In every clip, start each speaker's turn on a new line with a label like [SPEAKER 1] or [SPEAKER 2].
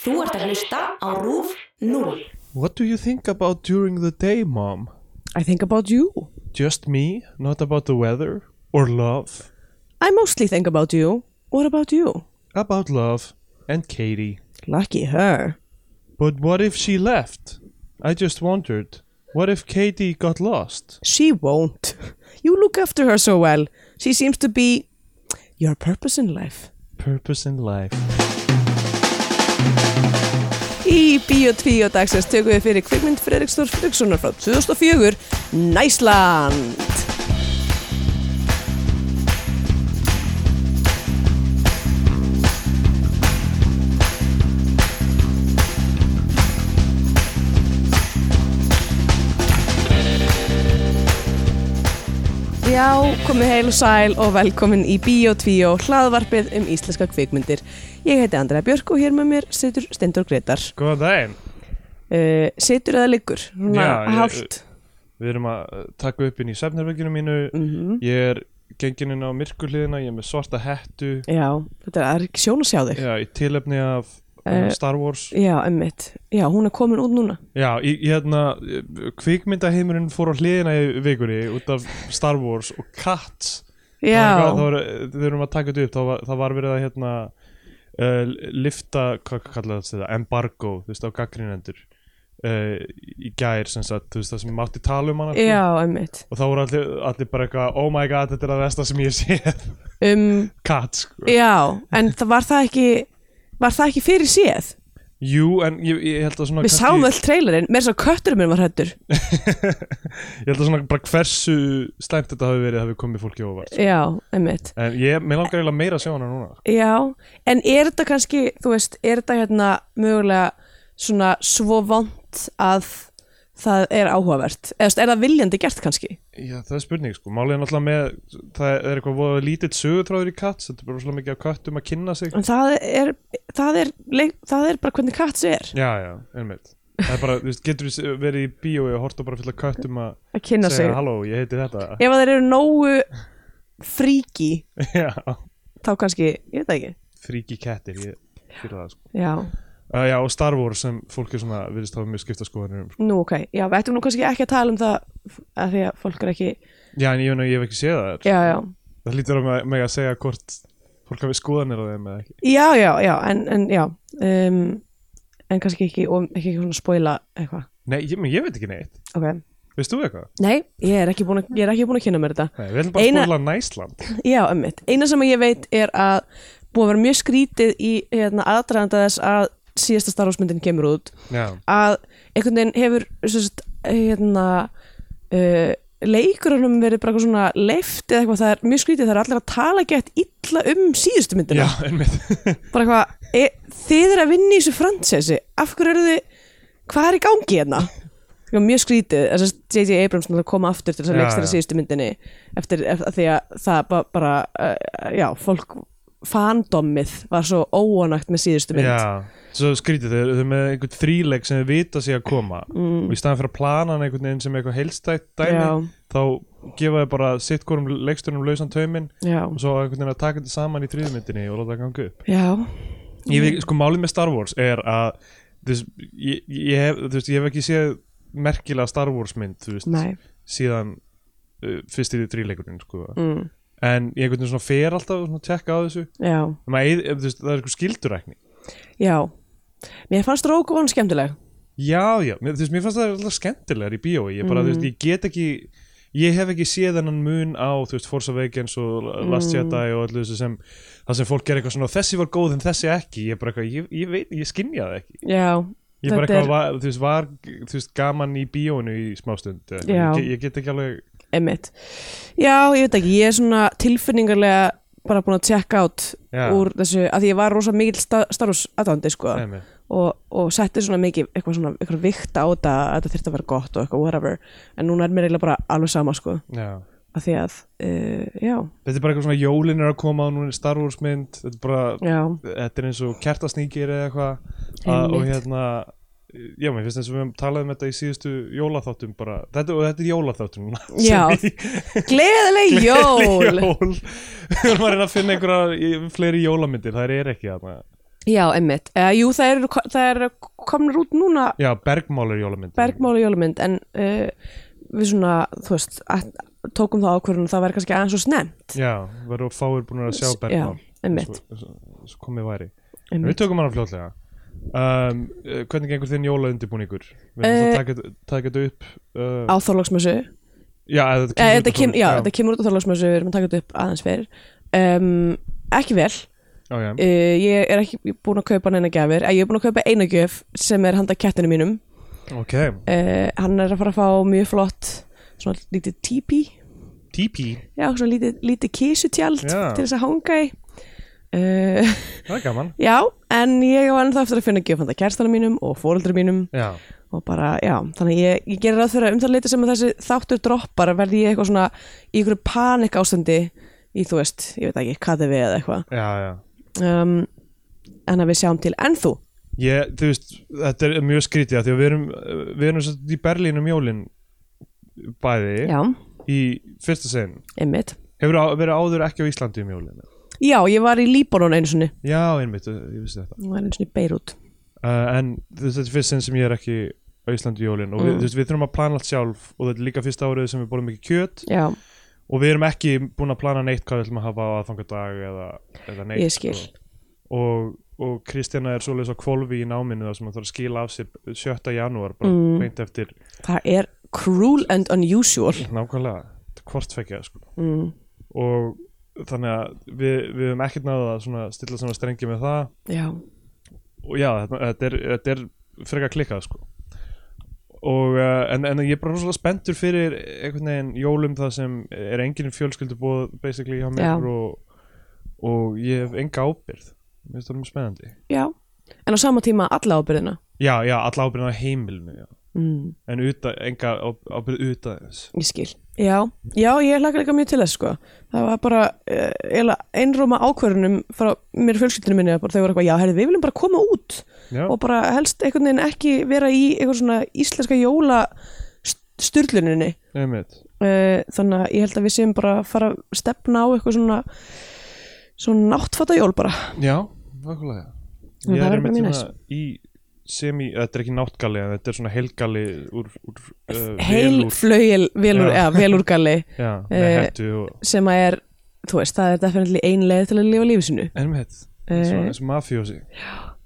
[SPEAKER 1] Þú ert að hlusta á RÚF 0.
[SPEAKER 2] What do you think about during the day, mom?
[SPEAKER 3] I think about you.
[SPEAKER 2] Just me, not about the weather or love?
[SPEAKER 3] I mostly think about you. What about you?
[SPEAKER 2] About love and Katie.
[SPEAKER 3] Lucky her.
[SPEAKER 2] But what if she left? I just wondered. What if Katie got lost?
[SPEAKER 3] She won't. You look after her so well. She seems to be your purpose in life.
[SPEAKER 2] Purpose in life.
[SPEAKER 3] Í Bíó 2 dagsins tökum við fyrir kvikmynd Fredriksdór Fredrikssonar frá 2004, Næsland. Já, komið heil og sæl og velkomin í Bíó 2, hlaðvarpið um íslenska kvikmyndir. Ég heiti Andrea Björk og hér með mér situr Stendur Gretar.
[SPEAKER 2] Góðan daginn.
[SPEAKER 3] uh, situr eða liggur svona
[SPEAKER 2] Já, ég-
[SPEAKER 3] hálft
[SPEAKER 2] Við erum að uh, taka upp inn í svefnherberginu mínu. Ég er gengin inn á myrkurliðina, ég er með svarta hettu.
[SPEAKER 3] já, þetta er- það er ekki sjón að sjá þig já,
[SPEAKER 2] Já, í tilefni af
[SPEAKER 3] Eh.
[SPEAKER 2] uh, Star Wars.
[SPEAKER 3] emmitt, já, hún er komin út núna
[SPEAKER 2] Já, í, í hérna, kvikmyndaheimurinn fór á hliðina í vikunni út af Star Wars og Cats.
[SPEAKER 3] já,
[SPEAKER 2] Það var, þeir erum að taka þetta upp, þá var, það var verið að hérna uh, lifta, hvað kallaði þetta, þetta, embargo, þú veist, á gaggrinendur uh, í gær sem sagt, þú veist, það sem mátti tala um hana. sko.
[SPEAKER 3] já, emmitt
[SPEAKER 2] Og þá voru allir, allir bara eitthvað, oh my god, þetta er að versta sem ég sé,
[SPEAKER 3] um,
[SPEAKER 2] Cats, sko.
[SPEAKER 3] já, en það var það ekki var það ekki fyrir séð
[SPEAKER 2] Jú, en ég, ég held að svona
[SPEAKER 3] við sáum öll trailerinn, með þess að kötturinn minn var hættur
[SPEAKER 2] Ég held að svona bara hversu slæmt þetta hafi verið hafi komið fólki óvart.
[SPEAKER 3] já, emmitt
[SPEAKER 2] En ég, mér langar eiginlega meira að sjá hana núna. sko.
[SPEAKER 3] já, en er þetta kannski þú veist, er þetta hérna mögulega svona svo vond að það er áhugavert eða þú veist, er það viljandi gert kannski
[SPEAKER 2] Já, það er spurning sko, málið er náttúrulega með það er eitthvað voða lítill sögutráður í Cats þetta er bara svolítið mikið af köttum að kynna sig
[SPEAKER 3] En það er, það er, leik, það er bara hvernig kats er
[SPEAKER 2] Já, já, einmitt Það er bara, þú veist, getur við verið í bíói og horta bara fullt af köttum að
[SPEAKER 3] að kynna sig.
[SPEAKER 2] segja halló, ég heiti þetta
[SPEAKER 3] Ef að þeir eru nógu fríki,
[SPEAKER 2] Já,
[SPEAKER 3] þá kannski, ég veit það ekki.
[SPEAKER 2] fríki kettir, ég fyrir það sko
[SPEAKER 3] Já,
[SPEAKER 2] uh, Já, og Star Wars sem fólk er svona virðist hafa mjög skipta skoðanir um sko.
[SPEAKER 3] nú ok. Já, við ættum nú kannski ekki að tala um það að því að fólk er ekki,
[SPEAKER 2] Já, en ég, meina, ég hef ekki séð það
[SPEAKER 3] já, já.
[SPEAKER 2] Það lítur að meg- meg að segja hvort fólk hafi skoðanir á þeim eða ekki
[SPEAKER 3] Já, já, já, en, en já, um, en kannski ekki, og ekki svona spoila eitthvað.
[SPEAKER 2] Nei, ég, men ég veit ekki neitt,
[SPEAKER 3] Ok.
[SPEAKER 2] veist þú eitthvað?
[SPEAKER 3] Nei, ég er ekki búin að, ég er ekki búin að kynna mér þetta.
[SPEAKER 2] Nei, við ætlum bara að
[SPEAKER 3] Eina-
[SPEAKER 2] spoila Næsland
[SPEAKER 3] Já, ömmit. Eina sem ég veit er að búið að vera mjög skrítið í hérna, aðdraganda þess að síðasta starfsmyndin kemur út
[SPEAKER 2] Já,
[SPEAKER 3] að einhvern veginn hefur svo sagt, hérna uh, leikurunum verið bara eitthvað svona leift eða eitthvað, það er mjög skrítið, það er allir að tala gett illa um síðustu myndina
[SPEAKER 2] já einmitt
[SPEAKER 3] bara eitthvað, e, þið er að vinna í þessu fransesi, af hverju eru þið hvað er í gangi hérna Eitthvað mjög skrítið, þess að J.J. Abrams náttúrulega kom aftur til þess að
[SPEAKER 2] Já,
[SPEAKER 3] leikstæra
[SPEAKER 2] já.
[SPEAKER 3] síðustu myndinni eftir eftir- af því að það ba bara uh, já, fólk fandommið var svo óanægt með síðustu mynd
[SPEAKER 2] Já, svo skrítið, þau þau eru með einhvern þríleik sem þau vita sig að koma
[SPEAKER 3] Mm.
[SPEAKER 2] og í staðan fyrir að plana hann einhvern veginn sem eitthvað heilstætt dæmi,
[SPEAKER 3] Já.
[SPEAKER 2] þá gefa þau bara sitt hvorum leikstunum lausan tauminn
[SPEAKER 3] já,
[SPEAKER 2] og svo einhvern veginn að taka þetta saman í þriðmyndinni og láta það ganga upp.
[SPEAKER 3] já,
[SPEAKER 2] Ég veit, sko, málið með Star Wars er að þess, ég, ég, hef, þú veist, ég hef ekki séð merkilega Star Wars mynd, þú veist,
[SPEAKER 3] nei
[SPEAKER 2] síðan uh, fyrst í þríleikurinn, sko.
[SPEAKER 3] mm,
[SPEAKER 2] En ég einhvern veginn svona fer alltaf og svona tekka á þessu.
[SPEAKER 3] já,
[SPEAKER 2] Maður, eyð- þú veist, það er eitthvað skildurækni.
[SPEAKER 3] já mér fannst Rogue One skemmtileg
[SPEAKER 2] Já, já, mér, þú veist, mér fannst það alltaf skemmtilegar í bíói, ég bara, þú
[SPEAKER 3] Mhm.
[SPEAKER 2] veist, ég get ekki ég hef ekki séð hennan mun á þú veist, Force Awakens og
[SPEAKER 3] Mhm.
[SPEAKER 2] Last Jedi og allir þessu sem, það sem fólk gerir eitthvað svona þessi var góð en þessi ekki, ég bara eitthvað ég, ég veit, ég skynja það ekki
[SPEAKER 3] já,
[SPEAKER 2] ég bara
[SPEAKER 3] Þetta er-
[SPEAKER 2] eitthvað, var, þú veist, var þú veist, gaman í bíóinu í smástund eða eitthvað. ég,
[SPEAKER 3] Já.
[SPEAKER 2] ge- ég get ekki alveg,
[SPEAKER 3] Einmitt. Já, ég veit ekki, ég er svona tilfinningarlega bara búin að check out
[SPEAKER 2] Já.
[SPEAKER 3] úr þessu, að því ég var rosa mikil starfs aðdándi sko
[SPEAKER 2] nefnir
[SPEAKER 3] og, og setti svona mikið eitthvað svona eitthvað vikta á þetta að þetta þyrfti að vera gott og eitthvað whatever en núna er mér eiginlega bara alveg sama sko
[SPEAKER 2] já.
[SPEAKER 3] að því að, uh, já,
[SPEAKER 2] þetta er bara eitthvað svona jólin er að koma og núna er Star Wars mynd, þetta er bara
[SPEAKER 3] já
[SPEAKER 2] þetta er eins og kertasnýkir eða eitthvað að- og
[SPEAKER 3] Einmitt.
[SPEAKER 2] hérna já, mér finnst eins og við höfum talað um þetta í síðustu jólaþáttum bara, þetta, og þetta er jólaþáttum núna
[SPEAKER 3] Já, gleðileg jól
[SPEAKER 2] jól við erum að reyna að finna einhverja í- fleiri jólamyndir, það er ekki þarna
[SPEAKER 3] Já, emmitt. Uh, jú, það eru, það eru komnir út núna
[SPEAKER 2] Já, Bergmál er jólamynd
[SPEAKER 3] bergmála jólumynd en uh, við svona, þú veist, að, tókum það ákvörðun og það væri kannski aðeins og snemmt.
[SPEAKER 2] Já, verður fáir búin að sjá Bergmál
[SPEAKER 3] Já, emmitt.
[SPEAKER 2] Svo- svo- Svo komið væri En Við
[SPEAKER 3] Einmitt.
[SPEAKER 2] tökum hana fljótlega um, eh, Hvernig gengur þinn jólaundibúningur? Við erum það
[SPEAKER 3] Eh,
[SPEAKER 2] að taka- taka þetta upp uh,
[SPEAKER 3] Á Þorlóksmössu.
[SPEAKER 2] Já, eða þetta
[SPEAKER 3] Eh,
[SPEAKER 2] kemur út
[SPEAKER 3] þetta
[SPEAKER 2] á
[SPEAKER 3] kem,
[SPEAKER 2] tólf-
[SPEAKER 3] já, þetta kemur út á Þorlóksmössu, við erum að taka þetta upp aðeins fyrir. Um, ekki vel.
[SPEAKER 2] já, já,
[SPEAKER 3] Uh, ég er ekki búin að kaupa neina gjafir. Eh, Ég er búin að kaupa eina gjöf sem er handa kettinu mínum.
[SPEAKER 2] Ok,
[SPEAKER 3] Uh, hann er að fara að fá mjög flott svona lítið típi
[SPEAKER 2] TP,
[SPEAKER 3] já, svona lítið, lítið kísutjald
[SPEAKER 2] Já.
[SPEAKER 3] til þess að hanga í uh,
[SPEAKER 2] það er gaman
[SPEAKER 3] já, en ég var ennþá eftir að finna gjöfanda kærstana mínum og fóreldra mínum
[SPEAKER 2] Já,
[SPEAKER 3] og bara, já, þannig ég, ég gerir ráð fyrir að um það leiti sem að þessi þáttur droppar verði ég eitthvað svona í einhverju panik ástandi í, þú veist, ég veit ekki, KTV eða eitthvað
[SPEAKER 2] já, já
[SPEAKER 3] um, en að við sjáum til en þú
[SPEAKER 2] Ég, þú veist, þetta er mjög skrítið af Því að við erum, við erum satt í Berlín um jólin Bæði
[SPEAKER 3] já,
[SPEAKER 2] Í fyrsta segin
[SPEAKER 3] einmitt
[SPEAKER 2] Hefur verið áður ekki á Íslandi um jólin
[SPEAKER 3] já, ég var í Líbanon einu sinni
[SPEAKER 2] Já, einmitt, eh, ég vissi þetta
[SPEAKER 3] ég var einu sinni í Beirut
[SPEAKER 2] uh, En þú veist, þetta er fyrst sinn sem ég er ekki á Íslandi um jólin Og við, þú veist, við þurfum að plana allt sjálf Og þetta er líka fyrsta árið sem við borum ekki kjöt
[SPEAKER 3] já,
[SPEAKER 2] og við erum ekki búin að plana neitt hvað við ætlum að hafa á aðfangadag eða, eða neitt
[SPEAKER 3] Ég skil.
[SPEAKER 2] sko. og, og Kristjana er svoleiðis á kvolfi í náminu þar sem hann þarf að skila af sér 7. janúar, bara mm. beint eftir
[SPEAKER 3] það er cruel and unusual
[SPEAKER 2] nákvæmlega, þetta er hvort fekja sko. mm. og þannig að við, við höfum ekkert náða að svona stilla saman strengi með það
[SPEAKER 3] já,
[SPEAKER 2] og já, þetta, þetta, er, þetta er frekar klikkað sko og, uh, en, en ég er bara rosalega spenntur fyrir einhvern veginn jólum það sem er enginn fjölskyldubóð basically hjá
[SPEAKER 3] Já.
[SPEAKER 2] mér og, og ég hef enga ábyrð mér finnst það mjög spennandi
[SPEAKER 3] já en á sama tíma alla ábyrðina
[SPEAKER 2] já, já, alla ábyrðin á heimilinu já.
[SPEAKER 3] mm.
[SPEAKER 2] en uta, enga áb- ábyrð utan þess
[SPEAKER 3] Ég skil. Já, já ég hlakka líka mjög til þess sko. Það var bara uh, einróma ákvörunum frá mér og fjölskyldinu minni að bara þau voru eitthvað, já, herri, við viljum bara koma út
[SPEAKER 2] já,
[SPEAKER 3] og bara helst einhvern veginn ekki vera í einhver svona íslenska jóla styrluninni.
[SPEAKER 2] einmitt
[SPEAKER 3] Uh, þannig að ég held að við séum bara að fara að stefna á eitthvað svona svona náttfata jól bara.
[SPEAKER 2] já, nákvæmlega
[SPEAKER 3] Já,
[SPEAKER 2] ég
[SPEAKER 3] það
[SPEAKER 2] er
[SPEAKER 3] verður bara
[SPEAKER 2] einmitt
[SPEAKER 3] mjög
[SPEAKER 2] svona í semi, þetta er ekki náttgali en þetta er svona heilgali úr, úr uh,
[SPEAKER 3] Heil
[SPEAKER 2] velúr.
[SPEAKER 3] flögil velur,
[SPEAKER 2] Já.
[SPEAKER 3] ja, velurgalli
[SPEAKER 2] já, með
[SPEAKER 3] eh,
[SPEAKER 2] hettu og
[SPEAKER 3] sem að er, þú veist, það er definitely ein leið til að lifa lífi sinu.
[SPEAKER 2] Einmitt,
[SPEAKER 3] Eh.
[SPEAKER 2] svona eins og mafjósi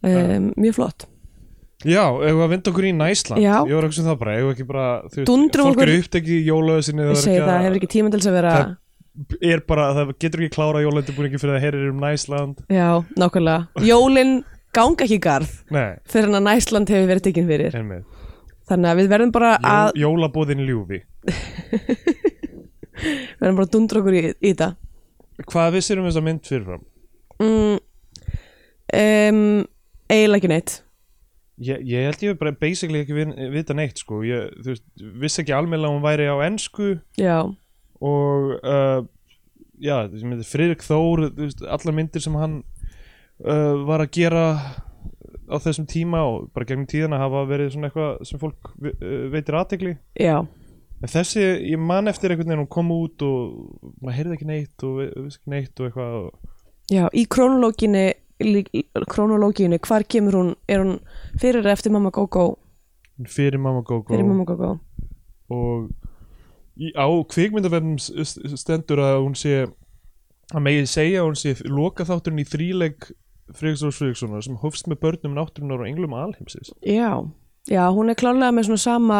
[SPEAKER 3] Um, mjög flott.
[SPEAKER 2] Já, ef við að vinda okkur í Næsland
[SPEAKER 3] Já.
[SPEAKER 2] Ég var ekki sem það bara, ef við ekki bara þú veist,
[SPEAKER 3] Dundrum
[SPEAKER 2] Fólk eru
[SPEAKER 3] okkur-
[SPEAKER 2] upptekið í jólaðusinni
[SPEAKER 3] Ég segi það, hefur ekki tíma til þess að vera
[SPEAKER 2] Það- er bara, það getur ekki klárað jólendibúningi fyrir það heyrir um Næsland
[SPEAKER 3] Já, nákvæmlega Jólin ganga ekki í garð
[SPEAKER 2] Nei,
[SPEAKER 3] fyrir hann að Næsland hefur verið tekinn fyrir
[SPEAKER 2] einmitt
[SPEAKER 3] Þannig að við verðum bara að,
[SPEAKER 2] Jó, Jólabóðin ljúfi
[SPEAKER 3] verðum bara að dundra okkur í, í það
[SPEAKER 2] Hvað vissir um þessa mynd fyrirfram?
[SPEAKER 3] mm, um, Eiginlega ekki neitt
[SPEAKER 2] Ég, ég held ég bara basically ekki vin, vita neitt sko Ég þú veist, vissi ekki almennilega að hún væri á ensku
[SPEAKER 3] Já,
[SPEAKER 2] og uh, já, þessi myndir Friðrik Þór þú veist, allar myndir sem hann uh, var að gera á þessum tíma og bara gegnum tíðina hafa verið svona eitthvað sem fólk ve- uh, veitir aðtegli
[SPEAKER 3] já,
[SPEAKER 2] en þessi, ég man eftir einhvern veginn hún kom út og maður heyrði ekki neitt og vi- vissi ekki neitt og eitthvað og...
[SPEAKER 3] já Í krónológinni krónológinni, hvar kemur hún er hún fyrir eða eftir mamma Gógó
[SPEAKER 2] fyrir Mamma Gogo
[SPEAKER 3] fyrir mamma Gógó
[SPEAKER 2] og í, á kvikmyndavefnum s- s- stendur að hún sé að megi segja að hún sé loka þátturinn í þríleik Friðriks og Friðrikssonar sem hófst með börnum náttúrunar og englum alheimsins
[SPEAKER 3] Já, já, hún er klálega með svona sama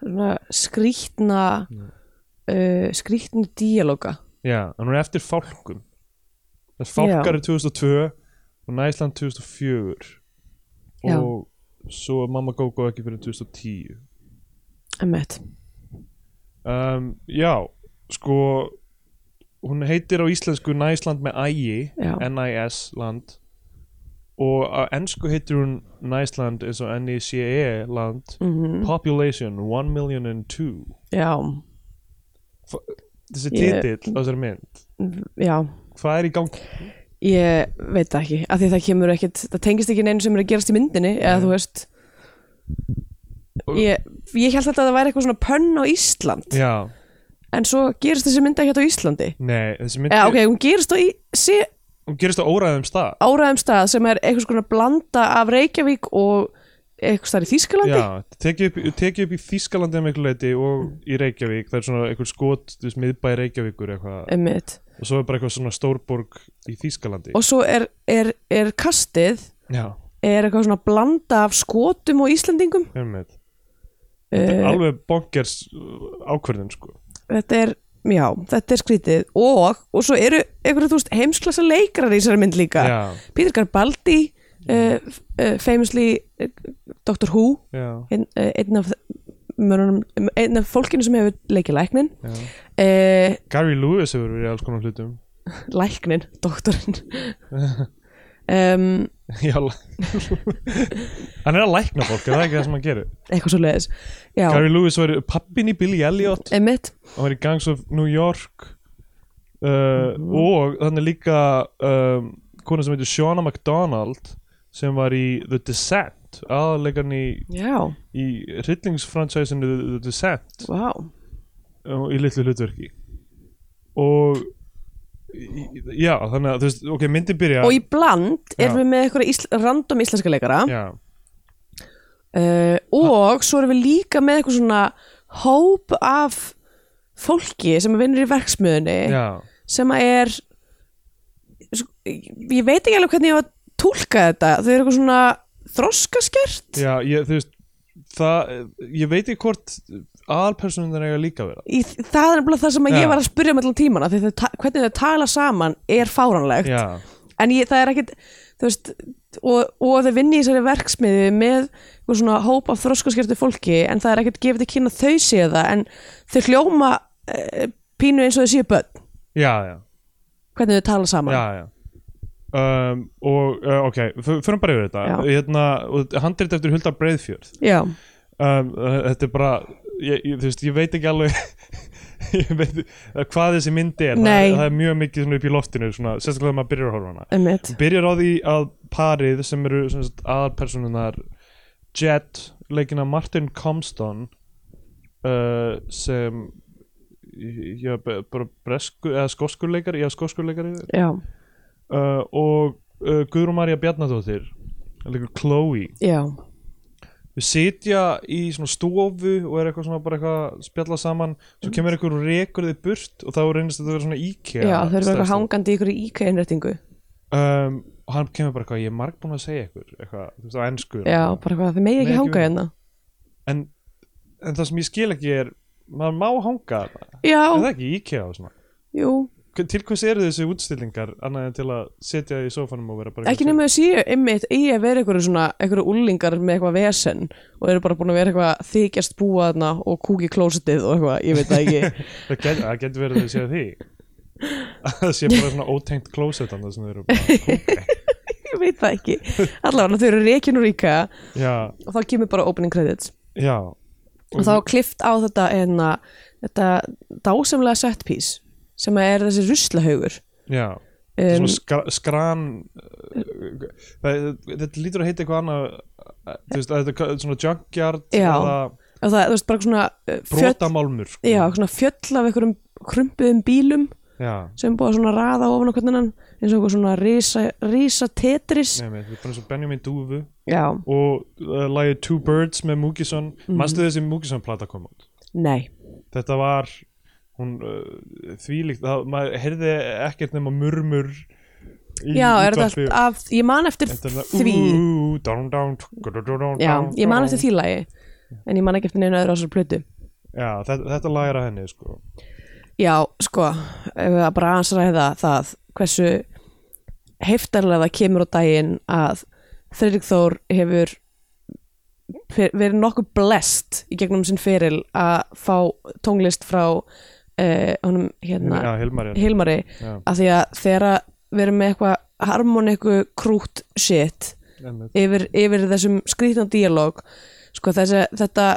[SPEAKER 3] svona skrýtna uh, skrýtna díalóga
[SPEAKER 2] Já, en hún er eftir fálkum Þess fálkar er 2002 og Næsland 2004
[SPEAKER 3] Já.
[SPEAKER 2] og svo er Mamma Gógó ekki fyrir 2010
[SPEAKER 3] Emmett
[SPEAKER 2] um, Já, sko hún heitir á íslensku Næsland með ægi
[SPEAKER 3] Já.
[SPEAKER 2] N-I-S land og á ennsku heitir hún Næsland eins og N-I-C-E E, land
[SPEAKER 3] Mhm.
[SPEAKER 2] Population 1 million and 2
[SPEAKER 3] Já,
[SPEAKER 2] Þessi
[SPEAKER 3] Ég-
[SPEAKER 2] titill á þessari mynd
[SPEAKER 3] já
[SPEAKER 2] Hvað er í gangi?
[SPEAKER 3] Ég veit það ekki, af því það kemur ekkit það tengist ekki neinu sem er að gerast í myndinni eða þú veist ég, ég held þetta að það væri eitthvað svona pönn á Ísland
[SPEAKER 2] Já,
[SPEAKER 3] en svo gerist þessi mynd ekki á Íslandi
[SPEAKER 2] nei, þessi mynd
[SPEAKER 3] eða ok, hún gerist á í, sé,
[SPEAKER 2] hún gerist á óræðum stað
[SPEAKER 3] áræðum stað sem er einhvers konar blanda af Reykjavík og einhvers staðar í Þýskalandi
[SPEAKER 2] Já, tekið upp, tekið upp í Þýskalandi um einhver leiti og í Reykjavík það er svona einhver skot, þú veist, miðbæ Reykjavíkur eitthvað,
[SPEAKER 3] einmitt.
[SPEAKER 2] og svo er bara eitthvað svona stórborg í Þýskalandi
[SPEAKER 3] og svo er, er, er kastið
[SPEAKER 2] Já,
[SPEAKER 3] er eitthvað svona blanda af skotum og Íslendingum
[SPEAKER 2] einmitt Þetta er
[SPEAKER 3] uh,
[SPEAKER 2] alveg bonkers uh, ákvörðin sko
[SPEAKER 3] þetta er, já, þetta er skrítið og, og svo eru einhverju þú veist heimsklassa leikrar í þessari mynd líka
[SPEAKER 2] Já,
[SPEAKER 3] Peter Garbaldi uh, f- uh, famously uh, Dr. Who
[SPEAKER 2] já,
[SPEAKER 3] ein, uh, einn af mörunum, einn af fólkinu sem hefur leikið læknin
[SPEAKER 2] já
[SPEAKER 3] uh,
[SPEAKER 2] Gary Lewis hefur verið í alls konar hlutum
[SPEAKER 3] læknin, doktorinn um,
[SPEAKER 2] Já, hann er að lækna fólk, er það ekki það sem hann gerir
[SPEAKER 3] eitthvað svo leiðis já,
[SPEAKER 2] Gary Lewis var pappin í Billy Elliot
[SPEAKER 3] emitt
[SPEAKER 2] hann var í Gangs of New York uh, og þannig líka um, kona sem heitir Shauna McDonald sem var í The Descent aðleikarn í,
[SPEAKER 3] já,
[SPEAKER 2] í hryllingsfransæsinu The, The Descent
[SPEAKER 3] vá,
[SPEAKER 2] uh, í litlu hlutverki og í- í- já, þannig að þú veist, ok, myndin byrja
[SPEAKER 3] og í bland
[SPEAKER 2] Já.
[SPEAKER 3] erum við með eitthvað ísl, random íslenska leikara
[SPEAKER 2] já,
[SPEAKER 3] uh, og svo erum við líka með eitthvað svona hóp af fólki sem vinnur í verksmiðunni
[SPEAKER 2] já,
[SPEAKER 3] sem að er sko, ég veit ekki alveg hvernig ég var að tólka þetta, þau eru eitthvað svona þroskaskert
[SPEAKER 2] já ég, þú veist það, ég veit ekki hvort aðalpersonundin eiga líka að vera
[SPEAKER 3] Í, það er nefnilega það sem að
[SPEAKER 2] Já.
[SPEAKER 3] ég var að spyrja um allan tímana því þau, ta- hvernig þau tala saman er fáranlegt
[SPEAKER 2] já,
[SPEAKER 3] en ég, það er ekkit þú veist, og, og þau vinni í þessari verksmiði með eitthvað svona hóp af þroskaskertu fólki en það er ekkit gefið til kynna að þau séu það en þau hljóma e, pínu eins og þau séu börn
[SPEAKER 2] já, já
[SPEAKER 3] hvernig þau tala saman
[SPEAKER 2] já, já. Um, og uh, ok, f- förum bara yfir
[SPEAKER 3] Já.
[SPEAKER 2] þetta hérna, og handrit eftir Hulda Breiðfjörð
[SPEAKER 3] Já.
[SPEAKER 2] um, uh, þetta er bara ég, ég, þú veist, ég veit ekki alveg ég veit, uh, hvað þessi myndi er það,
[SPEAKER 3] Nei.
[SPEAKER 2] er- það er mjög mikið svona upp í loftinu svona, sérstaklega þegar maður byrjar að horfa á hana
[SPEAKER 3] einmitt,
[SPEAKER 2] byrjar á því að parið sem eru sem sagt, aðalpersonunar Jet, leikina Martin Comston uh, sem já, bara bresku, eða skoskurleikari, já skoskurleikari
[SPEAKER 3] já,
[SPEAKER 2] uh, og uh, Guðrún Marja Bjarnadóttir líka Chloe
[SPEAKER 3] já,
[SPEAKER 2] við sitja í svona stofu og er eitthvað svona bara eitthvað að spjalla saman svo kemur eitthvað og rekur þið burt og þá reynist þetta að vera svona IKEA
[SPEAKER 3] já þau eru
[SPEAKER 2] stærsta.
[SPEAKER 3] eitthvað hangandi í ykkur IK-innrætingu
[SPEAKER 2] um, og hann kemur bara eitthvað, ég er marg búin að segja ykkur eitthvað, þú veist, á ennsku
[SPEAKER 3] já, bara eitthvað, þau megi
[SPEAKER 2] Megi
[SPEAKER 3] ekki hanga
[SPEAKER 2] við-
[SPEAKER 3] hérna
[SPEAKER 2] en, en það sem ég skil ekki er maður má hanga þarna. er
[SPEAKER 3] já,
[SPEAKER 2] það ekki í IKEA og svona
[SPEAKER 3] jú,
[SPEAKER 2] Hva- til hvers eru þessi útstillingar annað en til að setja í sófanum og vera bara
[SPEAKER 3] ekki nema þau séu einmitt í að vera einhverju svona einhverju úlingar með eitthvað vesen og eru bara búin að vera eitthvað þykjast búa þarna og kúki klósitið og eitthvað, ég veit það ekki
[SPEAKER 2] Það get- það getur verið að þau séu því að það sé bara svona ótengt klósett annað sem þau eru bara
[SPEAKER 3] ég veit það ekki allavega þau eru reikin og ríka
[SPEAKER 2] já,
[SPEAKER 3] og þá kemur bara opening credits
[SPEAKER 2] já,
[SPEAKER 3] og
[SPEAKER 2] Mhm.
[SPEAKER 3] þá klift á þetta enna þetta dásamlega set piece sem að er þessi ruslahaugur
[SPEAKER 2] já Það er
[SPEAKER 3] um,
[SPEAKER 2] svona skra, skran uh, það, þetta lítur að heita eitthvað annað uh, þú veist, að þetta er svona junkyard
[SPEAKER 3] Já.
[SPEAKER 2] eða
[SPEAKER 3] og það, þú veist, bara svona uh, fjöll,
[SPEAKER 2] brotamálmur sko.
[SPEAKER 3] já, svona fjöll af einhverjum krumpuðum bílum
[SPEAKER 2] já,
[SPEAKER 3] sem er búið að svona raða ofan á hvernig hann eins og eitthvað svona risa, risa tetris
[SPEAKER 2] nefnir, þetta er bara eins og Benjamin Dúfu
[SPEAKER 3] já,
[SPEAKER 2] og uh, lagið Two Birds með Múkisson
[SPEAKER 3] Mhm.
[SPEAKER 2] mm. manstu þessi Múkisson plata kom út
[SPEAKER 3] nei
[SPEAKER 2] þetta var hún uh, þvílíkt, það, maður heyrði ekkert nema murmur í
[SPEAKER 3] já, er þetta
[SPEAKER 2] útvarpi.
[SPEAKER 3] allt af, ég man eftir
[SPEAKER 2] Þetta er það,
[SPEAKER 3] því
[SPEAKER 2] ú, dán, dán, tuk, dú, dú, dán,
[SPEAKER 3] já,
[SPEAKER 2] dán,
[SPEAKER 3] ég man
[SPEAKER 2] dán.
[SPEAKER 3] eftir því lagi en ég man ekki eftir neina öðru á þessar plötu
[SPEAKER 2] Já, þetta, þetta lagir að henni sko.
[SPEAKER 3] já, sko, ef við að bara aðeins ræða það hversu heftarlega það kemur á daginn að Friðrik Þór hefur fer- verið nokkuð blest í gegnum sinn feril að fá tónlist frá uh, honum hérna
[SPEAKER 2] Já, Hilmar er
[SPEAKER 3] Hilmari
[SPEAKER 2] Já.
[SPEAKER 3] af því að þegar að við erum með eitthvað harmoniku krútt shit
[SPEAKER 2] einmitt.
[SPEAKER 3] yfir, yfir þessum skrýtna díalóg sko þessi, þetta,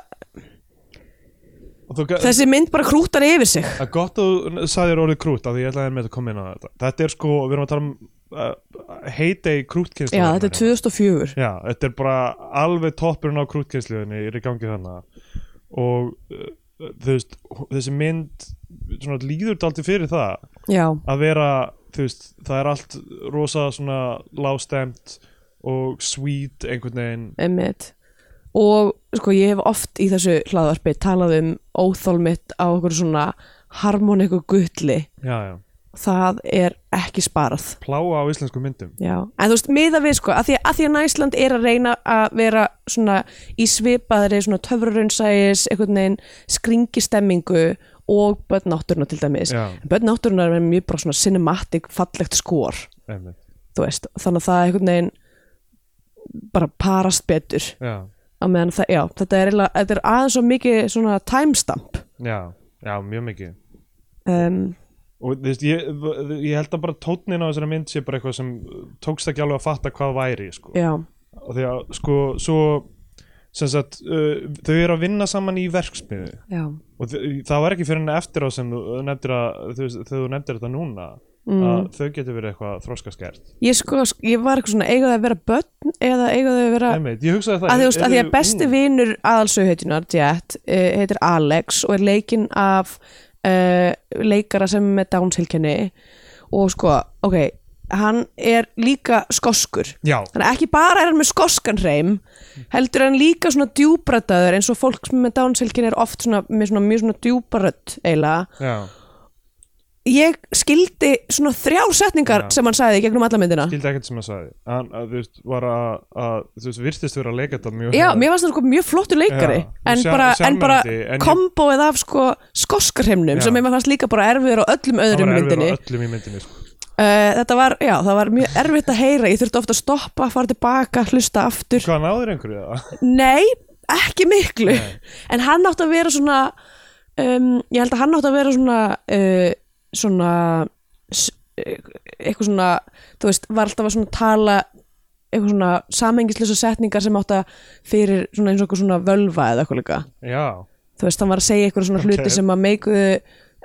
[SPEAKER 2] Og þú ga-
[SPEAKER 3] þessi mynd bara krútar yfir sig
[SPEAKER 2] Það er gott að þú sagðir orðið krút af því ég ætlaði með að koma inn á þetta Þetta er sko, við erum að tala um uh, heitei krútkynslu
[SPEAKER 3] já þetta er 2004
[SPEAKER 2] Já, þetta er bara alveg toppurinn á krútkynsluðinni er í gangi þannig og uh, þú veist, þessi mynd svona, líður dalti fyrir það
[SPEAKER 3] já,
[SPEAKER 2] að vera þú veist, það er allt rosa svona lágstemt og sweet einhvern veginn
[SPEAKER 3] einmitt og sko ég hef oft í þessu hlaðvarpi talað um óþól mitt á okkur svona harmoniku gulli
[SPEAKER 2] já, já.
[SPEAKER 3] það er ekki sparað
[SPEAKER 2] pláa á íslensku myndum
[SPEAKER 3] Já. en þú veist, miða við sko að því að, því að Næsland er að reyna að vera svona í svipaðri svona töfrarunnsæis, einhvern veginn skringistemmingu og börn náttúruna til dæmis,
[SPEAKER 2] Já.
[SPEAKER 3] börn náttúruna er mjög bara svona cinematic, fallegt skor
[SPEAKER 2] einmitt.
[SPEAKER 3] þú veist, þannig að það einhvern veginn bara parast betur
[SPEAKER 2] já,
[SPEAKER 3] á meðan það, já, þetta er, eiginlega- þetta er aðeins og mikið svona timestamp
[SPEAKER 2] já, já, mjög mikið
[SPEAKER 3] um,
[SPEAKER 2] og þú veist, ég, ég held að bara tónnin á þessari mynd sé bara eitthvað sem tókst ekki alveg að fatta hvað væri sko.
[SPEAKER 3] já,
[SPEAKER 2] og því að sko svo, sem sagt, uh, þau eru að vinna saman í verksmiðu
[SPEAKER 3] já,
[SPEAKER 2] og þau- það var ekki fyrir henni eftir á sem þú uh, nefndir að, þú veist, þegar þú nefndir þetta núna
[SPEAKER 3] Mm.
[SPEAKER 2] að þau getur verið eitthvað þroskaskert
[SPEAKER 3] ég sko, ég var eitthvað svona eiga það að vera börn eða eiga það að vera
[SPEAKER 2] Einmitt, ég hugsaði það
[SPEAKER 3] að því, þú veist, að því að
[SPEAKER 2] eru-
[SPEAKER 3] besti vinur aðalsauhetjunar, Jet, uh, heitir Alex og er leikinn af uh, leikara sem er með Downsilkenni og sko, ok hann er líka skoskur
[SPEAKER 2] Já.
[SPEAKER 3] þannig að ekki bara er hann með skoskan hreim heldur er hann líka svona djúbrataður eins og fólk sem er með Downsilkenni er oft svona, með svona mjög svona djúbarödd eiginlega
[SPEAKER 2] já,
[SPEAKER 3] ég skildi svona þrjá setningar
[SPEAKER 2] Já.
[SPEAKER 3] sem hann sagði í gegnum alla myndina
[SPEAKER 2] skildi ekkert sem að sagði hann, að, þú veist, var að, að þú veist, virtist vera að leika þetta mjög
[SPEAKER 3] Já,
[SPEAKER 2] vel.
[SPEAKER 3] mér varst það sko mjög flottur leikari
[SPEAKER 2] Já,
[SPEAKER 3] en,
[SPEAKER 2] sjá-
[SPEAKER 3] bara, en
[SPEAKER 2] sjarmerandi,
[SPEAKER 3] bara
[SPEAKER 2] en ég-
[SPEAKER 3] komboið af sko skoskarheimnum
[SPEAKER 2] Já.
[SPEAKER 3] sem mér fannst líka bara erfiður á öllum
[SPEAKER 2] það
[SPEAKER 3] öðrum
[SPEAKER 2] var erfið
[SPEAKER 3] myndinni
[SPEAKER 2] á
[SPEAKER 3] öll.
[SPEAKER 2] öllum í myndinni sko.
[SPEAKER 3] Þetta var, já, það var mjög erfitt að heyra ég þurfti ofta að stoppa, fara tilbaka, hlusta aftur
[SPEAKER 2] hvað náður einhverju það?
[SPEAKER 3] Nei, ekki miklu en hann átti að vera svona um, ég held að hann átti að vera svona uh, svona s- eh, eitthvað svona þú veist, var alltaf að svona tala eitthvað svona samhengislösa setningar sem átti að fyrir svona eins og eitthvað svona völva eða eitthvað líka
[SPEAKER 2] já,
[SPEAKER 3] þú veist, hann var að segja eitthvað svona
[SPEAKER 2] Ok.
[SPEAKER 3] hluti sem að meikuðu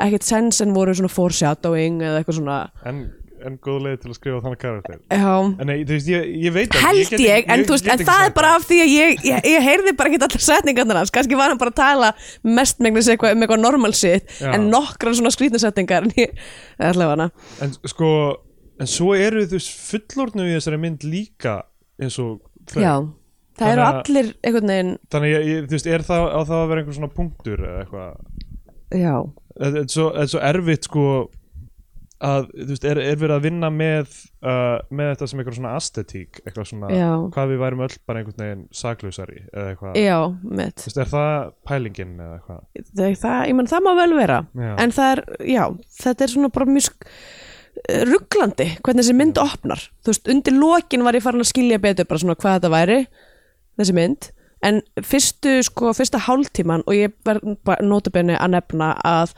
[SPEAKER 3] ekkert sens en voru svona foreshadowing eða eitthvað svona
[SPEAKER 2] en, en góð leið til að skrifa þannig karakter
[SPEAKER 3] já,
[SPEAKER 2] en nei, þú veist, ég, ég veit ekki,
[SPEAKER 3] held
[SPEAKER 2] get
[SPEAKER 3] ég,
[SPEAKER 2] ekki-
[SPEAKER 3] en, þú veist,
[SPEAKER 2] get
[SPEAKER 3] en
[SPEAKER 2] ekki
[SPEAKER 3] það
[SPEAKER 2] sagt
[SPEAKER 3] er bara af því að ég, ég, ég heyrði bara ekki allar setningarnar hans, kannski var hann bara að tala mestmengnis eitthvað um eitthvað normal shit
[SPEAKER 2] Já.
[SPEAKER 3] en nokkrar svona skrýtna setningar en ég, allavega hana,
[SPEAKER 2] en sko, en svo eru þú veist fullornu í þessari mynd líka eins og þau.
[SPEAKER 3] já það
[SPEAKER 2] Þannig
[SPEAKER 3] eru
[SPEAKER 2] að-
[SPEAKER 3] allir einhvern veginn,
[SPEAKER 2] þannig ég, ég, þú veist, er það á það að vera einhver svona punktur eða eitthvað
[SPEAKER 3] já
[SPEAKER 2] þetta þetta er svo, þetta er svo erfitt sko að, þú veist, er, er verið að vinna með uh, með þetta sem eitthvað svona aesthetík eitthvað svona,
[SPEAKER 3] Já.
[SPEAKER 2] hvað við værum öll bara einhvern veginn saklausari eða eitthvað
[SPEAKER 3] já, mitt,
[SPEAKER 2] Þú veist, er það pælingin eða eitthvað
[SPEAKER 3] það, það, ég menn það má vel vera
[SPEAKER 2] Já.
[SPEAKER 3] en það er, já, þetta er svona bara mjög sk- eh, rugglandi hvernig þessi mynd opnar, þú veist, undir lokin var ég farin að skilja betur bara svona hvað þetta væri þessi mynd en fyrstu, sko, fyrsta hálftíman og ég verð bara notabenni að nefna að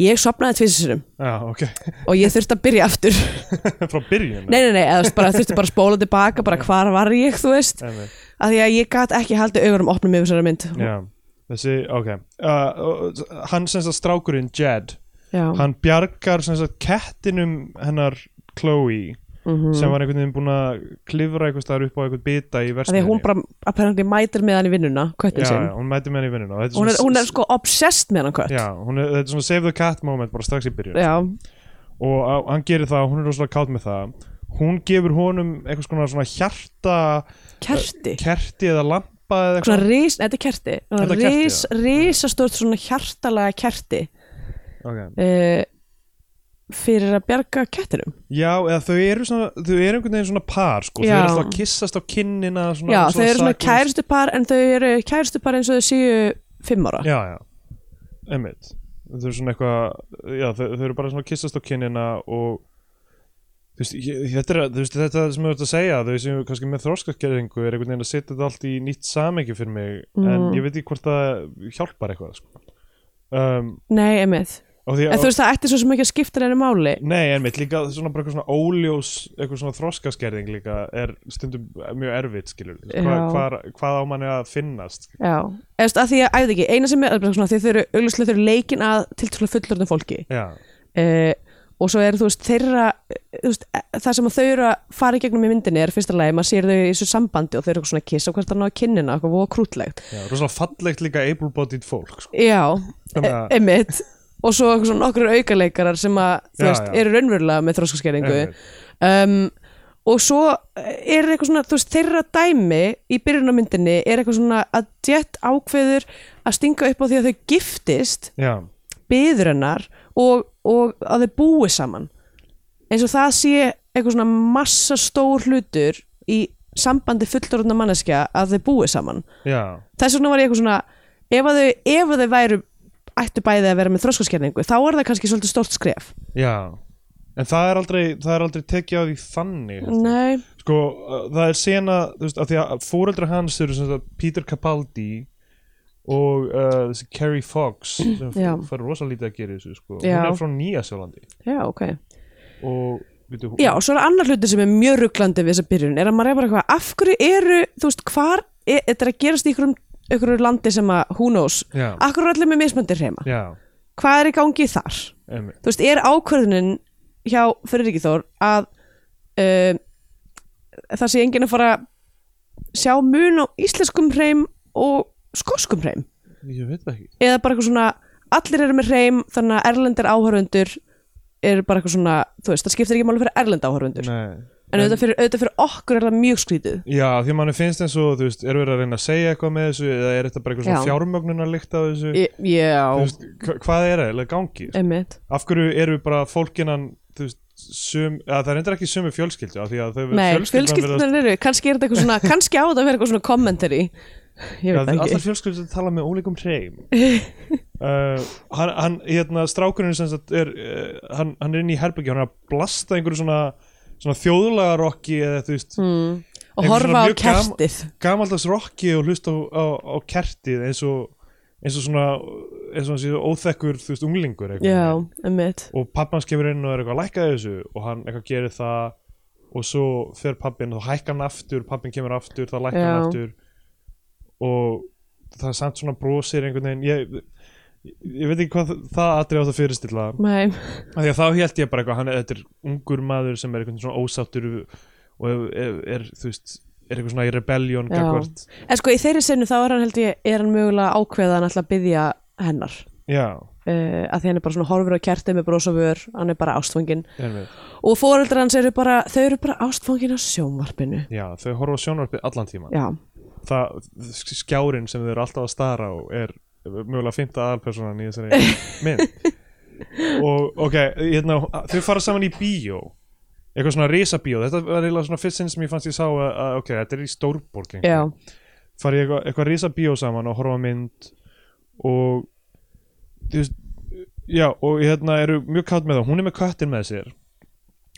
[SPEAKER 3] ég sopnaði tvisisurum
[SPEAKER 2] já, ok,
[SPEAKER 3] og ég þurfti að byrja aftur
[SPEAKER 2] frá byrjun
[SPEAKER 3] nei, nei, nei, eða þú veist, bara, þurfti bara að spóla tilbaka bara hvar var ég, þú veist
[SPEAKER 2] Einmitt.
[SPEAKER 3] að því að ég gat ekki haldið augurum opnum yfir þessari mynd
[SPEAKER 2] já, þessi, ok uh, hann sem sagt strákurinn Jed
[SPEAKER 3] já,
[SPEAKER 2] hann bjargar sem sagt kettinum hennar Chloe sem var einhvern veginn búin að klifra einhvern staðar upp á einhvern bita í
[SPEAKER 3] að Mhm. því
[SPEAKER 2] versmiðinni
[SPEAKER 3] að hún bara apparently mætir með hann í vinnuna,
[SPEAKER 2] já,
[SPEAKER 3] köttin sinn
[SPEAKER 2] já, hún mæti með henni í vinnuna og þetta
[SPEAKER 3] hún er,
[SPEAKER 2] svona-
[SPEAKER 3] hún er sko obsessed með hann kött
[SPEAKER 2] Já, hún er, þetta er svona save the cat moment bara strax í byrjun
[SPEAKER 3] já,
[SPEAKER 2] og á, hann gerir það, hún er rosalega kátt með það hún gefur honum einhvers konar svona hjarta
[SPEAKER 3] kerti
[SPEAKER 2] kerti eða lampa eða
[SPEAKER 3] svona
[SPEAKER 2] eitthvað
[SPEAKER 3] rís, þetta er kerti
[SPEAKER 2] Þetta er kerti,
[SPEAKER 3] rís, risastort svona hjartalega kerti
[SPEAKER 2] okay.
[SPEAKER 3] uh, fyrir að bjarga kettinum
[SPEAKER 2] Já, eða þau eru svona þau eru einhvern veginn svona par sko þau
[SPEAKER 3] Já.
[SPEAKER 2] eru alltaf að kissast á kinnina svona,
[SPEAKER 3] já, þau eru svona
[SPEAKER 2] saklaus.
[SPEAKER 3] kæristu par en þau eru kæristu par eins og þau séu fimm ára
[SPEAKER 2] Já, já, emmitt þau eru svona eitthvað já, þau, þau eru bara svona að kissast á kinnina og þú veist, ég, þetta, er, þú veist, þetta sem ég vart að segja þau sem eru kannski með þróskaskerðingu er einhvern veginn að setja þetta allt í nýtt samengi fyrir mig
[SPEAKER 3] Mm.
[SPEAKER 2] en ég veit ekki hvort það hjálpar eitthvað sko. um,
[SPEAKER 3] nei, emið
[SPEAKER 2] og því,
[SPEAKER 3] en þú veist það ætti svo sem ekki að skipta henni máli
[SPEAKER 2] Nei, en mitt líka svona bara eitthvað svona óljós eitthvað svona þroskaskerðing líka er stundum mjög erfitt, skilur Hva,
[SPEAKER 3] Já.
[SPEAKER 2] hvar, hvað á manni að finnast
[SPEAKER 3] já, eða þú veist, að því að, æfði ekki eina sem er, það er bara svona, því þau eru auglustlega þau eru leikin að tiltrúlega fullorðnum fólki
[SPEAKER 2] Já,
[SPEAKER 3] uh, og svo er þú veist þeirra þú veist, eh, það sem að þau eru að fara í gegnum í myndinni er fyrsta lagi, maður sér þau í þessu sambandi og þau eru eitthvað svona að kissa og hvert annað á kinnina eitthvað voða krútlegt
[SPEAKER 2] já rosalega fallegt líka able-bodied fólk sko.
[SPEAKER 3] já,
[SPEAKER 2] Þannig að-
[SPEAKER 3] emitt og svo eitthvað svona nokkur aukaleikarar sem að, þú
[SPEAKER 2] Já,
[SPEAKER 3] veist,
[SPEAKER 2] já.
[SPEAKER 3] eru raunverulega með þróskaskerðingu
[SPEAKER 2] Einmitt.
[SPEAKER 3] um, og svo eh, er eitthvað svona, þú veist, þeirra dæmi í byrjunarmyndinni er eitthvað svona að Jet ákveður að stinga upp á því að þau giftist
[SPEAKER 2] já,
[SPEAKER 3] byður hennar og, og að þau búi saman eins og það sé eitthvað svona massa stór hlutur í sambandi fullorðna manneskja að þau búi saman
[SPEAKER 2] já,
[SPEAKER 3] þess vegna var ég eitthvað svona ef að þau, ef að þau væru ættu bæði að vera með þróskaskerningu þá er það kannski svolítið stórt skref
[SPEAKER 2] já en það er aldrei, það er aldrei tekið á því þannig held ég.
[SPEAKER 3] Nei,
[SPEAKER 2] sko, uh, það er sena þú veist, af því að fóreldra hans eru sem sagt Peter Capaldi og uh, þessi Carrie Fox sem
[SPEAKER 3] Já.
[SPEAKER 2] f- fær rosa lítið að gera í þessu sko. hún
[SPEAKER 3] Já.
[SPEAKER 2] er frá Nýja Sjálandi
[SPEAKER 3] já, ok
[SPEAKER 2] og veitu, hún-
[SPEAKER 3] Já, og svo er annar hluti sem er mjög rugglandi við þessa byrjun, er að maður er bara eitthvað af hverju eru, þú veist, hvar er, þetta er að gerast í ykkurum, ykkur landi sem að who knows,
[SPEAKER 2] Já.
[SPEAKER 3] af hverju eru allir með mismöndir heima,
[SPEAKER 2] já,
[SPEAKER 3] hvað er í gangi þar
[SPEAKER 2] einmitt.
[SPEAKER 3] þú veist, er ákvörðunin hjá Friðriki Þór að uh, það sé enginn að fara að sjá mun á íslenskum hreim og skoskum hreim
[SPEAKER 2] ég veit það ekki
[SPEAKER 3] eða bara eitthvað svona allir eru með hreim þannig að erlendir áhörfundur eru bara eitthvað svona, þú veist, það skiptir ekki máli fyrir erlenda áhörfundur
[SPEAKER 2] Nei.
[SPEAKER 3] en auðvitað fyrir, auðvitað fyrir okkur er það mjög skrítið
[SPEAKER 2] já, því að manni finnst eins og þú veist, er verið að reyna að segja eitthvað með þessu eða er þetta bara eitthvað svona
[SPEAKER 3] Já.
[SPEAKER 2] fjármögnunarlikt á þessu
[SPEAKER 3] Í-
[SPEAKER 2] Þú
[SPEAKER 3] já, Eh,
[SPEAKER 2] veist, hva- hvað er það, eða gangi
[SPEAKER 3] emmitt
[SPEAKER 2] af hverju eru bara fólkinan þú veist, sum, að það reyndir ekki sumu fjölskyldu af því að þau
[SPEAKER 3] nei,
[SPEAKER 2] fjölskyldan virðast-
[SPEAKER 3] fjölskyldunar eru, kannski er þetta eitthvað svona kannski á þetta að vera eitthvað svona commentary
[SPEAKER 2] Já,
[SPEAKER 3] ég veit það
[SPEAKER 2] allar
[SPEAKER 3] ekki
[SPEAKER 2] fjölskyldur tala með ólíkum hreim uh, hann, hann, hérna, strákurinn sem sagt er, uh, hann, hann er inn í herbyggja hann er að blasta einhverju svona, svona þjóðlega rocki eða þú
[SPEAKER 3] Hmm.
[SPEAKER 2] veist mm.
[SPEAKER 3] og horfa á kertið
[SPEAKER 2] gamaldags rocki og hlusta á, á, á kertið eins og eins og svona eins og hann sé óþekkur þú veist unglingur einhvern
[SPEAKER 3] já,
[SPEAKER 2] veginn.
[SPEAKER 3] emmitt
[SPEAKER 2] og pappans kemur inn og er eitthvað að lækka þessu og hann eitthvað gerir það og svo fer pappin og þá hækkar hann aftur pappin kemur aftur, þá lækkar hann
[SPEAKER 3] Já.
[SPEAKER 2] aftur og það er samt svona brosir einhvern veginn ég, ég, ég veit ekki hvað það- það atrið á það fyrirstilla
[SPEAKER 3] nei,
[SPEAKER 2] af því að þá held ég bara eitthvað hann er þetta er ungur maður sem er einhvern svona ósáttur og er, er, er þú veist er eitthvað svona í rebellion
[SPEAKER 3] Já.
[SPEAKER 2] gagvart
[SPEAKER 3] en sko í þeirri senu þá er hann held ég er hann mögulega ákveða að hann ætla að byggja hennar
[SPEAKER 2] já,
[SPEAKER 3] uh, að því hann er bara svona horfur á kertið með brosafur hann er bara ástfangin
[SPEAKER 2] erum við
[SPEAKER 3] og foreldrar hans eru bara, þau eru bara ástfangin á sjónvarpinu
[SPEAKER 2] já, þau horfa á sjónvarpið allan tíma
[SPEAKER 3] já,
[SPEAKER 2] það, skjárin sem þau eru alltaf að stara á er mögulega fymta aðalpersonan í þessari mynd og ok, hérna, þau fara saman í bíó eitthvað svona risabíó þetta var eiginlega svona fyrst sinn sem ég fannst ég sá að, að ok, þetta er í stórborg einhver.
[SPEAKER 3] já,
[SPEAKER 2] fara í eitthvað, eitthvað risabíó saman og horfa á mynd og þú veist, já, og hérna eru mjög kátt með það, hún er með köttin með sér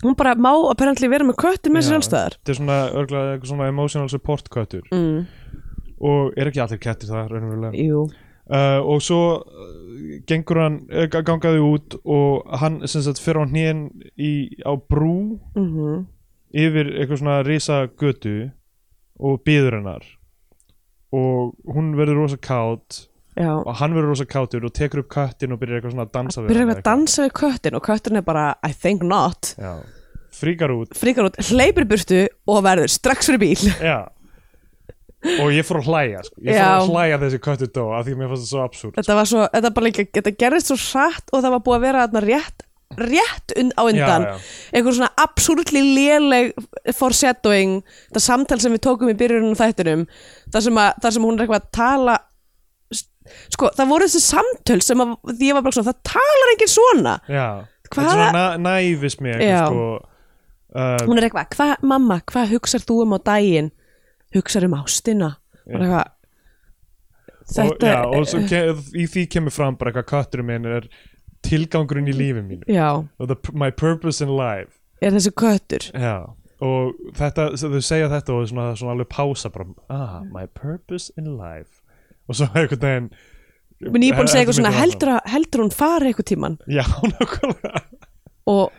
[SPEAKER 3] hún bara má apparently vera með köttin
[SPEAKER 2] Já.
[SPEAKER 3] með sér allstæðar
[SPEAKER 2] þetta er svona, örglega, eitthvað svona emotional support köttur
[SPEAKER 3] mm,
[SPEAKER 2] og er ekki allir kettir það raunverulega
[SPEAKER 3] jú
[SPEAKER 2] uh, og svo uh, gengur hann uh, gangaði út og hann sem sagt fer á hnén í, á brú
[SPEAKER 3] mm
[SPEAKER 2] yfir eitthvað svona risagötu og býður hennar og hún verður rosa kátt
[SPEAKER 3] já,
[SPEAKER 2] og hann verður rosa káttur og tekur upp köttin og byrjar eitthvað svona að dansa við
[SPEAKER 3] byrjar
[SPEAKER 2] hana
[SPEAKER 3] eitthvað að dansa við köttin og köttin er bara I think not,
[SPEAKER 2] Já. fríkar út
[SPEAKER 3] fríkar út, hleypir í burtu og verður strax fyrir bíl
[SPEAKER 2] Já. og ég fór að hlæja sko. ég fór
[SPEAKER 3] Já.
[SPEAKER 2] að hlæja þessi köttu dó af því að mér fannst það svo absúrt
[SPEAKER 3] þetta var svo, þetta bara líka, þetta gerðist svo satt og það var búið að vera þarna rétt rétt und, á
[SPEAKER 2] Já,
[SPEAKER 3] undan,
[SPEAKER 2] já.
[SPEAKER 3] einhver svona absúrtli léleg foreshadowing, það samtal sem við tókum í byrjunum á þættinum, þar sem, að, þar sem hún er eitthvað að tala sko, það voru þessi samtöl sem að, því ég var bara svona, það talar enginn svona
[SPEAKER 2] Já.
[SPEAKER 3] Hvaða-
[SPEAKER 2] þetta er svona næ, næfismi eitthvað,
[SPEAKER 3] Já.
[SPEAKER 2] sko, uh,
[SPEAKER 3] hún er eitthvað, hvað, mamma, hvað hugsar þú um á daginn, hugsar um ástina og eitthvað
[SPEAKER 2] og,
[SPEAKER 3] þetta,
[SPEAKER 2] já, og svo kem, í því kemur fram bara eitthvað kötturinn minn er tilgangurinn
[SPEAKER 3] Mm.
[SPEAKER 2] í lífi mínu
[SPEAKER 3] já,
[SPEAKER 2] og the, my purpose in life
[SPEAKER 3] er þessi köttur
[SPEAKER 2] já. og þetta, svo þau segja þetta og svona, svona alveg pása bara, ah,
[SPEAKER 3] Mm.
[SPEAKER 2] my purpose in life og svo einhvern veginn
[SPEAKER 3] minn ég búin að segja
[SPEAKER 2] Heldur
[SPEAKER 3] eitthvað svona,
[SPEAKER 2] mikið
[SPEAKER 3] heldur, að, heldur hún fari eitthvað tíman
[SPEAKER 2] já, nákvæmlega
[SPEAKER 3] og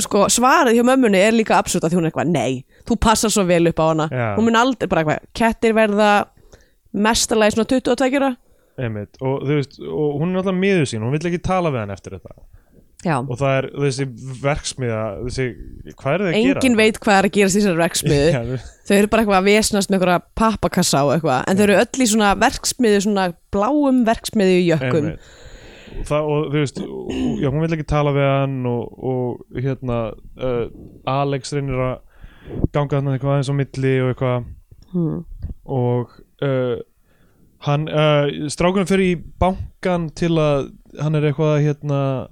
[SPEAKER 3] sko, svarið hjá mömmunni er líka absúrt að því hún er eitthvað, nei, þú passar svo vel upp á hana
[SPEAKER 2] Já.
[SPEAKER 3] hún mun aldrei bara eitthvað, kettir verða mestalagi svona 22 ára
[SPEAKER 2] Einmitt. og þú veist, og hún er alltaf miður sín hún vill ekki tala við hann eftir þetta
[SPEAKER 3] já,
[SPEAKER 2] og það er þessi verksmiða þessi, hvað er það að gera?
[SPEAKER 3] engin veit hvað er að gerast í þessari verksmiðu
[SPEAKER 2] Já,
[SPEAKER 3] þau eru bara eitthvað að vesnast með eitthvað pappakassa og eitthvað, en þau eru öll í svona verksmiðu, svona bláum verksmiðu jökkum
[SPEAKER 2] Einmitt. það, og þú veist og- já, hún vil ekki tala við hann og, og hérna uh, Alex reynir að ganga hann eitthvað aðeins á milli og eitthvað
[SPEAKER 3] Hmm.
[SPEAKER 2] og uh, hann uh, strákunum fyrir í bankan til að hann er eitthvað að, hérna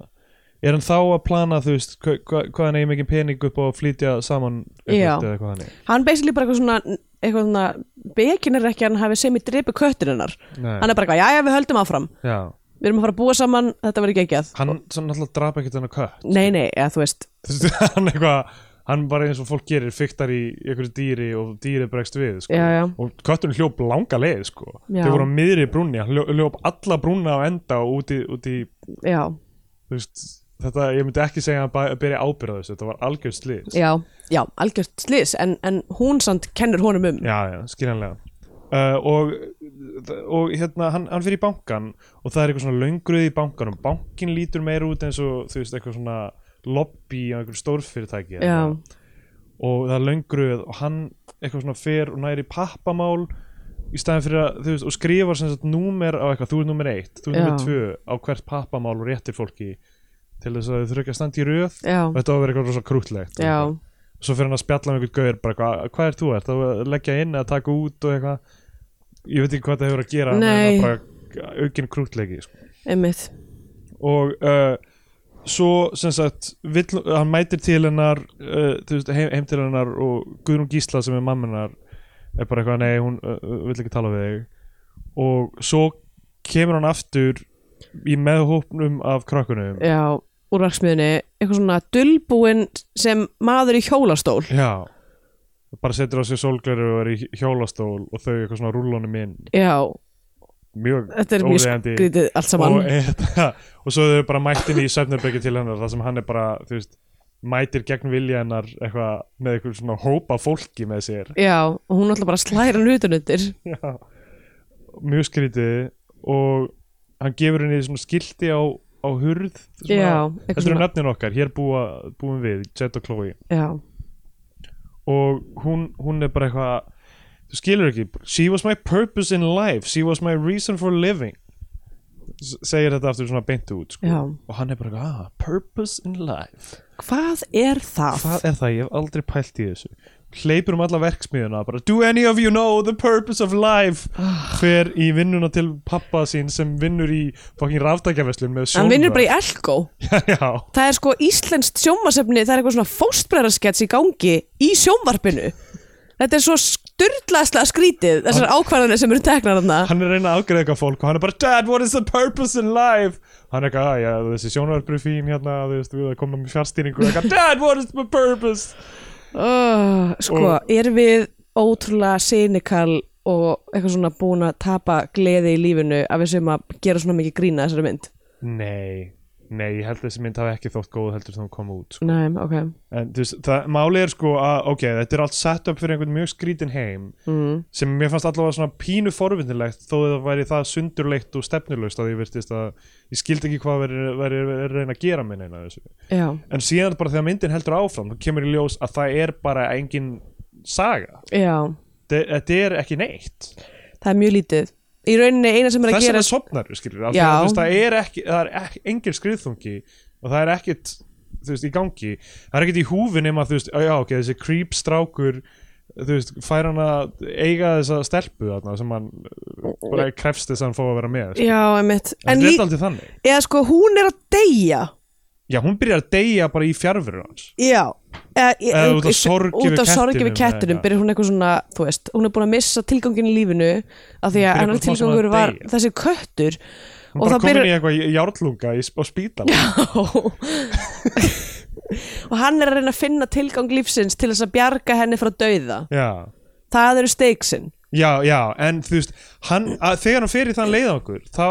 [SPEAKER 2] er hann þá að plana þú veist hva, hva, hvað hann eigi mikið pening upp á að flytja saman
[SPEAKER 3] Já.
[SPEAKER 2] eða eitthvað hann er
[SPEAKER 3] hann basically bara eitthvað svona eitthvað svona, bekin er ekki að hann hafi sem í drepi köttininnar,
[SPEAKER 2] Nei.
[SPEAKER 3] hann er bara eitthvað jæja við höldum áfram,
[SPEAKER 2] já,
[SPEAKER 3] við erum að fara að búa saman þetta verður geggjað,
[SPEAKER 2] hann svo náttúrulega drapa ekkert hann að kött
[SPEAKER 3] nei nei, eða þú veist
[SPEAKER 2] Þú veist, hann eitthvað hann bara eins og fólk gerir, fyktar í einhverju dýri og dýri bregst við sko.
[SPEAKER 3] Já, já.
[SPEAKER 2] og kötturinn hljóp langa leið sko.
[SPEAKER 3] Já.
[SPEAKER 2] þau voru á miðri brúnni, hann hljó- hljóp alla brúnna á enda og út í, út í
[SPEAKER 3] já,
[SPEAKER 2] þú veist, þetta, ég myndi ekki segja að hann byrja ábyrða þessu, þetta var algjörð slið
[SPEAKER 3] já, já algjört slis, en, en hún samt kennur honum um,
[SPEAKER 2] já, já, skiljanlega uh, og, og hérna hann, hann fyrir í bankan og það er eitthvað svona löngruð í bankanum, bankin lítur meira út eins og þú veist, eitthvað svona lobby á einhverjum stórfyrirtæki
[SPEAKER 3] já,
[SPEAKER 2] eða- og það er löngruð og hann eitthvað svona fer og næri pappamál í staðin fyrir að, þú veist, og skrifar sem sagt númer á eitthvað, þú er númer eitt, þú er númer
[SPEAKER 3] Já.
[SPEAKER 2] tvö á hvert pappamál og réttir fólki til þess að þau þurfa ekki að standa í röð
[SPEAKER 3] já,
[SPEAKER 2] og þetta á að vera eitthvað rosa krútlegt
[SPEAKER 3] já,
[SPEAKER 2] svo fyrir hann að spjalla með einhvern gauður bara hvað, hvað er þú ert, að leggja inn eða taka út og eitthvað, ég veit ekki hvað það hefur að gera en
[SPEAKER 3] Nei.
[SPEAKER 2] það er bara aukin krútlegi sko.
[SPEAKER 3] einmitt
[SPEAKER 2] og uh, svo sem sagt, vill, hann mætir til hennar uh, þú veist, heim, heim til hennar og Guðrún Gísla sem er mamma hennar er bara eitthvað, nei, hún uh, uh, vill ekki tala við þig og svo kemur hann aftur í meðhópnum af krakkunum
[SPEAKER 3] já, úr verksmiðinni eitthvað svona dulbúinn sem maður í hjólastól
[SPEAKER 2] Já bara setur á sig sólgleru og er í hjólastól og þau eitthvað svona rúlunum inn
[SPEAKER 3] já,
[SPEAKER 2] mjög
[SPEAKER 3] þetta er mjög
[SPEAKER 2] óviðeigandi.
[SPEAKER 3] skrítið allt saman,
[SPEAKER 2] og, eða, og svo þau bara mættin í Svefnurbyggi til hennar þar sem hann er bara þú veist, mætir gegn vilja hennar eitthvað, með eitthvað svona hópa fólki með sér
[SPEAKER 3] já, og hún alltaf bara slæra hann utanundir,
[SPEAKER 2] Já. mjög skrítið og hann gefur henni svona skilti á, á hurð svona,
[SPEAKER 3] Já,
[SPEAKER 2] þetta
[SPEAKER 3] eitthvað
[SPEAKER 2] eru
[SPEAKER 3] svona-
[SPEAKER 2] nöfnin okkar, hér búa, búum við Jet og Chloe
[SPEAKER 3] já,
[SPEAKER 2] og hún, hún er bara eitthvað þú skilur ekki, she was my purpose in life she was my reason for living S segir þetta aftur svona beint út sko.
[SPEAKER 3] Já.
[SPEAKER 2] og hann er bara eitthvað, ah, purpose in life
[SPEAKER 3] hvað er það?
[SPEAKER 2] hvað er það, ég hef aldrei pælt í þessu hleypur um alla verksmiðuna bara, do any of you know the purpose of life
[SPEAKER 3] Ah.
[SPEAKER 2] fer í vinnuna til pappa sín sem vinnur í fucking ráftækjaveslun með sjónvart
[SPEAKER 3] hann vinnur bara í Elko
[SPEAKER 2] já,
[SPEAKER 3] það er sko íslenskt sjónvarsefni það er eitthvað svona fóstbræðarskets í gangi í sjónvarpinu þetta er svo styrlaðslega skrítið þessar ákvarðanir sem eru teknar hann
[SPEAKER 2] hann er að reyna að ágreða eitthvað fólk og hann er bara Dad, what is the purpose in life? Hann er eitthvað, "Ah, já, þessi sjónvarpur er fín hérna, þú veist, við að koma með fjárstýringu og eitthvað, Dad, what is the purpose?
[SPEAKER 3] oh, sko,
[SPEAKER 2] Og-
[SPEAKER 3] erum við ótrúlega sinikal og eitthvað svona búin að tapa gleði í lífinu af við sem að gera svona mikið grína þessari mynd
[SPEAKER 2] Nei, nei, ég held að þessi mynd hafi ekki þótt góð heldur þegar hún kom út. sko.
[SPEAKER 3] Nei, ok
[SPEAKER 2] En þú veist, það, málið er sko að, ok, þetta er allt sett upp fyrir einhvern mjög skrítin heim
[SPEAKER 3] mm.
[SPEAKER 2] sem mér fannst allavega svona pínu forvindilegt þó að það væri það sundurleitt og stefnulaust að ég virtist að ég skildi ekki hvað verið veri, veri að reyna að gera minn eina þessu.
[SPEAKER 3] Já,
[SPEAKER 2] en síðan bara þegar myndin heldur áfram þá kemur í ljós að það er bara engin saga,
[SPEAKER 3] já,
[SPEAKER 2] Þe- þetta er ekki neitt
[SPEAKER 3] það er mjög lítið Í rauninni eina sem er að
[SPEAKER 2] þess að
[SPEAKER 3] gera
[SPEAKER 2] það sopnar skilur, af því
[SPEAKER 3] Já.
[SPEAKER 2] að þú veist, það er ekki það er ekki, engin skriðþungi og það er ekkit þú veist, í gangi, það er ekkit í húfi nema þú veist, "Ó, já ok, þessi creep strákur þú veist, fær hann að eiga þessa stelpu þarna sem hann uh, bara krefst þess að hann fá að vera með sko.
[SPEAKER 3] Já, emitt
[SPEAKER 2] en
[SPEAKER 3] En
[SPEAKER 2] þetta
[SPEAKER 3] lí...
[SPEAKER 2] er aldrei þannig
[SPEAKER 3] eða sko hún er að deyja
[SPEAKER 2] já, hún byrjar að deyja bara í fjárfyrir hans
[SPEAKER 3] Já eða,
[SPEAKER 2] Eða út af sorgi við
[SPEAKER 3] út af sorgi
[SPEAKER 2] kettinum
[SPEAKER 3] við kettinum
[SPEAKER 2] eða-
[SPEAKER 3] byrjar hún eitthvað svona, þú veist, hún er búin að missa tilgangin í lífinu
[SPEAKER 2] Hún
[SPEAKER 3] af því að
[SPEAKER 2] byrjar
[SPEAKER 3] hennar
[SPEAKER 2] bara smá saman að
[SPEAKER 3] tilgangur var
[SPEAKER 2] deyja.
[SPEAKER 3] þessi köttur
[SPEAKER 2] hún
[SPEAKER 3] og
[SPEAKER 2] bara
[SPEAKER 3] það
[SPEAKER 2] komin
[SPEAKER 3] byrjar
[SPEAKER 2] í eitthvað járlunga í, á spítala
[SPEAKER 3] og hann er að reyna að finna tilgang lífsins til þess að bjarga henni frá dauða
[SPEAKER 2] já
[SPEAKER 3] það eru steiksin
[SPEAKER 2] Já, já, en þú veist hann, að, þegar hann fer í þann leiðangur þá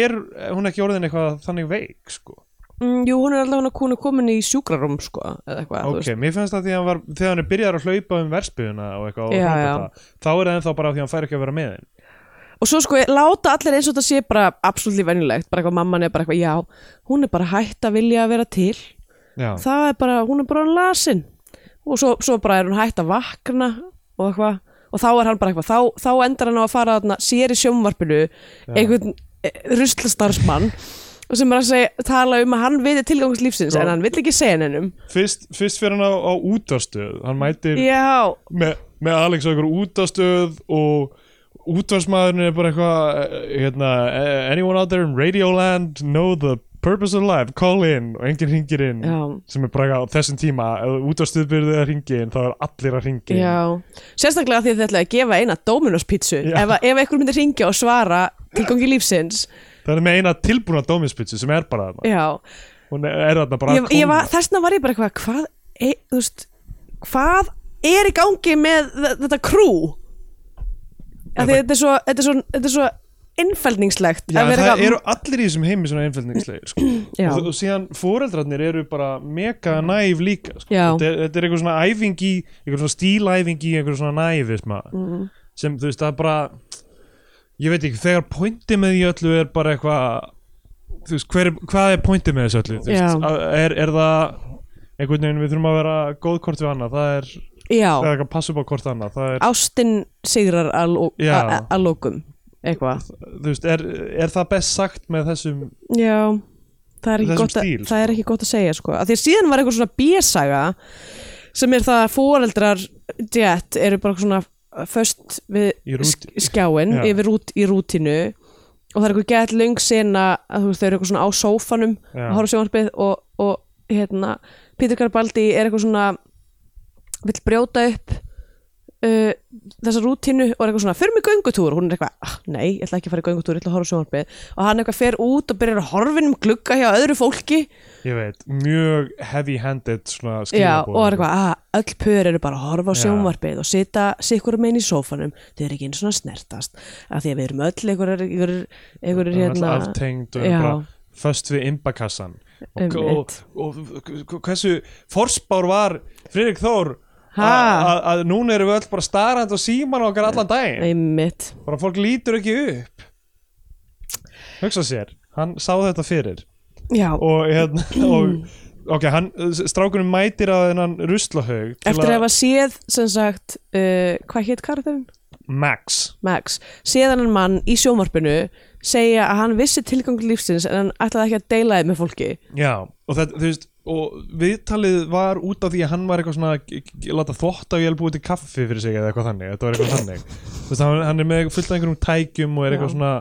[SPEAKER 2] er hún ekki orðin eitthvað þannig veik, sko
[SPEAKER 3] mm, jú, hún er allavega hún er komin í sjúkrarum sko, eða eitthvað, þú
[SPEAKER 2] Ok, mér finnst að því að hann var, þegar hann er byrjar að hlaupa um verspiðuna og eitthvað
[SPEAKER 3] Já,
[SPEAKER 2] og hrópa
[SPEAKER 3] já.
[SPEAKER 2] það, þá er það ennþá bara af því að hann fær ekki að vera með henn
[SPEAKER 3] veist. og svo sko, láta allir eins og þetta sé bara absolutt venjulegt, bara eitthvað mamman er bara eitthvað já, hún er bara hætt að vilja að vera til
[SPEAKER 2] Já,
[SPEAKER 3] það er bara, hún er bara lasin og svo, svo bara er hún hætt að vakna og eitthvað, og þá er hann bara eitthvað þá, þá endar hann á að fara þarna, sér í sjónvarpinu einhvern e, ruslastarfsmann og sem er að segja, tala um að hann viti tilgangs lífsins
[SPEAKER 2] Já.
[SPEAKER 3] en hann vill ekki segja nennum
[SPEAKER 2] fyrst, fyrst fyrir hann á, á útastöð hann mætir
[SPEAKER 3] já,
[SPEAKER 2] með, með Alex á ykkur útastöð og útvarsmaðurinn er bara eitthvað eh, hérna, eh, anyone out there in Radioland know the purpose of life, call in og enginn ringir inn
[SPEAKER 3] já,
[SPEAKER 2] sem er bara á þessum tíma ef útvarstöð byrðið að ringi inn þá er allir að ringi
[SPEAKER 3] já sérstaklega því að þið ætlaði að gefa eina Dominos pítsu
[SPEAKER 2] Já.
[SPEAKER 3] ef, að- ef einhver myndi ringja og svara tilgangi lífsins
[SPEAKER 2] það er með eina tilbúna dóminspitsu sem er bara þarna
[SPEAKER 3] já,
[SPEAKER 2] hún er þarna bara
[SPEAKER 3] ég, ég var, þessna var ég bara eitthvað hvað, e, þú veist hvað er í gangi með þ- þetta krú af því
[SPEAKER 2] Þetta-
[SPEAKER 3] þetta er svo þetta er svo, þetta er svo innfældningslegt
[SPEAKER 2] Já,
[SPEAKER 3] að
[SPEAKER 2] en
[SPEAKER 3] vera
[SPEAKER 2] það
[SPEAKER 3] eitthvað-
[SPEAKER 2] eru allir í þessum heimi svona einfjöldningslegir sko.
[SPEAKER 3] Já.
[SPEAKER 2] og, og síðan foreldrarnir eru bara mega næf líka sko.
[SPEAKER 3] Já.
[SPEAKER 2] þetta, er, þetta er eitthvað svona æfing í eitthvað svona stílæfing í eitthvað svona næfisma
[SPEAKER 3] Mhm.
[SPEAKER 2] mm. sem þú veist það er bara ég veit ekki, þegar pointi með því öllu er bara eitthvað þú veist, hver, hvað er pointi með þessu öllu þú
[SPEAKER 3] Já.
[SPEAKER 2] veist, að- er, er það einhvern veginn við þurfum að vera góð hvort við annað það er, það er
[SPEAKER 3] já,
[SPEAKER 2] eitthvað að passa upp á hvort annað það er,
[SPEAKER 3] ástin sigrar að ló-
[SPEAKER 2] Já.
[SPEAKER 3] að- að- að lókum eitthvað
[SPEAKER 2] þú veist, er, er það best sagt með þessum
[SPEAKER 3] já, það er ekki,
[SPEAKER 2] Þessum
[SPEAKER 3] gott, að,
[SPEAKER 2] stíl,
[SPEAKER 3] það er ekki gott að segja sko. að því að síðan var eitthvað svona bísaga sem er það að foreldrar djett eru bara svona föst við
[SPEAKER 2] Í rút-
[SPEAKER 3] sk- skjáinn
[SPEAKER 2] Já.
[SPEAKER 3] yfir rút, í rútinu og það er eitthvað gett löng sena að þú veist þau eru eitthvað svona á sófanum
[SPEAKER 2] Já.
[SPEAKER 3] að horfa á sjónvarpið og, og hérna Pítur Garibaldi er eitthvað svona vill brjóta upp uh, þessa rútínu og er eitthvað svona, fyrir mig göngutúr og hún er eitthvað, ah, nei, ég ætla ekki að fara í göngutúr ég ætla að horfa á sjónvarpið og hann eitthvað fer út og byrjar að horfin um glugga hjá öðru fólki
[SPEAKER 2] Ég veit, mjög heavy-handed svona
[SPEAKER 3] já,
[SPEAKER 2] skilaboð. sko.
[SPEAKER 3] og er eitthvað, ah, öll pör eru bara að horfa á
[SPEAKER 2] Já.
[SPEAKER 3] sjónvarpið og sita sikkur megin í sófanum, þau eru ekki einu svona snertast af því að við erum öll einhverjar einhverjar- einhverjar
[SPEAKER 2] Það er
[SPEAKER 3] hérna
[SPEAKER 2] alltaf aftengd og
[SPEAKER 3] Já.
[SPEAKER 2] er bara föst við imbakassan og, og,
[SPEAKER 3] Einmitt.
[SPEAKER 2] og, og hversu forspár var Friðrik Þór
[SPEAKER 3] Ha?
[SPEAKER 2] að- að að núna erum við öll bara starrand og síman okkar allan daginn
[SPEAKER 3] einmitt,
[SPEAKER 2] bara fólk lítur ekki upp hugsa sér, hann sá þetta fyrir
[SPEAKER 3] já,
[SPEAKER 2] og hérna og, ok, hann, strákunum mætir að hennan ruslahaug til
[SPEAKER 3] eftir að hafa séð sem sagt, uh, hvað hétt karakterinn?
[SPEAKER 2] Max
[SPEAKER 3] Max, séðan en mann í sjónvarpinu segja að hann vissi tilgang lífsins en hann ætlaði ekki að deila þið með fólki
[SPEAKER 2] Já, og þetta, þú veist og viðtalið var út af því að hann var eitthvað svona, g- g- láta þvott að ég búið til kaffi fyrir sig eða eitthvað þannig, þetta var eitthvað þannig þú veist, hann, hann er með fullt af einhverjum tækjum og er eitthvað
[SPEAKER 3] Já.
[SPEAKER 2] svona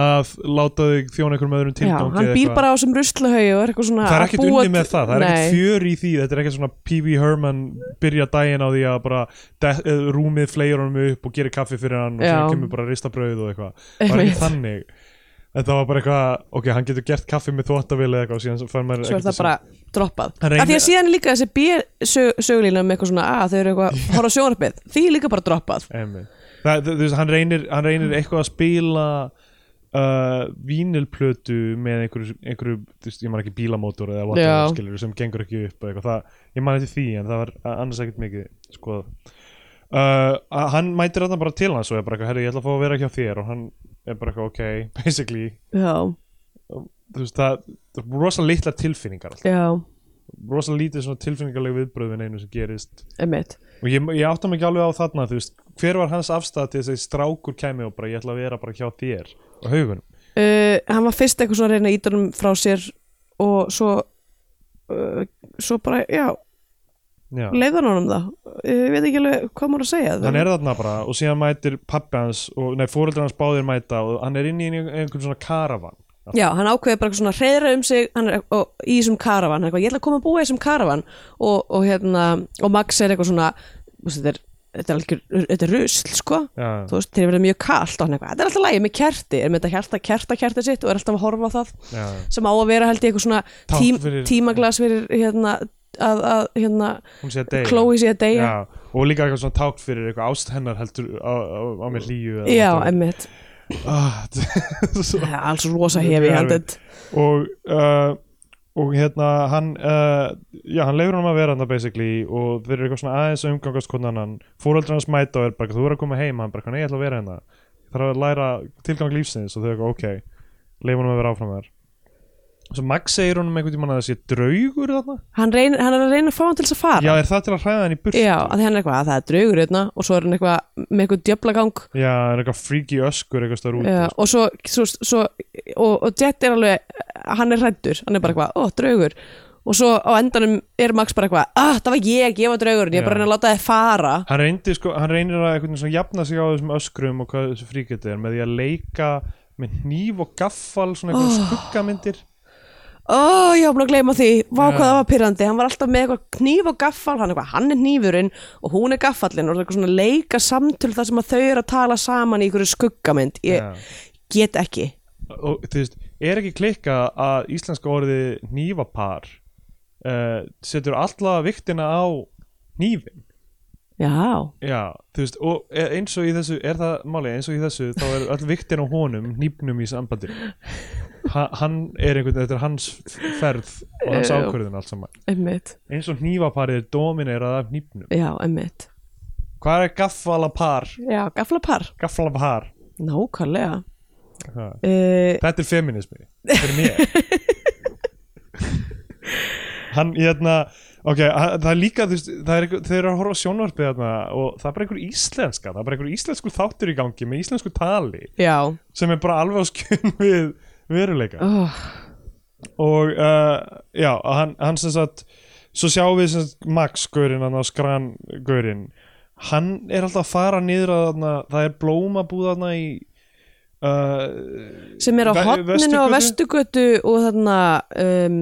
[SPEAKER 2] að láta þig þjóna einhverjum öðrum
[SPEAKER 3] Já,
[SPEAKER 2] tilgangi
[SPEAKER 3] hann
[SPEAKER 2] eða
[SPEAKER 3] býr
[SPEAKER 2] eitthvað.
[SPEAKER 3] bara á sem ruslahauju og er eitthvað svona
[SPEAKER 2] það er
[SPEAKER 3] að
[SPEAKER 2] ekkert
[SPEAKER 3] búa
[SPEAKER 2] unni með
[SPEAKER 3] til-
[SPEAKER 2] það, það er
[SPEAKER 3] Nei.
[SPEAKER 2] ekkert fjör í því þetta er ekkert svona P.V. Herman byrja daginn á því að bara de- eh, rúmið fleir honum upp og gerir kaffi fyrir hann og
[SPEAKER 3] Já.
[SPEAKER 2] sem kemur bara ristabrauð og eitthvað það var
[SPEAKER 3] Einmitt.
[SPEAKER 2] ekki þannig þetta var bara eitthvað, ok, hann getur gert kaffi með þvóttavél eða eitthvað og síðan fær maður
[SPEAKER 3] svo er
[SPEAKER 2] ekkert að
[SPEAKER 3] það bara droppað
[SPEAKER 2] Hann reynir-
[SPEAKER 3] af því að síðan er líka þessi bísögulína með um eitthvað svona að þau eru eitthvað að horfa á sjónvarpið því er líka bara droppað
[SPEAKER 2] Einmitt. Það, þú þú veist, hann reynir, hann reynir eitthvað að spila uh, vínilplötu með einhverju, einhverju þú veist, ég man ekki bílamótor eða
[SPEAKER 3] Já.
[SPEAKER 2] whatever skilur sem gengur ekki upp og eitthvað, það, ég man eftir því en það var a- annars ekkert mikið skoða uh, að hann mætir þarna bara til hans og er bara eitthvað, herri, ég ætla að fá að vera hjá þér og hann er bara eitthvað, ok, basically
[SPEAKER 3] já,
[SPEAKER 2] þú veist, það, það er rosa litla tilfinningar alltaf,
[SPEAKER 3] já,
[SPEAKER 2] rosa lítið svona tilfinningarleg viðbröðin einu sem gerist
[SPEAKER 3] einmitt
[SPEAKER 2] og ég, ég átta mig ekki alveg á þarna þú veist, hver var hans afstæða til þess að strákur kæmi og bara ég ætla að vera bara hjá þér og haugunum
[SPEAKER 3] uh, hann var fyrst eitthvað svona að reyna ítunum frá sér og svo uh, svo bara, já,
[SPEAKER 2] Já.
[SPEAKER 3] leiðan honum það ég veit ekki alveg hvað maður að segja
[SPEAKER 2] hann er þarna bara og síðan mætir pappi hans og nei, fóreldrar hans báðir mæta og hann er inn í einhverjum svona karavan
[SPEAKER 3] Já, hann ákveði bara eitthvað svona að hreiðra um sig hann er og, í þessum karavan, hann er eitthvað, ég ætla að koma að búa í þessum karavan og, og hérna, og Max er eitthvað svona þú veist, þetta er, þetta er algjör, þetta er rusl sko,
[SPEAKER 2] Já.
[SPEAKER 3] þú veist, þeir verið mjög kalt og hann eitthvað, þetta er alltaf lægi með kerti, er með þetta hjarta kerta kerti sitt og er alltaf að horfa á það
[SPEAKER 2] Já.
[SPEAKER 3] sem á að vera held ég eitthvað svona
[SPEAKER 2] Tákn
[SPEAKER 3] tím,
[SPEAKER 2] fyrir-
[SPEAKER 3] tímaglas fyrir hérna að, að hérna,
[SPEAKER 2] hún sé að deyja
[SPEAKER 3] Chloe sé að deyja
[SPEAKER 2] Já, og líka eitthvað svona tákt fyrir eitthvað ást hennar heldur á, á, á mér líju
[SPEAKER 3] Já, emmitt,
[SPEAKER 2] ah, svo,
[SPEAKER 3] það er alls rosa hefi handið
[SPEAKER 2] og uh, og hérna hann uh, já, hann leifur hann að vera hann basically og þeir eru eitthvað svona aðeins að umgangast hvernig annan fóröldrar hans mæta og er bara eitthvað, þú er að koma heim hann bara, eitthvað, nei, ég ætla að vera hérna Ég þarf að læra tilgang lífsins og þau eitthvað, ok leifur hann að vera áfram þar og svo Max segir honum einhvern tímann að það sé draugur þarna,
[SPEAKER 3] hann, reynir- hann er að reyna að fá hann til þess að fara
[SPEAKER 2] já, er það til að hræða hann í burtu
[SPEAKER 3] Já, að því hann er eitthvað að það er draugur hérna og svo er hann eitthvað með eitthvað djöflagang
[SPEAKER 2] já, er eitthvað freaky öskur eitthvað stór út
[SPEAKER 3] uh, og svo, svo, svo og, og Jet er alveg hann er hrættur, hann er bara eitthvað, ó, draugur og svo á endanum er Max bara eitthvað ah, það var ég, ég var draugurinn, ég er bara
[SPEAKER 2] Já.
[SPEAKER 3] að reyna að láta þið fara
[SPEAKER 2] hann reyndir sko, hann reynir að einhvern veginn svona jafna sig á þessum öskrum og hvað þessu fríkjöti er með því að leika með hníf og gaffal svona einhverjum skuggamyndir
[SPEAKER 3] ó, ég var búin að gleyma því, vá
[SPEAKER 2] Já.
[SPEAKER 3] hvað það var pyrrandi hann var alltaf með eitthvað kníf og gaffal hann, eitthvað, hann er hnífurinn og hún er gaffallinn og það er eitthvað svona leika samtöl þar sem að þau eru að tala saman í einhverju skuggamynd ég
[SPEAKER 2] Já.
[SPEAKER 3] get ekki
[SPEAKER 2] og þú veist, er ekki klikka að íslenska orðið hnífapar uh, setur alla viktina á hnífin
[SPEAKER 3] já,
[SPEAKER 2] já, þú veist, og e- eins og í þessu er það máli, eins og í þessu þá er all viktin á honum, hnífnum í sambandi ha, hann er einhvern veginn þetta er hans ferð og hans
[SPEAKER 3] Já.
[SPEAKER 2] ákvörðin allt saman,
[SPEAKER 3] emmitt
[SPEAKER 2] eins og hnífaparið er dominerað af hnífnum,
[SPEAKER 3] já, emmitt,
[SPEAKER 2] hvað er gaffalapar
[SPEAKER 3] já, gaflapar
[SPEAKER 2] gaffalapar
[SPEAKER 3] nákvæmlega
[SPEAKER 2] Ha.
[SPEAKER 3] uh,
[SPEAKER 2] Þetta er feminismi fyrir mér Hann, hérna Ok, hann- það er líka, þú veist það er einhver- Þeir eru að horfa á sjónvarpið þarna og það er bara einhver íslenska, það er bara einhver íslensku þáttur í gangi með íslensku tali
[SPEAKER 3] já,
[SPEAKER 2] sem er bara alveg á skjön við veruleika
[SPEAKER 3] oh,
[SPEAKER 2] og uh, já, hann, hann sem sagt svo sjáum við sem sagt Max Gaurin hann á skran Gaurin hann er alltaf að fara niður að þarna, það er blómabúð þarna í uh,
[SPEAKER 3] sem er á
[SPEAKER 2] Ve-
[SPEAKER 3] hotninu á
[SPEAKER 2] Vesturgötu?
[SPEAKER 3] vestugötu og þarna um,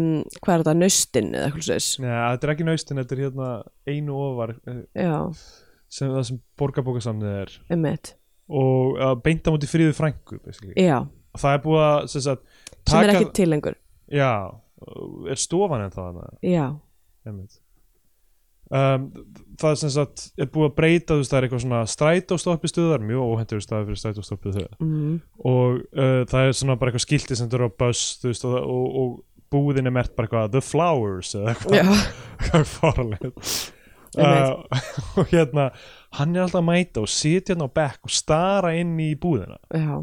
[SPEAKER 3] hvað er þetta, nöstin eða eitthvað slags
[SPEAKER 2] Neða, þetta er ekki naustin, þetta er hérna einu ofar eh,
[SPEAKER 3] já,
[SPEAKER 2] sem það sem borgarbókasamnið er
[SPEAKER 3] emmitt,
[SPEAKER 2] og uh, beinta múti fríðu frængu basically.
[SPEAKER 3] já
[SPEAKER 2] og það er búið að sem sagt,
[SPEAKER 3] sem er
[SPEAKER 2] taka-
[SPEAKER 3] ekki til lengur
[SPEAKER 2] já, uh, er stofan en það
[SPEAKER 3] já,
[SPEAKER 2] einmitt. um, það sem sagt er búið að breyta þú veist, það er eitthvað svona strætóstoppi stuðar mjög óhendur staði fyrir strætóstoppi stuðar
[SPEAKER 3] mm,
[SPEAKER 2] og uh, það er svona bara eitthvað skilti sem þú eru á buss þú veist, og, og, og búðin er mert bara eitthvað the flowers eða eitthvað
[SPEAKER 3] já
[SPEAKER 2] hvað er fóralegt
[SPEAKER 3] Einmitt.
[SPEAKER 2] og hérna hann er alltaf að mæta og sitja hérna á bekk og stara inn í búðina
[SPEAKER 3] já,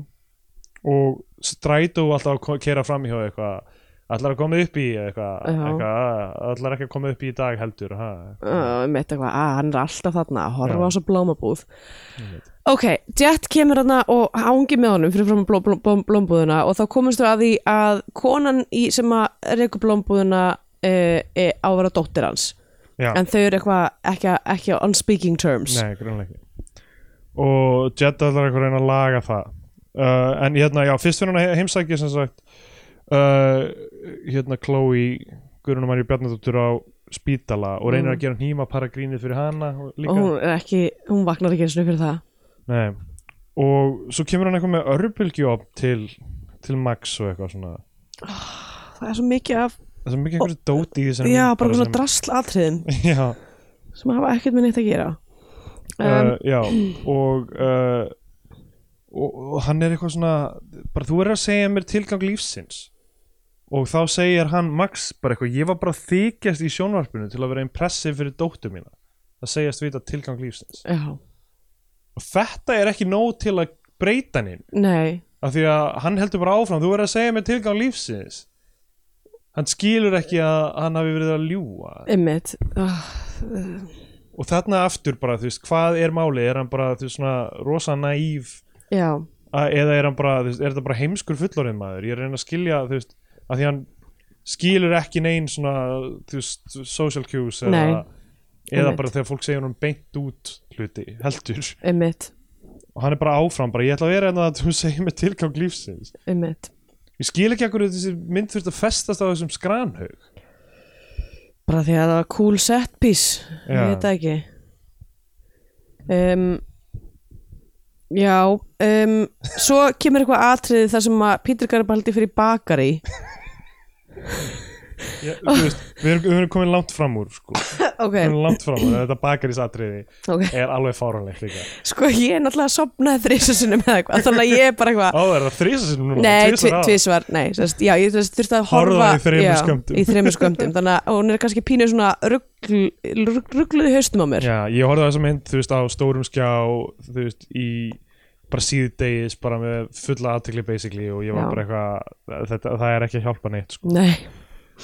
[SPEAKER 2] og strætó alltaf að kera fram í hjá eitthvað allar að koma upp í eitthvað,
[SPEAKER 3] Já.
[SPEAKER 2] eitthvað allar ekki að koma upp í í dag heldur ha,
[SPEAKER 3] emmitt Uh, eitthvað, að hann er alltaf þarna að horfa
[SPEAKER 2] Já.
[SPEAKER 3] á svo blómabúð ok, Jet kemur þarna og hangi með honum fyrir fram bló, bló, bló, blómbúðuna og þá komumst við að því að konan í, sem að reyku blómbúðuna uh, á að vera dóttir hans
[SPEAKER 2] já,
[SPEAKER 3] en þau eru eitthvað ekki, á- ekki on speaking terms
[SPEAKER 2] nei, grunlega ekki og Jed allar eitthvað reyna að laga það uh, en hérna, já, fyrst fyrir hann heimsækja sem sagt uh, hérna Chloe Guðrunum Marju Bjarnadóttur á spítala og reynir
[SPEAKER 3] Mm.
[SPEAKER 2] að gera hníma paragrínið fyrir hana og líka
[SPEAKER 3] og hún, er ekki, hún vaknar ekki eins og fyrir það
[SPEAKER 2] Nei. og svo kemur hann eitthvað með örbylgjóp til, til Max og eitthvað svona
[SPEAKER 3] það er svo mikið af,
[SPEAKER 2] það er svo mikið einhverju dóti í þessum
[SPEAKER 3] já, bara svona drasl atriðin
[SPEAKER 2] já,
[SPEAKER 3] sem hafa ekkert með neitt að gera um,
[SPEAKER 2] uh, já og, uh, og og hann er eitthvað svona bara þú er að segja mér tilgang lífsins og þá segir hann Max bara eitthvað, ég var bara að þykjast í sjónvarpinu til að vera impressiv fyrir dóttu mína að segjast vita tilgang lífsins
[SPEAKER 3] já,
[SPEAKER 2] og þetta er ekki nóg til að breyta hann
[SPEAKER 3] nei
[SPEAKER 2] af því að hann heldur bara áfram þú verður að segja mér tilgang lífsins hann skilur ekki að hann hafi verið að ljúga
[SPEAKER 3] Einmitt, oh,
[SPEAKER 2] og þarna aftur bara, þú veist, hvað er máli er hann bara, þú veist, svona rosa naív
[SPEAKER 3] já,
[SPEAKER 2] að- eða er hann bara, þú veist, er þetta bara heimskur fullorinn maður, ég er að reyna að skilja, þú veist af því hann skilur ekki neinn svona, þú veist, social cues eða,
[SPEAKER 3] Nei.
[SPEAKER 2] eða
[SPEAKER 3] Einmitt.
[SPEAKER 2] bara þegar fólk segir hann beint út hluti, heldur,
[SPEAKER 3] einmitt,
[SPEAKER 2] og hann er bara áfram bara, ég ætla að vera hérna að þú segir mér tilgang lífsins
[SPEAKER 3] einmitt
[SPEAKER 2] Ég skil ekki akkur þessi mynd þurft að festast á þessum skranhaug
[SPEAKER 3] bara því að það var cool set piece ég
[SPEAKER 2] Já.
[SPEAKER 3] veit það ekki um, já um, svo kemur eitthvað atriði þar sem að Pítur Garibaldi fyrir bakari
[SPEAKER 2] Ég-
[SPEAKER 3] Oh.
[SPEAKER 2] þú veist, Við erum, við erum komin langt fram úr sko. Við
[SPEAKER 3] ok,
[SPEAKER 2] erum langt fram úr, þetta bakarisatriði
[SPEAKER 3] ok
[SPEAKER 2] er alveg fáranlegt líka
[SPEAKER 3] Sko ég er náttúrulega að sopnaði þrísasunum eða eitthvað Þannig að ég er bara eitthvað
[SPEAKER 2] Á, er það þrísa sinni núna?
[SPEAKER 3] Nei,
[SPEAKER 2] Tvisvar á það?
[SPEAKER 3] tvísvar, nei, sérst, já, ég sérst, þurfti að
[SPEAKER 2] Horfa
[SPEAKER 3] horfa
[SPEAKER 2] í þremur
[SPEAKER 3] já,
[SPEAKER 2] skömmtum.
[SPEAKER 3] í þremur skömmtum Þannig að hún er kannski pínu svona ruggl, rugg, ruggluði haustum á mér
[SPEAKER 2] Já, ég horfði á þessa mynd, þú veist, á stórum skjá þú veist, í bara síðdegis, bara með fulla aðtekli basically og ég var
[SPEAKER 3] Já.
[SPEAKER 2] bara eitthvað þetta, það er ekki að hjálpa neitt sko.
[SPEAKER 3] Nei,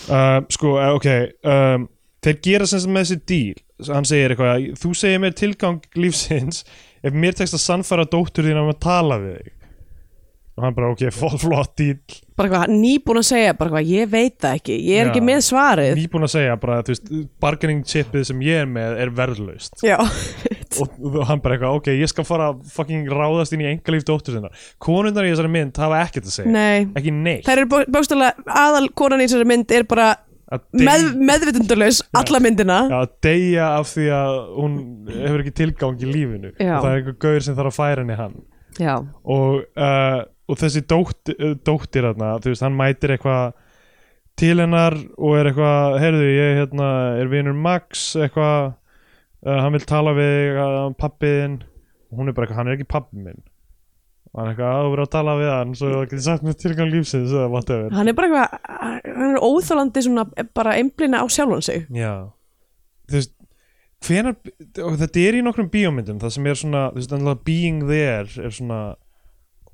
[SPEAKER 2] uh, sko, eh, ok um, þeir gera sem sem með þessi díl hann segir eitthvað, þú segir mér tilgang lífsins ef mér tekst að sannfæra dóttur þín um að tala við þig og og hann bara ok, fó- flott dýl
[SPEAKER 3] bara hvað, nýbúin að segja bara hvað, ég veit það ekki, ég er
[SPEAKER 2] Já.
[SPEAKER 3] ekki með svarið
[SPEAKER 2] nýbúin að segja bara, þú veist, bargaining chipið sem ég er með er verðlaust
[SPEAKER 3] já,
[SPEAKER 2] og og hann bara eitthvað, ok, ég skal fara að fucking ráðast inn í engalíf dóttur sinna konundar í þessari mynd hafa ekkert að segja
[SPEAKER 3] nei
[SPEAKER 2] ekki neitt
[SPEAKER 3] þær eru bó- bókstaflega, aðal konan í þessari mynd er bara
[SPEAKER 2] að
[SPEAKER 3] með,
[SPEAKER 2] dey-
[SPEAKER 3] meðvitundalaus alla myndina
[SPEAKER 2] Já, að deyja af því að hún hefur ekki tilgang í lífinu
[SPEAKER 3] Já.
[SPEAKER 2] og það er einhver gaur sem þarf að færa henni hann
[SPEAKER 3] já,
[SPEAKER 2] og, uh, og þessi dótt, uh, dóttir þarna, þú veist, hann mætir eitthvað til hennar og er eitthvað, heyrðu, ég hérna, er vinur Max, eitthvað uh, hann vil tala við uh, pappiðin og hún er bara eitthvað, hann er ekki pappi minn og hann er eitthvað, að þú verður að tala við hann svo það getur sagt með tilgang lífsins eða whatever
[SPEAKER 3] hann er bara eitthvað hann er óþálandi svona bara einblina á sjálfan sig
[SPEAKER 2] Já, þú veist hvenar, og þetta er í nokkrum bíómyndum það sem er svona, þú veist, ennlega being there er svona,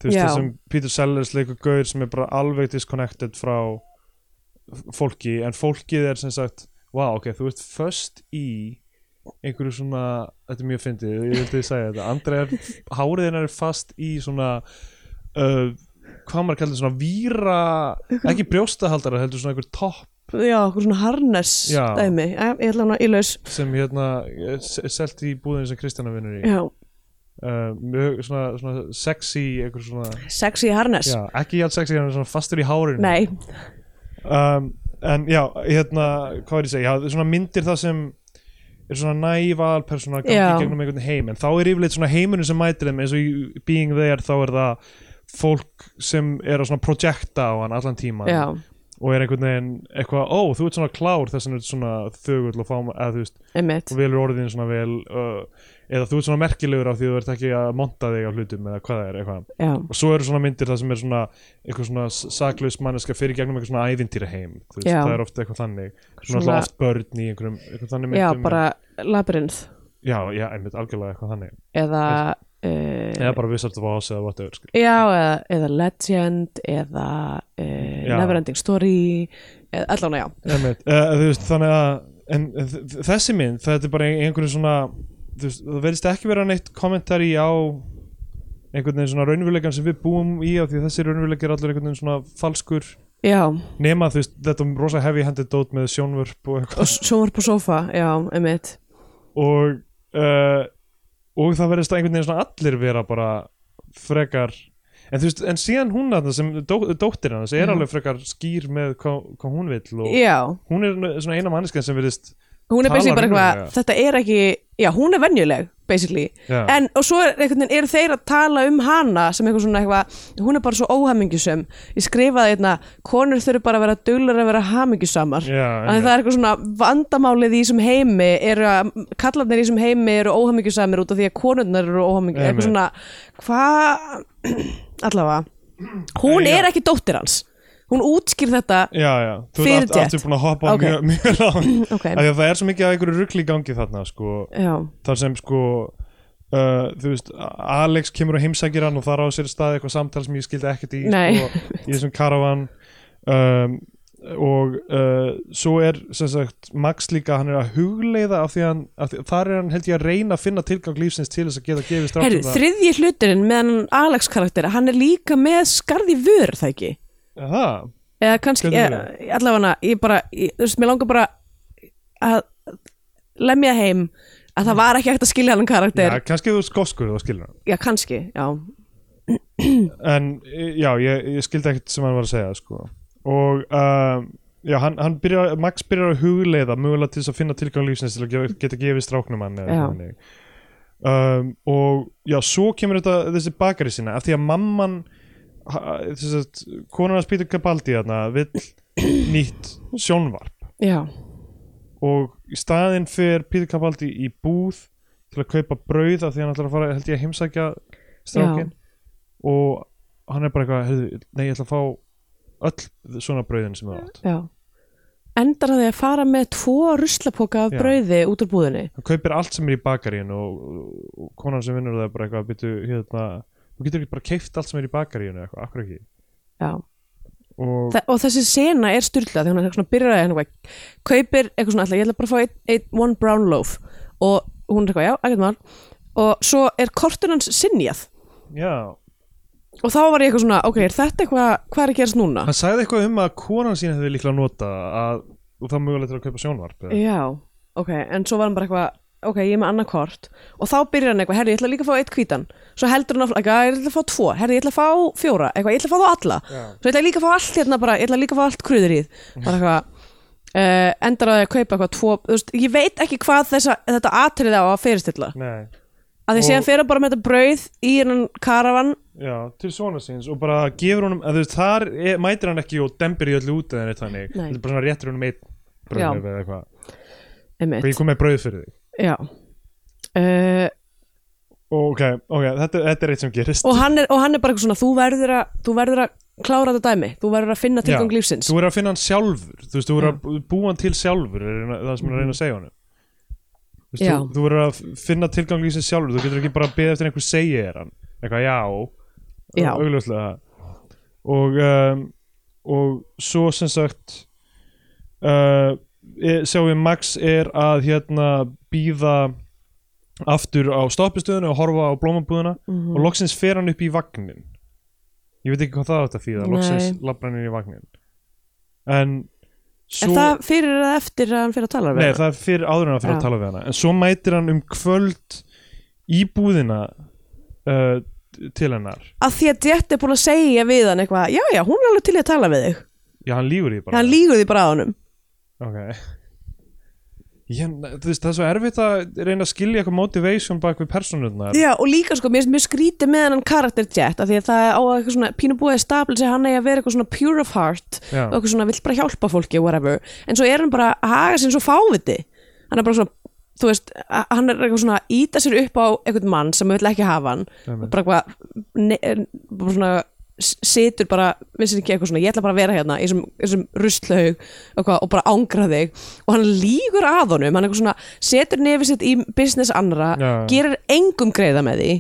[SPEAKER 2] þú veist,
[SPEAKER 3] Já.
[SPEAKER 2] það sem Peter Sellers leikur gaur sem er bara alveg disconnected frá fólki, en fólkið er sem sagt wow, ok, þú ert föst í einhverju svona, þetta er mjög fyndið ég vildi að segja þetta, Andra er hárið hennar er fast í svona uh, hvað maður kallar svona víra, ekki brjóstahaldara heldur svona einhver topp
[SPEAKER 3] já, okkur svona harness
[SPEAKER 2] Já.
[SPEAKER 3] dæmi, Já, ég ætla hann að í laus
[SPEAKER 2] sem hérna er s- er selt í búðinu sem Kristjana vinnur í
[SPEAKER 3] já,
[SPEAKER 2] uh, mjög svona, svona sexy einhver svona,
[SPEAKER 3] sexy harness
[SPEAKER 2] já, ekki ját sexy hann er svona fastur í hárinu
[SPEAKER 3] nei,
[SPEAKER 2] um, en já, hérna hvað er ég að segja, já, svona myndir það sem er svona næval persóna gangi
[SPEAKER 3] Já.
[SPEAKER 2] gegnum einhvern heim, en þá er yfirleitt svona heimurinn sem mætir þeim eins og í being there þá er það fólk sem er að svona projekta á hann allan tíman
[SPEAKER 3] já,
[SPEAKER 2] og er einhvern veginn eitthvað, ó, þú ert svona klár þess að þú ert svona þögull og fáma, eða þú veist
[SPEAKER 3] einmitt
[SPEAKER 2] og velur orðin svona vel uh, eða þú ert svona merkilegur af því þú ert ekki að monta þig á hlutum eða hvað það er eitthvað
[SPEAKER 3] já,
[SPEAKER 2] og svo eru svona myndir það sem er svona eitthvað svona saklaus manneska fyrir gegnum eitthvað svona ævintýra heim veist,
[SPEAKER 3] Já.
[SPEAKER 2] það er ofta eitthvað þannig svona,
[SPEAKER 3] Svona-
[SPEAKER 2] svona oft börn í einhverjum eitthvað þannig
[SPEAKER 3] já,
[SPEAKER 2] myndum um-
[SPEAKER 3] bara labyrinth
[SPEAKER 2] já, já, einmitt algjörlega eitthvað þannig
[SPEAKER 3] eða
[SPEAKER 2] eða
[SPEAKER 3] uh,
[SPEAKER 2] bara Wizard of Oz eða whatever sko.
[SPEAKER 3] já, eða, eða legend eða uh,
[SPEAKER 2] Já.
[SPEAKER 3] neverending story eða, allan, já,
[SPEAKER 2] Einmitt, uh, þú veist, þannig að en eh, þ- þessi mynd, þetta er bara einhverjum svona þú veist, það verðist ekki vera neitt kommentari á einhvern veginn svona raunveruleikan sem við búum í af því að þessi raunveruleik er allur einhvern veginn svona falskur
[SPEAKER 3] já
[SPEAKER 2] nema þú veist, þetta er rosa heavy handed dót með sjónvörp og
[SPEAKER 3] og
[SPEAKER 2] eitthvað
[SPEAKER 3] sjónvarp og sofa, já, einmitt
[SPEAKER 2] og, uh, og það verðist einhvern veginn svona allir vera bara frekar en þú veist, en síðan hún þarna sem dó, dóttir hans er
[SPEAKER 3] Já.
[SPEAKER 2] alveg frekar skýr með hvað hva hún vill og
[SPEAKER 3] já,
[SPEAKER 2] hún er svona eina manneskan sem verðist
[SPEAKER 3] hún er
[SPEAKER 2] Talar
[SPEAKER 3] basically bara
[SPEAKER 2] raunverulega.
[SPEAKER 3] eitthvað þetta er ekki, já hún er venjuleg basically,
[SPEAKER 2] Já.
[SPEAKER 3] en og svo er, einhvern veginn eru þeir að tala um hana sem eitthvað svona eitthvað, hún er bara svo óhamingjusum ég skrifaði hérna, konur þurfi bara að vera duglar að vera hamingjusamar
[SPEAKER 2] Já,
[SPEAKER 3] Þannig það er eitthvað svona vandamálið í þessum heimi eru að kallarnir í þessum heimi eru óhamingjusamir út af því að konurnar eru óhamingjusamir eitthvað svona, hvað allavega, hún
[SPEAKER 2] Já.
[SPEAKER 3] er ekki dóttir hans, hún útskýr þetta
[SPEAKER 2] já, já, þú
[SPEAKER 3] Fyrir
[SPEAKER 2] ert aftur-
[SPEAKER 3] Jet.
[SPEAKER 2] aftur búin að hoppa
[SPEAKER 3] Ok.
[SPEAKER 2] okay. mjög, mjög langt
[SPEAKER 3] Ok.
[SPEAKER 2] af því að það er svo mikið af einhverju rugli í gangi þarna sko,
[SPEAKER 3] já,
[SPEAKER 2] þar sem sko Uh, þú veist, Alex kemur og heimsækir hann og þar á sér stað eitthvað samtal sem ég skildi ekkert í
[SPEAKER 3] Nei.
[SPEAKER 2] sko, í þessum karavan um, og uh, svo er sem sagt Max líka, hann er að hugleiða af því að, hann, af því, þar er hann held ég að reyna að finna tilgang lífsins til þess um að geta gefið
[SPEAKER 3] Herru,
[SPEAKER 2] strátt
[SPEAKER 3] þriðji hluturinn með hann Alex karakter, hann er líka með skarði vör, það ekki?
[SPEAKER 2] það,
[SPEAKER 3] Eða kannski,
[SPEAKER 2] Hvernig
[SPEAKER 3] eða, allavega ég bara, ég, þú veist, mér langar bara að lemja heim að það var ekki hægt að skilja hann
[SPEAKER 2] já,
[SPEAKER 3] karakter.
[SPEAKER 2] kannski þú skoskur þú skilur hann
[SPEAKER 3] Já, kannski, já.
[SPEAKER 2] en e, já, ég, ég skildi ekkert sem hann var að segja sko. og uh, já, hann, hann byrjar, Max byrjar að hugleiða mögulega til þess að finna tilgang lífsins til að gefa- geta gefið stráknum hann eða
[SPEAKER 3] Já.
[SPEAKER 2] eitthvað þannig. um, og já, svo kemur þetta þessi bakari sinna, af því að mamman ha- þess að konan að spýta Gabaldi þarna vill nýtt sjónvarp
[SPEAKER 3] Já,
[SPEAKER 2] og í staðinn fyrir Peter Capaldi í búð til að kaupa brauð af því hann ætlar að fara, held ég, að heimsækja strákin og hann er bara eitthvað, heyrðu, nei, ég ætla að fá öll svona brauðin sem þú átt
[SPEAKER 3] já. Endar hann því að fara með tvo ruslapoka af
[SPEAKER 2] Já.
[SPEAKER 3] brauði út úr búðinni.
[SPEAKER 2] hann kaupir allt sem er í bakaríun og, og konan sem vinnur það er bara eitthvað byrju, hérna, þú getur ekki bara keift allt sem er í bakaríun eða eitthvað, akkur ekki
[SPEAKER 3] Já.
[SPEAKER 2] og
[SPEAKER 3] Þa, og þessi sena er styrla þegar hún er eitthvað svona byrjaði hann eitthvað, kaupir eitthvað svona alltaf, ég ætla bara að fá eitt, eitt, one brown loaf og hún er eitthvað, já, ekkert mál og svo er kortun hans sinjað
[SPEAKER 2] já,
[SPEAKER 3] og þá var ég eitthvað svona, ok, er þetta eitthvað hvað er að gerast núna?
[SPEAKER 2] hann sagði eitthvað um að konan sín hefði líklega nota að og það mögulegt er að kaupa sjónvarp eða-
[SPEAKER 3] Já, ok, en svo var hann bara eitthvað ok, ég er með annað kort og þá byrjar hann eitthvað, herri, ég ætla líka að fá eitt hvítan svo heldur hann áfram, eitthvað, ég ætla að fá tvo herri, ég ætla að fá fjóra, eitthvað, ég ætla að fá þá alla
[SPEAKER 2] Já.
[SPEAKER 3] svo ég ætla líka að fá allt hérna bara, ég ætla líka að fá allt kruður í bara eitthvað, uh, endar að ég að kaupa eitthvað tvo, þú veist, ég veit ekki hvað þessa, þetta atriði á að fyrirstilla
[SPEAKER 2] Nei,
[SPEAKER 3] að því
[SPEAKER 2] Og-
[SPEAKER 3] séðan fyrir hann bara með þetta brauð í hennan karavan
[SPEAKER 2] já, til svona síns og bara gefur honum, að þú veist, þar er, mætir hann ekki og dembir í öllu út eða neitt þannig
[SPEAKER 3] Nei.
[SPEAKER 2] þetta er bara svona réttur honum eitt
[SPEAKER 3] Já.
[SPEAKER 2] bröðnum eða eitthvað og ég
[SPEAKER 3] einmitt,
[SPEAKER 2] kom með bröð fyrir þig
[SPEAKER 3] já uh,
[SPEAKER 2] og, ok, ok, þetta, þetta er eitt sem gerist
[SPEAKER 3] og, hann er, og hann er bara eitthvað svona þú verður, að, þú verður að klára þetta dæmi þú verður að finna tilgang
[SPEAKER 2] Já,
[SPEAKER 3] lífsins
[SPEAKER 2] Þú er að finna hann sjálfur, þú veist, þú er að búa hann til sjálfur er það sem hann er að reyna að segja honum Þú veist,
[SPEAKER 3] Mhm. Já.
[SPEAKER 2] þú, þú er að finna tilgang lífsins sjálfur, þú getur ekki bara að beða eftir að einhver segja þér hann, eitthvað já
[SPEAKER 3] Já.
[SPEAKER 2] Eh, augljóslega og um, og svo sem sagt uh, e- sjáum við Max er að hérna býða aftur á stoppistöðuna og horfa á blómabúðuna
[SPEAKER 3] Mhm.
[SPEAKER 2] og loksins fer hann upp í vagnin ég veit ekki hvað það átt að þýða
[SPEAKER 3] Nei.
[SPEAKER 2] loksins labbar hann inn í vagnin en svo
[SPEAKER 3] Er það fyrir eða eftir að hann fyrir að tala við
[SPEAKER 2] nei,
[SPEAKER 3] hana?
[SPEAKER 2] það er fyrir áður en hann fyrir
[SPEAKER 3] Já.
[SPEAKER 2] að tala við hana en svo mætir hann um kvöld í búðina uh, til hennar
[SPEAKER 3] Að því að Jett er búin að segja við hann eitthvað Já, já, hún er alveg til í að tala við þig
[SPEAKER 2] já hann lífur því bara
[SPEAKER 3] Hann lígur því bara að honum
[SPEAKER 2] Ok Ég, þú veist, það er svo erfitt að reyna að skilja eitthvað motivation bak við persónurnar
[SPEAKER 3] Já, og líka sko, mér, mér skríti með hann karakter Jett Af því að það er á að eitthvað svona pínu búið að stabla sig Hann eigi að vera eitthvað svona pure of heart
[SPEAKER 2] Já.
[SPEAKER 3] Og eitthvað svona vill bara hjálpa fólki, whatever En svo er hann bara að haga sér svo fáviti Hann er bara svona, þú veist a- Hann er eitthvað svona að íta sér upp á einhvern mann Sem vill ekki hafa hann
[SPEAKER 2] Einmitt.
[SPEAKER 3] Og bara eitthvað, ne- er- bara svona s- situr bara, minnst ekki eitthvað svona ég ætla bara að vera hérna í þessum- þessum ruslaug og, hvað, og bara ángra þig og hann lígur að honum, hann eitthvað svona setur nefið sitt í business annara
[SPEAKER 2] Já.
[SPEAKER 3] gerir engum greiða með því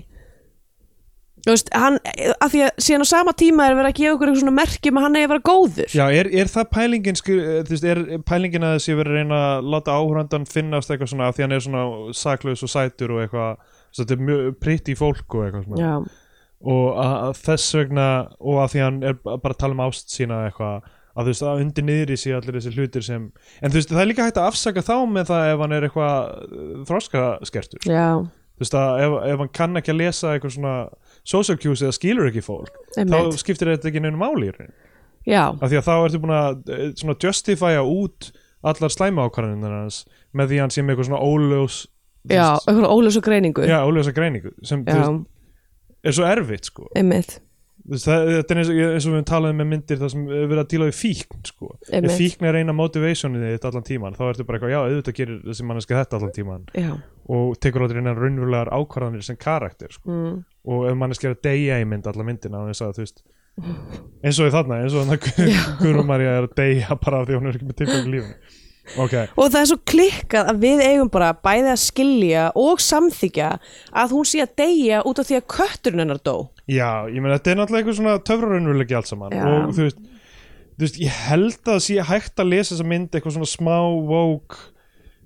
[SPEAKER 3] þú veist, hann að því að síðan á sama tíma er verið að gefa okkur eitthvað svona merkjum að hann eigi að vera góður
[SPEAKER 2] Já, er, er það pælingin skil, eh, þú veist, er pælingin að þessi verið að reyna að láta áhrandan finnast eitthvað svona af því hann er svona saklaus og sætur og eitthvað svo þetta er mjög pritt í fólk og eitthvað svona
[SPEAKER 3] Já.
[SPEAKER 2] og að, að þess vegna og að því hann er ba- bara að tala um ást sína eitthvað að þú veist að undir niðri sé allir þessi hlutir sem en þú veist það er líka hægt að afsaka þá með það ef hann er eitthvað eh, þroskaskertur
[SPEAKER 3] Já,
[SPEAKER 2] þú veist að ef, ef hann kann ekki að lesa eitthvað svona social cues eða skilur ekki fólk
[SPEAKER 3] Einmitt.
[SPEAKER 2] þá skiptir þetta ekki neinu máli í raun
[SPEAKER 3] já,
[SPEAKER 2] af því að þá ertu búin að eh, svona justifya út allar slæma ákvarðanir hans með því að hann sé með eitthvað svona óljós þú
[SPEAKER 3] já,
[SPEAKER 2] veist,
[SPEAKER 3] eitthvað ólösa greiningu
[SPEAKER 2] já, óljósa greiningu sem þú
[SPEAKER 3] já
[SPEAKER 2] veist, er svo erfitt sko
[SPEAKER 3] einmitt
[SPEAKER 2] Þú veist, það, þetta er eins og, eins og við talaðum með myndir það sem er verið að díla við fíkn sko. ef
[SPEAKER 3] Einmitt.
[SPEAKER 2] fíkn er eina motivationið þitt allan tíman þá ertu bara eitthvað, já, auðvitað gerir þessi manneski þetta allan tíman
[SPEAKER 3] Já,
[SPEAKER 2] og tekur áttur einar raunverulegar ákvarðanir sem karakter sko.
[SPEAKER 3] Mm.
[SPEAKER 2] og ef manneski er að deyja í mynd allan myndina án þess að, þú veist, eins og í þarna eins og þarna Guðrúmarja er að deyja bara af því hún er ekki með tilgang í lífinu ok,
[SPEAKER 3] og það er svo klikkað að við eigum bara bæði að skilja og samþykja að hún sé að deyja út af því að kötturinn hennar dó
[SPEAKER 2] Já, ég meina þetta er náttúrulega eitthvað svona töfrarunveruleiki allt saman
[SPEAKER 3] Já.
[SPEAKER 2] og þú veist, þú veist, ég held að það sé hægt að lesa þessa mynd eitthvað svona smá vók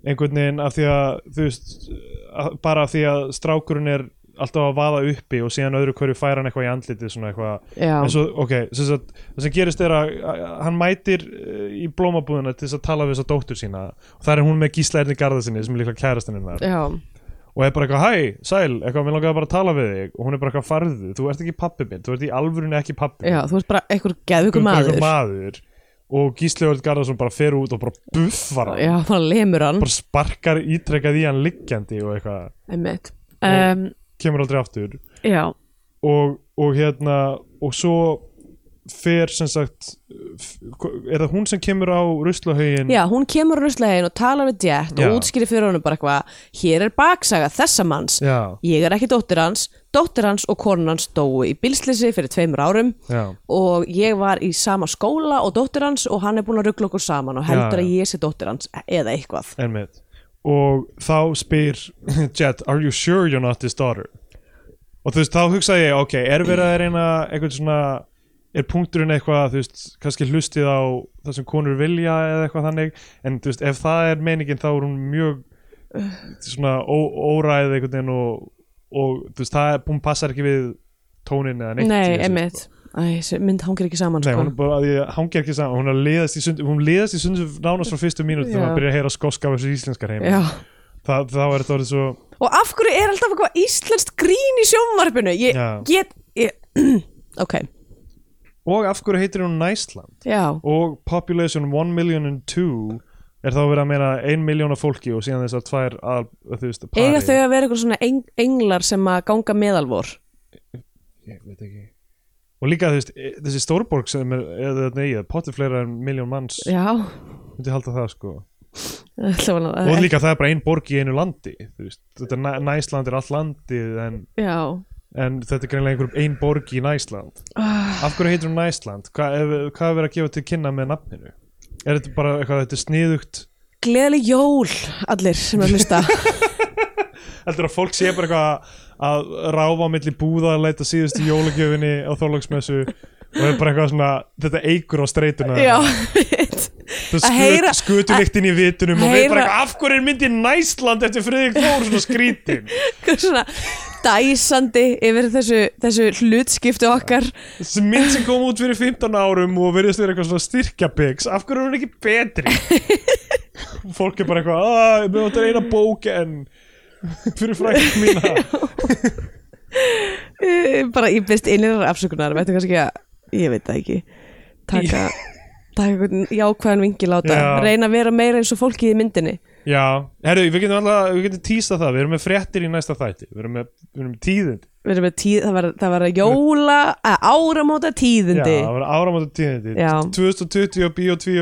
[SPEAKER 2] einhvern veginn af því að þú veist, að, bara af því að strákurinn er alltaf að vaða uppi og síðan öðru hverju fær hann eitthvað í andlitið svona eitthvað
[SPEAKER 3] Já.
[SPEAKER 2] en svo, ok, sem sagt, það sem gerist er að að hann mætir eh, í blómabúðuna til þess að tala við þessa dóttur sína og það er hún með Gísla Erni Garðarsinni sem er líklega kærastinn hennar
[SPEAKER 3] Já,
[SPEAKER 2] og er bara eitthvað hæ, sæl, eitthvað, mér langaði bara að tala við þig og hún er bara eitthvað farðu, þú ert ekki pappi minn þú ert í alvörinu ekki pappi
[SPEAKER 3] já,
[SPEAKER 2] minn
[SPEAKER 3] þú veist bara eitthvað
[SPEAKER 2] Þú
[SPEAKER 3] geðvöku
[SPEAKER 2] ert bara einhver
[SPEAKER 3] maður
[SPEAKER 2] maður og Gísli Örn Garðarsson bara fer út og bara buffar hann
[SPEAKER 3] Já, bara lemur hann
[SPEAKER 2] bara sparkar ítrekkað í hann liggjandi og eitthvað,
[SPEAKER 3] Einmitt um,
[SPEAKER 2] kemur aldrei aftur
[SPEAKER 3] Já,
[SPEAKER 2] og, og hérna og svo fer sem sagt f- er það hún sem kemur á ruslahauðin
[SPEAKER 3] Já, hún kemur ruslegin og talar við Jett
[SPEAKER 2] Mm. Já.
[SPEAKER 3] og útskýrir fyrir honum bara eitthvað Hér er baksaga þessa manns
[SPEAKER 2] já,
[SPEAKER 3] Ég er ekki dóttir hans Dóttir hans og konun hans dóu í bilslýsi fyrir tveimur árum
[SPEAKER 2] já,
[SPEAKER 3] og ég var í sama skóla og dóttir hans og hann er búin að ruggla okkur saman og heldur
[SPEAKER 2] Já, já.
[SPEAKER 3] að ég sé dóttir hans eða eitthvað
[SPEAKER 2] einmitt og þá spyr Jet, are you sure you're not his daughter og þú veist, þá hugsaði ég ok, er verið að reyna eitthvað svona er punkturinn eitthvað, þú veist, kannski hlustið á það sem konur vilja eða eitthvað þannig, en þú veist, ef það er meiningin þá er hún mjög svona ó, óræð einhvern veginn og, og þú veist, það er, hún passar ekki við tónin eða neitt í
[SPEAKER 3] Nei,
[SPEAKER 2] þessu,
[SPEAKER 3] einmitt Æ, þessi mynd hangir ekki saman
[SPEAKER 2] Nei,
[SPEAKER 3] sko.
[SPEAKER 2] hún er bara að ég hangja ekki saman hún er að liðast í sund hún liðast í sund nánast frá fyrstu mínútu þegar
[SPEAKER 3] Já.
[SPEAKER 2] maður byrja að heyra skoska af þessu íslenskar heim
[SPEAKER 3] Já.
[SPEAKER 2] Þa, þá er þetta orðið svo
[SPEAKER 3] Og af hverju er alltaf eitthvað íslenskt grín í sjónvarpinu? Ég
[SPEAKER 2] Já.
[SPEAKER 3] get ég, Ok,
[SPEAKER 2] og af hverju heitir hún Næsland
[SPEAKER 3] já
[SPEAKER 2] og population 1 million and 2 er þá að vera að meina 1 miljón af fólki og síðan þessar tvær að, þú veist, pari
[SPEAKER 3] Eiga þau að vera eitthvað svona eng englar sem að ganga meðalvor
[SPEAKER 2] ég veit ekki og líka þú veist, e- þessi stórborg sem er, eða nei, potið fleira en miljón manns
[SPEAKER 3] Já,
[SPEAKER 2] myndi halda það sko
[SPEAKER 3] allavega
[SPEAKER 2] og líka það er bara ein borg í einu landi þú veist, þetta er Næ- Næsland er allt landið en,
[SPEAKER 3] Já,
[SPEAKER 2] en þetta er greinlega einhver ein borg í Næsland
[SPEAKER 3] Ah,
[SPEAKER 2] af hverju heitir hún Næsland? Hva, ef, hvað er verið að gefa til kynna með nafninu? er þetta bara eitthvað, þetta er sniðugt
[SPEAKER 3] gleðileg jól allir sem er að hlusta
[SPEAKER 2] heldur að fólk sé bara eitthvað að ráfa á milli búða að leita síðustu jólagjöfinni á þorlóksmessu og er bara eitthvað svona, þetta eigur á streituna
[SPEAKER 3] Já,
[SPEAKER 2] það
[SPEAKER 3] að heyra-
[SPEAKER 2] skut, skutuveiktinn í vitunum og við
[SPEAKER 3] heyra-
[SPEAKER 2] bara eitthvað, af hverju er myndin Næsland eftir Friðrik Þór svona skrítin
[SPEAKER 3] eitthvað svona dæsandi yfir þessu, þessu hlutskiptu okkar
[SPEAKER 2] þessi mynd sem kom út fyrir 15 árum og verðist verið eitthvað svona styrkjabyggs af hverju er hún ekki betri Og fólk er bara eitthvað, að, við áttum eina bók en fyrir frækt mína
[SPEAKER 3] Eh, bara ég byrst innir afsökunar veitum kannski að, ég veit það ekki taka, taka einhvern jákvæðan vingil á það,
[SPEAKER 2] Já.
[SPEAKER 3] reyna að vera meira eins og fólkið í myndinni
[SPEAKER 2] Já, herru, við getum alltaf, við getum tísta það, við erum með fréttir í næsta þætti, við erum með, við erum með tíðindi.
[SPEAKER 3] Við erum með tíð, það var, það var að jóla að áramóta
[SPEAKER 2] Já,
[SPEAKER 3] tíðindi
[SPEAKER 2] það var áramöndu tíðindi.
[SPEAKER 3] Já.
[SPEAKER 2] 2020 og Bíó 2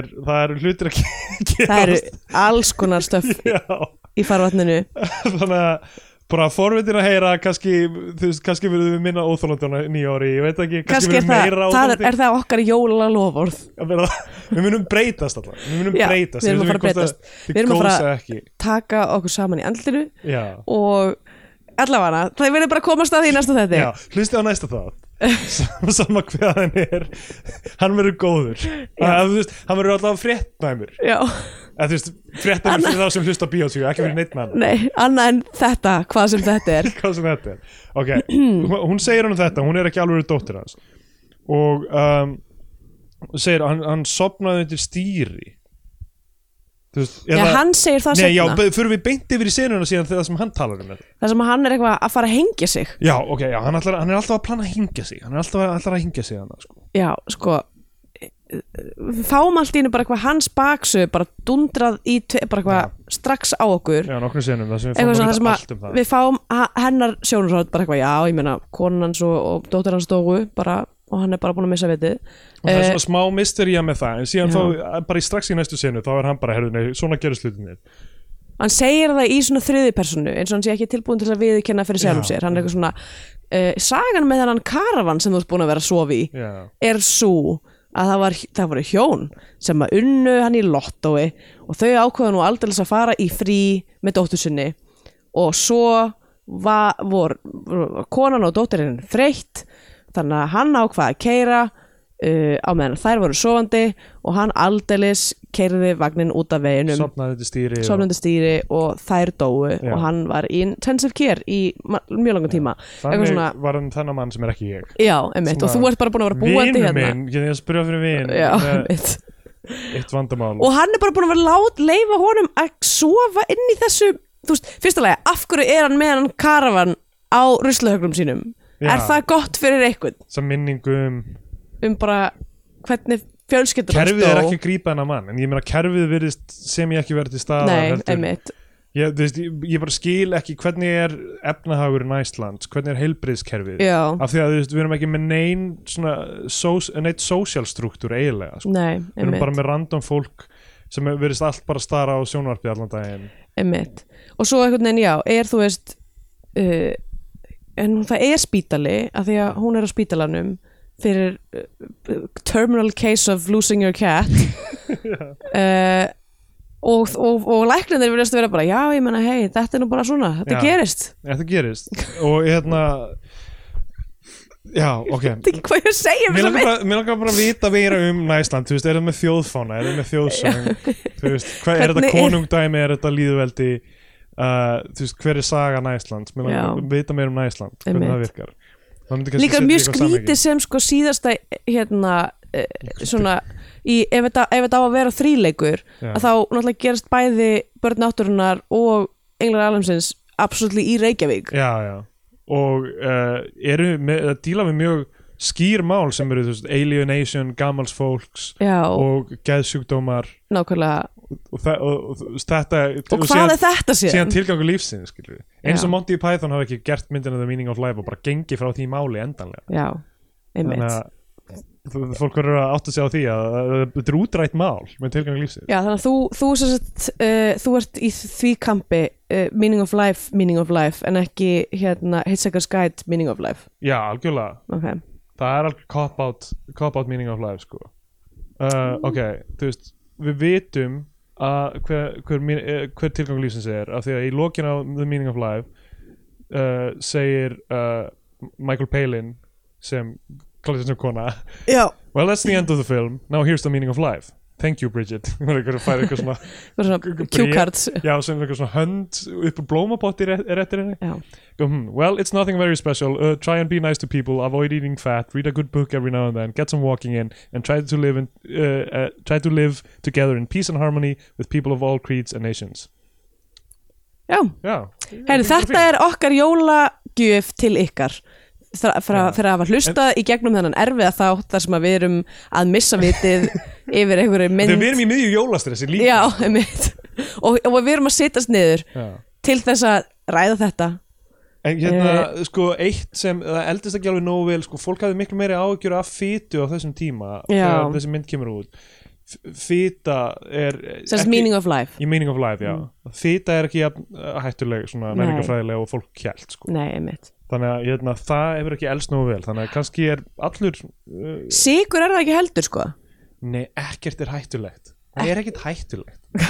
[SPEAKER 2] er, það eru hlutir að gerast.
[SPEAKER 3] það eru alls konar stöf
[SPEAKER 2] Já,
[SPEAKER 3] í farvatninu
[SPEAKER 2] þannig að bara forvitin að heyra, kannski, þú veist, kannski verðum við minna óþólandi á nýja ári, ég veit ekki, kannski,
[SPEAKER 3] kannski er
[SPEAKER 2] verðum við
[SPEAKER 3] það,
[SPEAKER 2] meira
[SPEAKER 3] það er,
[SPEAKER 2] óþólandi.
[SPEAKER 3] er það okkar jóla loforð
[SPEAKER 2] Að verða- Við munum breytast alltaf, við munum
[SPEAKER 3] Já,
[SPEAKER 2] breytast.
[SPEAKER 3] við erum að fara að
[SPEAKER 2] vitum hvort
[SPEAKER 3] breytast. Við erum að
[SPEAKER 2] þið
[SPEAKER 3] fara-
[SPEAKER 2] gósa ekki.
[SPEAKER 3] taka okkur saman í andlinu
[SPEAKER 2] Já,
[SPEAKER 3] og allavega það verður bara að komast að því í næsta þetta
[SPEAKER 2] já, hlustið á næsta þátt. Sam- sama hvað hann er hann verður góður að, veist, hann verður alltaf fréttnæmur
[SPEAKER 3] já.
[SPEAKER 2] að, veist, fréttnæmur fyrir þá sem hlusta á bíótsíu ekki fyrir neitt mann
[SPEAKER 3] nei, annað en þetta hvað sem þetta er
[SPEAKER 2] hvað sem þetta er ok, hún segir hann þetta, hún er ekki alveg dóttir hans og um, segir hann, hann sopnaði undir stýri þú veist
[SPEAKER 3] já, hann segir það
[SPEAKER 2] Nei, já,
[SPEAKER 3] setna
[SPEAKER 2] be- förum við beint yfir í senuna síðan þegar sem hann talar um þetta
[SPEAKER 3] þar sem hann er eitthvað að fara að hengja sig
[SPEAKER 2] Já, ok, já, hann, ætlar, hann er alltaf að plana að hingja sig Hann er alltaf að, alltaf að hingja sig hann sko.
[SPEAKER 3] já, sko við fáum allt í hennu bara eitthvað hans baksu bara dundrað í tve, bara eitthvað strax á okkur
[SPEAKER 2] Já, nokkrum senum, það sem við
[SPEAKER 3] eitthvað
[SPEAKER 2] fórum
[SPEAKER 3] svona
[SPEAKER 2] að vita
[SPEAKER 3] það sem að
[SPEAKER 2] allt um það
[SPEAKER 3] við fáum ha- hennar sjónurhótt bara eitthvað, já, ég meina konan hans og, og dóttir hans dóu bara, og hann er bara búin að missa vitið
[SPEAKER 2] og það er
[SPEAKER 3] Eh,
[SPEAKER 2] svona smá mystería með það en síðan
[SPEAKER 3] Já.
[SPEAKER 2] þá, eh, bara í strax í næstu senu þá er hann bara, herðu, nei, svona gerir slutinir
[SPEAKER 3] hann segir það í svona þriði personu eins og hann sé ekki tilbúin til að viðkenna fyrir sjálfum
[SPEAKER 2] Já.
[SPEAKER 3] sér hann er eitthvað svona uh, sagan með þennan karavan sem þú ert búin að vera að sofa í
[SPEAKER 2] já,
[SPEAKER 3] er svo að það, var, það voru hjón sem að unnu hann í lottói og þau ákveða nú aldrei að fara í frí með dóttur sinni og svo var, vor, vor, konan og dótturinn þreytt þannig að hann ákvaða að keira uh, á meðan þær voru sofandi og hann aldeilis keiriði vagnin út af veginum
[SPEAKER 2] sopnaði til stýri
[SPEAKER 3] sofnandi stýri og þær dóu
[SPEAKER 2] Já.
[SPEAKER 3] og hann var í intensive care í ma- mjög langan tíma eitthvað
[SPEAKER 2] þannig
[SPEAKER 3] svona,
[SPEAKER 2] var hann þennan mann sem er ekki ég
[SPEAKER 3] já, emitt, og
[SPEAKER 2] Svona-
[SPEAKER 3] þú ert bara búin að vera búandi
[SPEAKER 2] Vinur
[SPEAKER 3] hérna
[SPEAKER 2] minn, ég er að spyrja fyrir vin
[SPEAKER 3] já,
[SPEAKER 2] með
[SPEAKER 3] emitt
[SPEAKER 2] eitt vandamál
[SPEAKER 3] og hann er bara búin að vera lát leifa honum að sofa inn í þessu þú veist, fyrsta lagi, af hverju er hann með hann karavan á ruslahögnum sínum
[SPEAKER 2] Já.
[SPEAKER 3] er það gott fyrir einhvern
[SPEAKER 2] sem minningum
[SPEAKER 3] um bara hvernig fjölskyldur hans
[SPEAKER 2] kerfið
[SPEAKER 3] dó?
[SPEAKER 2] er ekki að grípa hennar mann en ég meina kerfið virðist sem ég ekki verið til staðar
[SPEAKER 3] nei,
[SPEAKER 2] heldur-
[SPEAKER 3] emitt,
[SPEAKER 2] ég, þú veist, ég, ég bara skil ekki hvernig er efnahagur í Næslands, hvernig er heilbriðskerfið
[SPEAKER 3] Já.
[SPEAKER 2] af því að þú veist, við erum ekki með neinn svona, sós, neitt social struktúr eiginlega, sko.
[SPEAKER 3] nei,
[SPEAKER 2] við erum bara
[SPEAKER 3] emitt,
[SPEAKER 2] með random fólk sem er- virðist allt bara stara á sjónvarpið allan daginn
[SPEAKER 3] emitt og svo einhvern veginn, já, er þú veist uh, en hún- það er spítali af því að hún er á spítalanum fyrir uh, uh, terminal case of losing your cat uh, og, og, og læknirnir verðast að vera bara já, ég menna, hei, þetta er nú bara svona þetta
[SPEAKER 2] Já.
[SPEAKER 3] gerist,
[SPEAKER 2] þetta gerist og hérna já, ok
[SPEAKER 3] þetta er ekki hvað ég er að segja um
[SPEAKER 2] Mér
[SPEAKER 3] þessa
[SPEAKER 2] langar,
[SPEAKER 3] mynd.
[SPEAKER 2] bara, mér langar bara að vita meira um Næsland, þú veist, er það með þjóðfána, er það með þjóðsöng, þú veist, hvað er þetta
[SPEAKER 3] Hvernig er-
[SPEAKER 2] konungdæmi, er þetta líðveldi, uh, þú veist, hver er saga Næslands, mér langar
[SPEAKER 3] Já.
[SPEAKER 2] að vita meira um Næsland, hvernig
[SPEAKER 3] Einmitt.
[SPEAKER 2] það virkar. Það myndi kannski
[SPEAKER 3] líka
[SPEAKER 2] setja í
[SPEAKER 3] mjög
[SPEAKER 2] eitthvað
[SPEAKER 3] skrítið
[SPEAKER 2] samhengi.
[SPEAKER 3] sem sko síðasta hérna eh, svona í, ef, þetta, ef þetta á að vera þríleikur
[SPEAKER 2] Já.
[SPEAKER 3] að þá náttúrulega gerast bæði börn náttúrunar og englar alheimsins absolutt í Reykjavík
[SPEAKER 2] Já, já Og uh, eru með, að díla við mjög skýr mál sem eru þú veist, alienation, gamals fólks
[SPEAKER 3] já,
[SPEAKER 2] og geðsjúkdómar
[SPEAKER 3] nákvæmlega
[SPEAKER 2] og, þa- og, og þetta
[SPEAKER 3] og hvað er þetta
[SPEAKER 2] síðan
[SPEAKER 3] síðan?
[SPEAKER 2] tilgangu lífsins skilur. eins
[SPEAKER 3] Já.
[SPEAKER 2] og Monty Python hafi ekki gert myndina The Meaning of Life og bara gengið frá því máli endanlega
[SPEAKER 3] já, einmitt
[SPEAKER 2] að þú- fólk verður að átta sig á því að að þetta er útrætt mál með tilgangu lífsins
[SPEAKER 3] já, þannig að þú, þú, sem sagt, uh, þú ert í því kampi uh, meaning of life, meaning of life en ekki hérna Hitchhiker's Guide, meaning of life
[SPEAKER 2] já, algjörlega,
[SPEAKER 3] ok,
[SPEAKER 2] það er algjör cop-out cop-out Meaning of Life sko. uh, ok, þú veist við vitum að hver, hver, mín- eh, hver tilgangu lífsins er af því að í lokin á The Meaning of Life uh, segir uh, Michael Palin sem kláðið sem kona
[SPEAKER 3] já,
[SPEAKER 2] Well, that's the end of the film. Now here's the meaning of life. Thank you, Bridget. Hún er eitthvað að færa eitthvað svona,
[SPEAKER 3] það er
[SPEAKER 2] G-
[SPEAKER 3] svona
[SPEAKER 2] bréf.
[SPEAKER 3] cue cards
[SPEAKER 2] já, sem er eitthvað svona hönd upp úr blómapotti ré- er eftir henni.
[SPEAKER 3] já
[SPEAKER 2] Hmm, well, it's nothing very special. Uh, try and be nice to people. Avoid eating fat. Read a good book every now and then. Get some walking in, and try to live in, uh, uh, try to live together in peace and harmony with people of all creeds and nations.
[SPEAKER 3] Já,
[SPEAKER 2] Já.
[SPEAKER 3] Heru, þetta er okkar jólagjöf til ykkar Þra- frá-
[SPEAKER 2] Já.
[SPEAKER 3] fyrir að hafa hlustað í gegnum þennan erfiða þátt þar sem að við erum að missa vitið yfir einhverju mynd
[SPEAKER 2] Þegar við erum í miðju jólastressi líka.
[SPEAKER 3] Já, einmitt og, og við erum að sittast niður
[SPEAKER 2] Já.
[SPEAKER 3] til þess að ræða þetta
[SPEAKER 2] En hérna,
[SPEAKER 3] Eh.
[SPEAKER 2] sko, eitt sem það eldist ekki alveg nógu vel, sko, fólk hafði miklu meiri áhyggjur af fýtu á þessum tíma
[SPEAKER 3] Já.
[SPEAKER 2] þegar þessi mynd kemur út fýta er ekki-
[SPEAKER 3] sem er meaning of life
[SPEAKER 2] í meaning of life, já mm. fýta er ekki jafn, eh, hættuleg svona
[SPEAKER 3] Nei.
[SPEAKER 2] menningafræðilega og fólk kjælt sko.
[SPEAKER 3] Nei, einmitt
[SPEAKER 2] þannig að hérna, það hefur ekki elst nógu vel þannig að kannski er allur uh,
[SPEAKER 3] Sigur er það ekki heldur sko
[SPEAKER 2] nei, ekkert er hættulegt það er ekkert hættulegt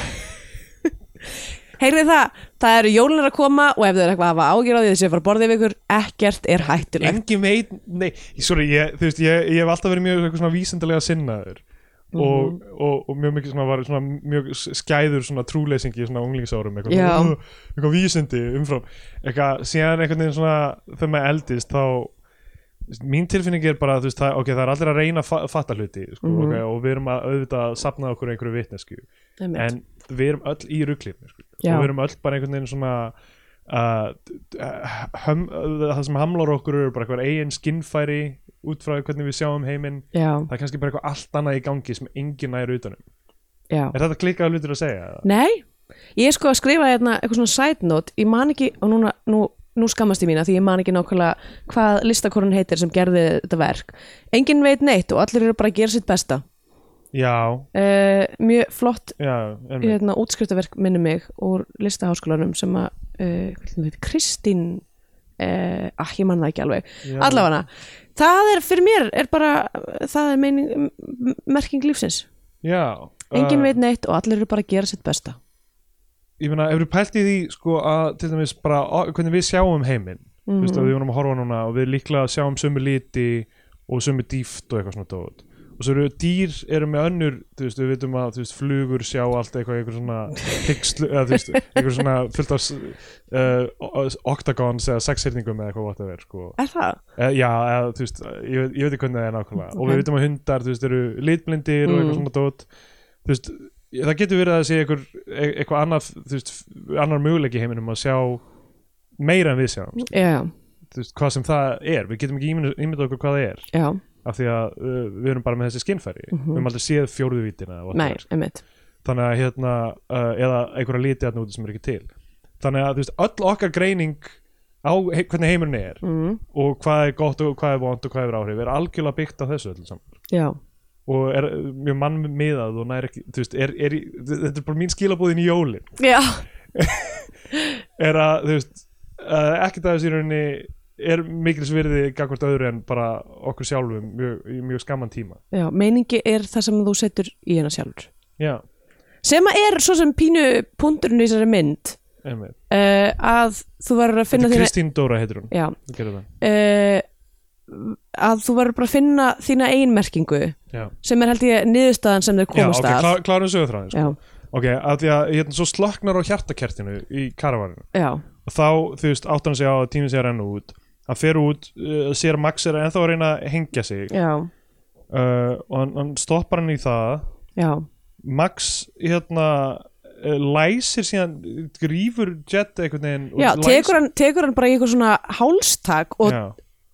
[SPEAKER 3] Heyrið það, það eru jólir að koma og ef þau eru eitthvað að hafa ágjur á því þessi að fara að borða yfir ykkur ekkert er hættulegt
[SPEAKER 2] engin veit, nei, sorry ég, þú veist, ég, ég hef alltaf verið mjög eitthvað svona vísindalega sinnaður og, og, og mjög mikið svona var svona mjög skæður svona trúleysingi í svona unglingsárum eitthvað,
[SPEAKER 3] Já.
[SPEAKER 2] svona, "Ugh, eitthvað vísindi umfram eitthvað, síðan einhvern veginn svona þegar maður eldist þá þú veist, mín tilfinning er bara, þú veist, það, ok, það er allir að reyna að fa fatta hluti, sko, ok, og við erum að auðvitað að sapna okkur einhverju vitnesku
[SPEAKER 3] Einmitt.
[SPEAKER 2] en við erum öll í ruglifni sko. og
[SPEAKER 3] Já.
[SPEAKER 2] við erum öll bara einhvern veginn svona uh, höm, það sem hamlar okkur eru bara eitthvað eigin skinnfæri út frá hvernig við sjáum heiminn
[SPEAKER 3] Já,
[SPEAKER 2] það er kannski bara eitthvað allt annað í gangi sem enginn næri utanum
[SPEAKER 3] já
[SPEAKER 2] er þetta klikkaða hlutir að segja? eða?
[SPEAKER 3] Nei, ég er sko að skrifa hérna eitthvað svona side note, ég man ekki og núna, nú, nú skammast ég mína því ég man ekki nákvæmlega hvað listakorun heitir sem gerði þetta verk. Engin veit neitt og allir eru bara að gera sitt besta
[SPEAKER 2] já,
[SPEAKER 3] uh, Mjög flott
[SPEAKER 2] já, einmitt.
[SPEAKER 3] hérna, útskriftaverk minni mig úr listaháskólanum sem að uh, hvað heitir hún, heitir, Kristín uh, ah, ég man það ekki alveg
[SPEAKER 2] Já.
[SPEAKER 3] allavega, það er fyrir mér er bara, það er meining m- m- merking lífsins,
[SPEAKER 2] já
[SPEAKER 3] engin
[SPEAKER 2] uh,
[SPEAKER 3] veit neitt og allir eru bara að gera sitt besta
[SPEAKER 2] ég meina, ef við pælt í því sko að til dæmis bara á- hvernig við sjáum heiminn þú veist, að við vorum að horfa núna og við líklega sjáum sömu liti og sömu dýft og eitthvað svona dót og svo eru dýr eru með önnur þú veist, við veitum að þú veist, flugur sjá allt eitthvað, eitthvað svona pixlu, eða þú veist, eitthvað svona fullt af uh, octagons eða sexhyrningum eða eitthvað whatever, sko
[SPEAKER 3] Er það?
[SPEAKER 2] eða, já, eða, þú veist, ég, veit- ég veit ekki hvernig það er nákvæmlega og
[SPEAKER 3] Ok. Mm.
[SPEAKER 2] við veitum að hundar, þú veist, eru litblindir og eitthvað svona dót þú veist, ég- það getur verið að sé einhver, e- eitthvað annað, þú veist, annar möguleiki í heiminum að sjá meira en við sjáum
[SPEAKER 3] Já, já,
[SPEAKER 2] þú veist, hvað sem það er, við getum ekki ímynda, ímynda okkur hvað það er
[SPEAKER 3] já
[SPEAKER 2] af því að uh, við erum bara með þessi skinnfæri við höfum aldrei séð fjórðu vítina eða
[SPEAKER 3] Mhm. Nei,
[SPEAKER 2] whatever.
[SPEAKER 3] einmitt
[SPEAKER 2] þannig að hérna, uh, eða einhverja liti þarna úti sem er ekki til þannig að þú veist, öll okkar greining á he hvernig heimurinn er
[SPEAKER 3] mm,
[SPEAKER 2] og hvað er gott og hvað er vond og hvað er áhrif er algjörlega byggt á þessu öll saman
[SPEAKER 3] Já,
[SPEAKER 2] og er uh, mjög mannmiðað og nær ekki, þú veist, er, er, í- þetta er bara mín skilabúðin í jólin
[SPEAKER 3] já,
[SPEAKER 2] er að, þú veist, uh, ekkert af þessu í rauninni er mikils virði gagvart öðru en bara okkur sjálfum mjög, í mjög skamman tíma
[SPEAKER 3] já Meiningi er það sem þú setur í hana sjálfur
[SPEAKER 2] já,
[SPEAKER 3] Sem að er svo sem pínu pundurinn í þessari mynd
[SPEAKER 2] einmitt
[SPEAKER 3] uh, að þú verður að finna
[SPEAKER 2] Þetta er
[SPEAKER 3] þína
[SPEAKER 2] Kristín Dóra heitir hún
[SPEAKER 3] já,
[SPEAKER 2] Hún gerir það.
[SPEAKER 3] uh, að þú verður bara að finna þína einmerkingu
[SPEAKER 2] Já.
[SPEAKER 3] sem er held ég niðurstaðan sem þeir
[SPEAKER 2] Já,
[SPEAKER 3] komast
[SPEAKER 2] ok,
[SPEAKER 3] að
[SPEAKER 2] klá, klárum sögurþráðin sko.
[SPEAKER 3] já,
[SPEAKER 2] ok, að því að hérna, svo slaknar á hjartakertinu í karavarinu
[SPEAKER 3] já,
[SPEAKER 2] og þá, þú veist, áttan sig á að tíminn sé að renna út hann fer út, uh, sér Max er ennþá að reyna að hengja sig uh,
[SPEAKER 3] já,
[SPEAKER 2] og hann, hann stoppar hann í það
[SPEAKER 3] já,
[SPEAKER 2] Max hérna uh, læsir síðan, grífur Jet einhvern veginn og
[SPEAKER 3] já
[SPEAKER 2] læsir-
[SPEAKER 3] tekur, hann, tekur hann bara í eitthvað svona hálstak og,
[SPEAKER 2] Já.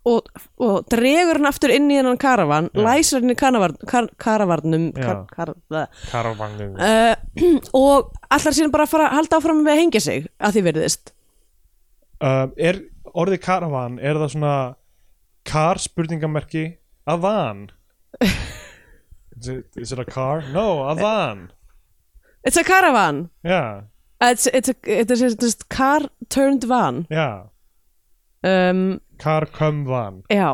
[SPEAKER 3] og, og dregur hann aftur inn í hennan karavan
[SPEAKER 2] Já.
[SPEAKER 3] læsir hann í karavan, kar, karavarnum kar,
[SPEAKER 2] Já.
[SPEAKER 3] kar, kar,
[SPEAKER 2] Karavangin
[SPEAKER 3] uh, og allar síðan bara að fara að halda áfram með að hengja sig að því verðist
[SPEAKER 2] uh, Er orðið karavan Er það svona Car spurningamerki A van is, it, is it a car? No, a van
[SPEAKER 3] It's a caravan
[SPEAKER 2] Já,
[SPEAKER 3] It's, it's, a, it's, a, it's a car turned van
[SPEAKER 2] já
[SPEAKER 3] um,
[SPEAKER 2] Car come van
[SPEAKER 3] Já,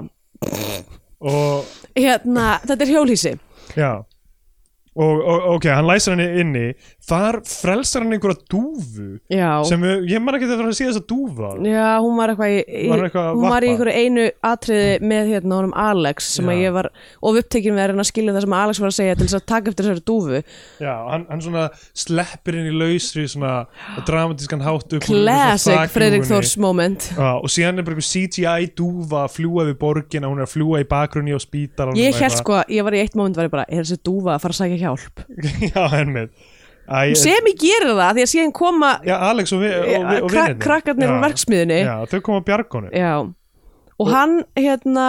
[SPEAKER 2] Og
[SPEAKER 3] hérna, þetta er hjólhísi
[SPEAKER 2] já Og, og ok, hann læsir hann inni Þar frelsar hann einhverja dúfu
[SPEAKER 3] Já,
[SPEAKER 2] sem við, ég man ekki þegar hann sé þessa dúfa
[SPEAKER 3] já hún var eitthvað í, í,
[SPEAKER 2] Var hún eitthvað að
[SPEAKER 3] hún var
[SPEAKER 2] varpa?
[SPEAKER 3] í einhverju einu atriði með hérna honum Alex sem að
[SPEAKER 2] Já.
[SPEAKER 3] ég var of upptekin við að reyna að skilja það sem Alex var að segja til þess að taka eftir þessari dúfu
[SPEAKER 2] Já, hann, hann svona sleppir inn í lausri svona dramatískan hátt upp úr
[SPEAKER 3] Classic
[SPEAKER 2] þessum
[SPEAKER 3] Fredrik
[SPEAKER 2] þakglufunni.
[SPEAKER 3] Þórs moment
[SPEAKER 2] Já, og síðan er bara einhver CGI dúfa að fljúa við borgina, hún er að fljúa í bakgrunni á spítalanum
[SPEAKER 3] Ég
[SPEAKER 2] eitthvað.
[SPEAKER 3] held sko, að ég var í eitt moment var ég bara, er þessi dúfa að fara að sækja hjálp
[SPEAKER 2] Já, ennmið Æ,
[SPEAKER 3] sem ég gerir það, því að síðan koma
[SPEAKER 2] Já, Alex og, vi, og, vi, og
[SPEAKER 3] Eh, kra
[SPEAKER 2] vinirnir.
[SPEAKER 3] krakkarnir
[SPEAKER 2] Já.
[SPEAKER 3] úr verksmiðinni
[SPEAKER 2] Já, þau koma að bjargonu
[SPEAKER 3] Já. og hann hérna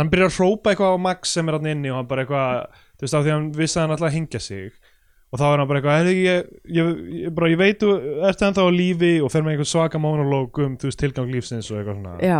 [SPEAKER 2] Hann byrjar að hrópa eitthvað á Max sem er hann inni og hann bara eitthvað, þú veist, af því að hann vissi að hann alltaf að hingja sig og þá er hann bara eitthvað, "Heyrðu, ég, ég, ég, bara, ég veit þú ert ennþá á lífi og fer með einhvern svaka monolog um, þú veist, tilgang lífsins og eitthvað svona
[SPEAKER 3] já,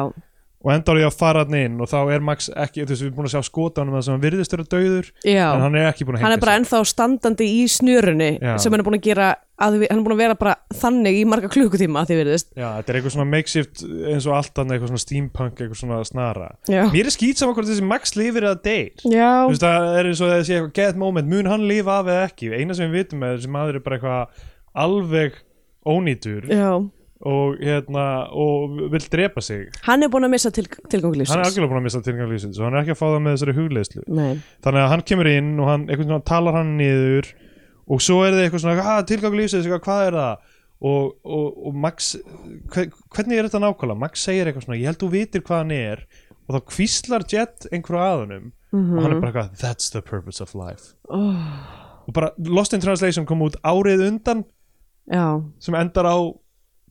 [SPEAKER 2] og endar ég að fara hann inn og þá er Max ekki, þú veist, við erum búin að sjá skotanum að hann virðist vera dauður
[SPEAKER 3] já.
[SPEAKER 2] en hann er ekki búin að
[SPEAKER 3] hann
[SPEAKER 2] hengja
[SPEAKER 3] er
[SPEAKER 2] sig
[SPEAKER 3] bara ennþá standandi í snjörunni
[SPEAKER 2] Já.
[SPEAKER 3] sem hann er búin að gera að, við- hann er búin að vera bara þannig í marga klukkutíma að því verðist
[SPEAKER 2] Já, þetta er eitthvað svona makeshift eins og allt annað, eitthvað svona steampunk, eitthvað svona snara
[SPEAKER 3] Já.
[SPEAKER 2] Mér er skýt saman hvort þessi Max lifir eða deyr
[SPEAKER 3] já,
[SPEAKER 2] Þú veist, það er eins og þessi eitthvað get moment mun hann lifa af eða ekki, eina sem við vitum er að þessi maður er bara eitthvað alveg ónýtur
[SPEAKER 3] já.
[SPEAKER 2] og hérna, og vil drepa sig
[SPEAKER 3] hann er búin að missa til, tilgang
[SPEAKER 2] Hann er
[SPEAKER 3] lífsins
[SPEAKER 2] algjörlega búin að missa tilgang lífsins og hann er ekki að fá það með þessari hugleðslu
[SPEAKER 3] Nei.
[SPEAKER 2] þannig að hann kemur inn og hann einhvern veginn talar hann niður og svo er það eitthvað svona ah, tilgang lífsins, eitthvað, hvað er það og, og, og Max hve- hvernig er þetta nákvæmlega, Max segir eitthvað svona ég held þú vitir hvað hann er og þá hvíslar Jet einhverju aðunum og
[SPEAKER 3] Mhm.
[SPEAKER 2] hann er bara eitthvað, that's the purpose of life og bara Lost in Translation kom út árið undan
[SPEAKER 3] já,
[SPEAKER 2] sem endar á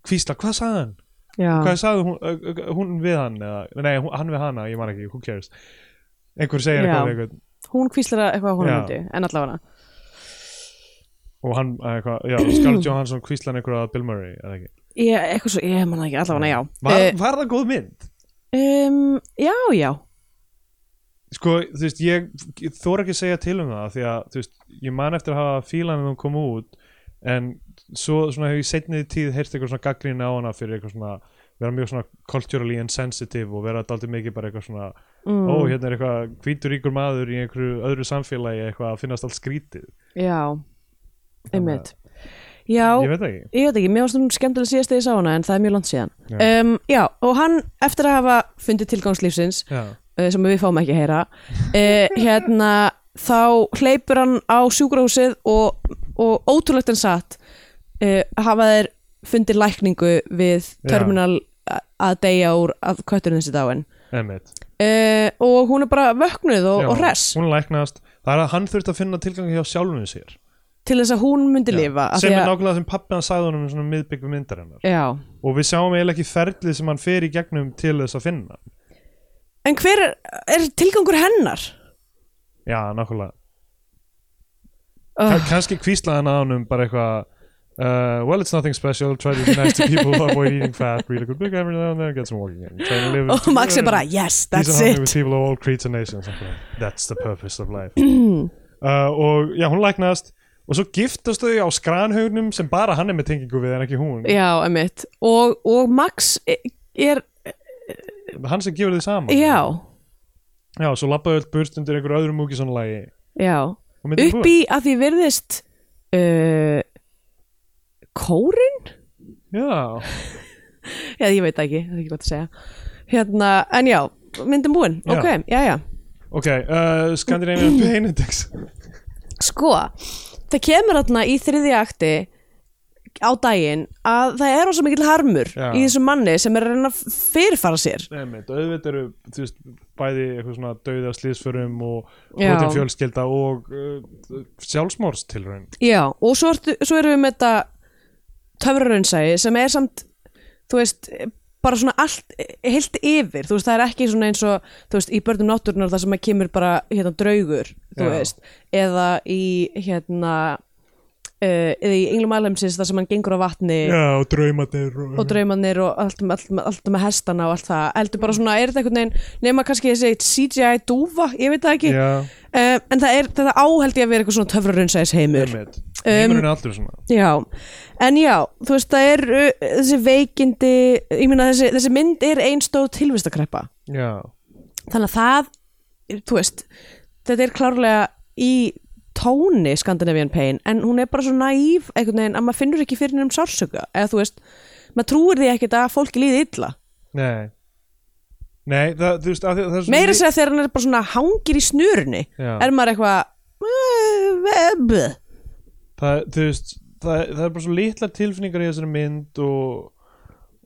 [SPEAKER 2] hvísla, hvað sagði hann?
[SPEAKER 3] já,
[SPEAKER 2] hvað sagði hún, ö- ö- hún við hann eða, nei, hún- hann við hana, ég man ekki, who cares einhver segir
[SPEAKER 3] Já.
[SPEAKER 2] eitthvað, við einhvern
[SPEAKER 3] hún kvíslar að eitthvað á honum
[SPEAKER 2] Já.
[SPEAKER 3] hundi, en allavega
[SPEAKER 2] og hann, eða eitthvað, já, Scarlett Johansson kvíslan einhverja að Bill Murray, eða ekki
[SPEAKER 3] ég, eitthvað svo, ég manna ekki, allavega já
[SPEAKER 2] var,
[SPEAKER 3] Eh,
[SPEAKER 2] var það góð mynd?
[SPEAKER 3] um, já, já,
[SPEAKER 2] Sko, þú veist, ég, ég þóra ekki að segja til um það því að, þú veist, ég man eftir að hafa fílan en hún kom út en svo, svona, hef ég setnið tíð heyrst eitthvað svona gaggrín á hana fyrir eitthvað svona vera mjög svona culturally insensitive og vera daldið mikið bara eitthvað svona
[SPEAKER 3] Mm.
[SPEAKER 2] ó, hérna er eitthvað hvítur ykkur maður í einhverju öðru samfélagi eitthvað að finnast allt skrítið
[SPEAKER 3] já einmitt
[SPEAKER 2] ég
[SPEAKER 3] já,
[SPEAKER 2] veit það ekki
[SPEAKER 3] ég veit ekki, mér varst hún skemmtilega síðast þegar ég sá hana en það er mjög langt síðan
[SPEAKER 2] Já.
[SPEAKER 3] um, já, og hann eftir að hafa fundið tilgangslífsins
[SPEAKER 2] já,
[SPEAKER 3] uh, sem við fáum ekki að heyra uh, hérna, þá hleypur hann á sjúkrahúsið og, og ótrúlegt en satt uh, hafa þeir fundið lækningu við
[SPEAKER 2] Já.
[SPEAKER 3] terminal a- að deyja úr að kötturinn þessi dáin
[SPEAKER 2] emmitt
[SPEAKER 3] uh, og hún er bara vöknuð og,
[SPEAKER 2] Já,
[SPEAKER 3] og hress
[SPEAKER 2] hún læknast, það er að hann þurft að finna tilgang hjá sjálfum sér
[SPEAKER 3] til þess að hún myndi lifa af
[SPEAKER 2] sem
[SPEAKER 3] því
[SPEAKER 2] er
[SPEAKER 3] að-
[SPEAKER 2] nákvæmlega sem pappi hann sagði honum í svona miðbygg við myndar hennar
[SPEAKER 3] Já.
[SPEAKER 2] og við sjáum eiginlega ekki ferlið sem hann fer í gegnum til þess að finna hann.
[SPEAKER 3] En hver er, er tilgangur hennar?
[SPEAKER 2] já, nákvæmlega
[SPEAKER 3] Uh,
[SPEAKER 2] Ka- kannski kvíslaði hann að honum bara eitthvað uh, well it's nothing special, try to be nice to people avoid eating fat, read a good book every now and then get some walking in, try to live
[SPEAKER 3] og Max er bara, yes,
[SPEAKER 2] He's
[SPEAKER 3] that's
[SPEAKER 2] an
[SPEAKER 3] it
[SPEAKER 2] with people of all creeds and nations Eitthvað, That's the purpose of life uh, Og já, hún læknast Og svo giftast þau á skranhaugnum sem bara hann er með tengingu við en ekki hún
[SPEAKER 3] Já, emitt og, og Max e, er,
[SPEAKER 2] Hann sem gefur þau saman
[SPEAKER 3] já,
[SPEAKER 2] Já, svo labbaðu öll burst undir einhver öðrum múkisónlagi
[SPEAKER 3] já
[SPEAKER 2] Og myndin
[SPEAKER 3] upp í að því virðist uh, kórin?
[SPEAKER 2] búin. Já,
[SPEAKER 3] Já, ég veit það ekki, það er ekki gott að segja hérna, en já, myndin búin
[SPEAKER 2] Já.
[SPEAKER 3] ok, já, já,
[SPEAKER 2] ok uh, Scandinavian Pain Index
[SPEAKER 3] sko það kemur þarna í þriðja akti á daginn að það er ósað mikill harmur
[SPEAKER 2] Já.
[SPEAKER 3] í þessum manni sem er að reyna að fyrirfara sér
[SPEAKER 2] Einmitt, auðvitað eru þú veist, bæði eitthvað svona dauði af slísförum og
[SPEAKER 3] Já.
[SPEAKER 2] brotin fjölskelda og uh, sjálfsmórstilraun
[SPEAKER 3] Já, og svo, ertu, svo erum við með þetta töfraraunsæi sem er samt, þú veist, bara svona allt, heilt yfir, þú veist, það er ekki svona eins og, þú veist, í börnum náttúrunar það sem að kemur bara, hérna, draugur, þú
[SPEAKER 2] Já.
[SPEAKER 3] veist, eða í, hérna, uh, eða í Englum Alheimsins það sem hann gengur á vatni
[SPEAKER 2] Já, og draumatir og,
[SPEAKER 3] og draumannir og allt, um- allt, um- allt með hestana og allt það, heldur bara svona, er þetta einhvern veginn, nema kannski þessi CGI dúfa, ég veit það ekki, uh,
[SPEAKER 2] Já,
[SPEAKER 3] en það er, þetta áhaldi að vera eitthvað svona töfraraunsæis heimur.
[SPEAKER 2] einmitt
[SPEAKER 3] Um,
[SPEAKER 2] Heimurinn er allur svona
[SPEAKER 3] Já, en já, þú veist, það er uh, þessi veikindi, ég meina þessi, þessi mynd er einstóð tilvistakreppa.
[SPEAKER 2] Já,
[SPEAKER 3] Þannig að það, þú veist, þetta er klárlega í tóni Scandinavian Pain, en hún er bara svo næf einhvern veginn að maður finnur ekki fyrir nefnum sársöka, eða þú veist, maður trúir því ekkert að fólki líði illa.
[SPEAKER 2] nei Nei, það, þú veist, að, því- það er svona
[SPEAKER 3] Meira
[SPEAKER 2] lí-
[SPEAKER 3] að segja þegar hann er bara svona hangir í snurunni,
[SPEAKER 2] Já.
[SPEAKER 3] er maður eitthvað, eh, eh,
[SPEAKER 2] það, þú veist, það, það er bara svo litlar tilfinningar í þessari mynd og,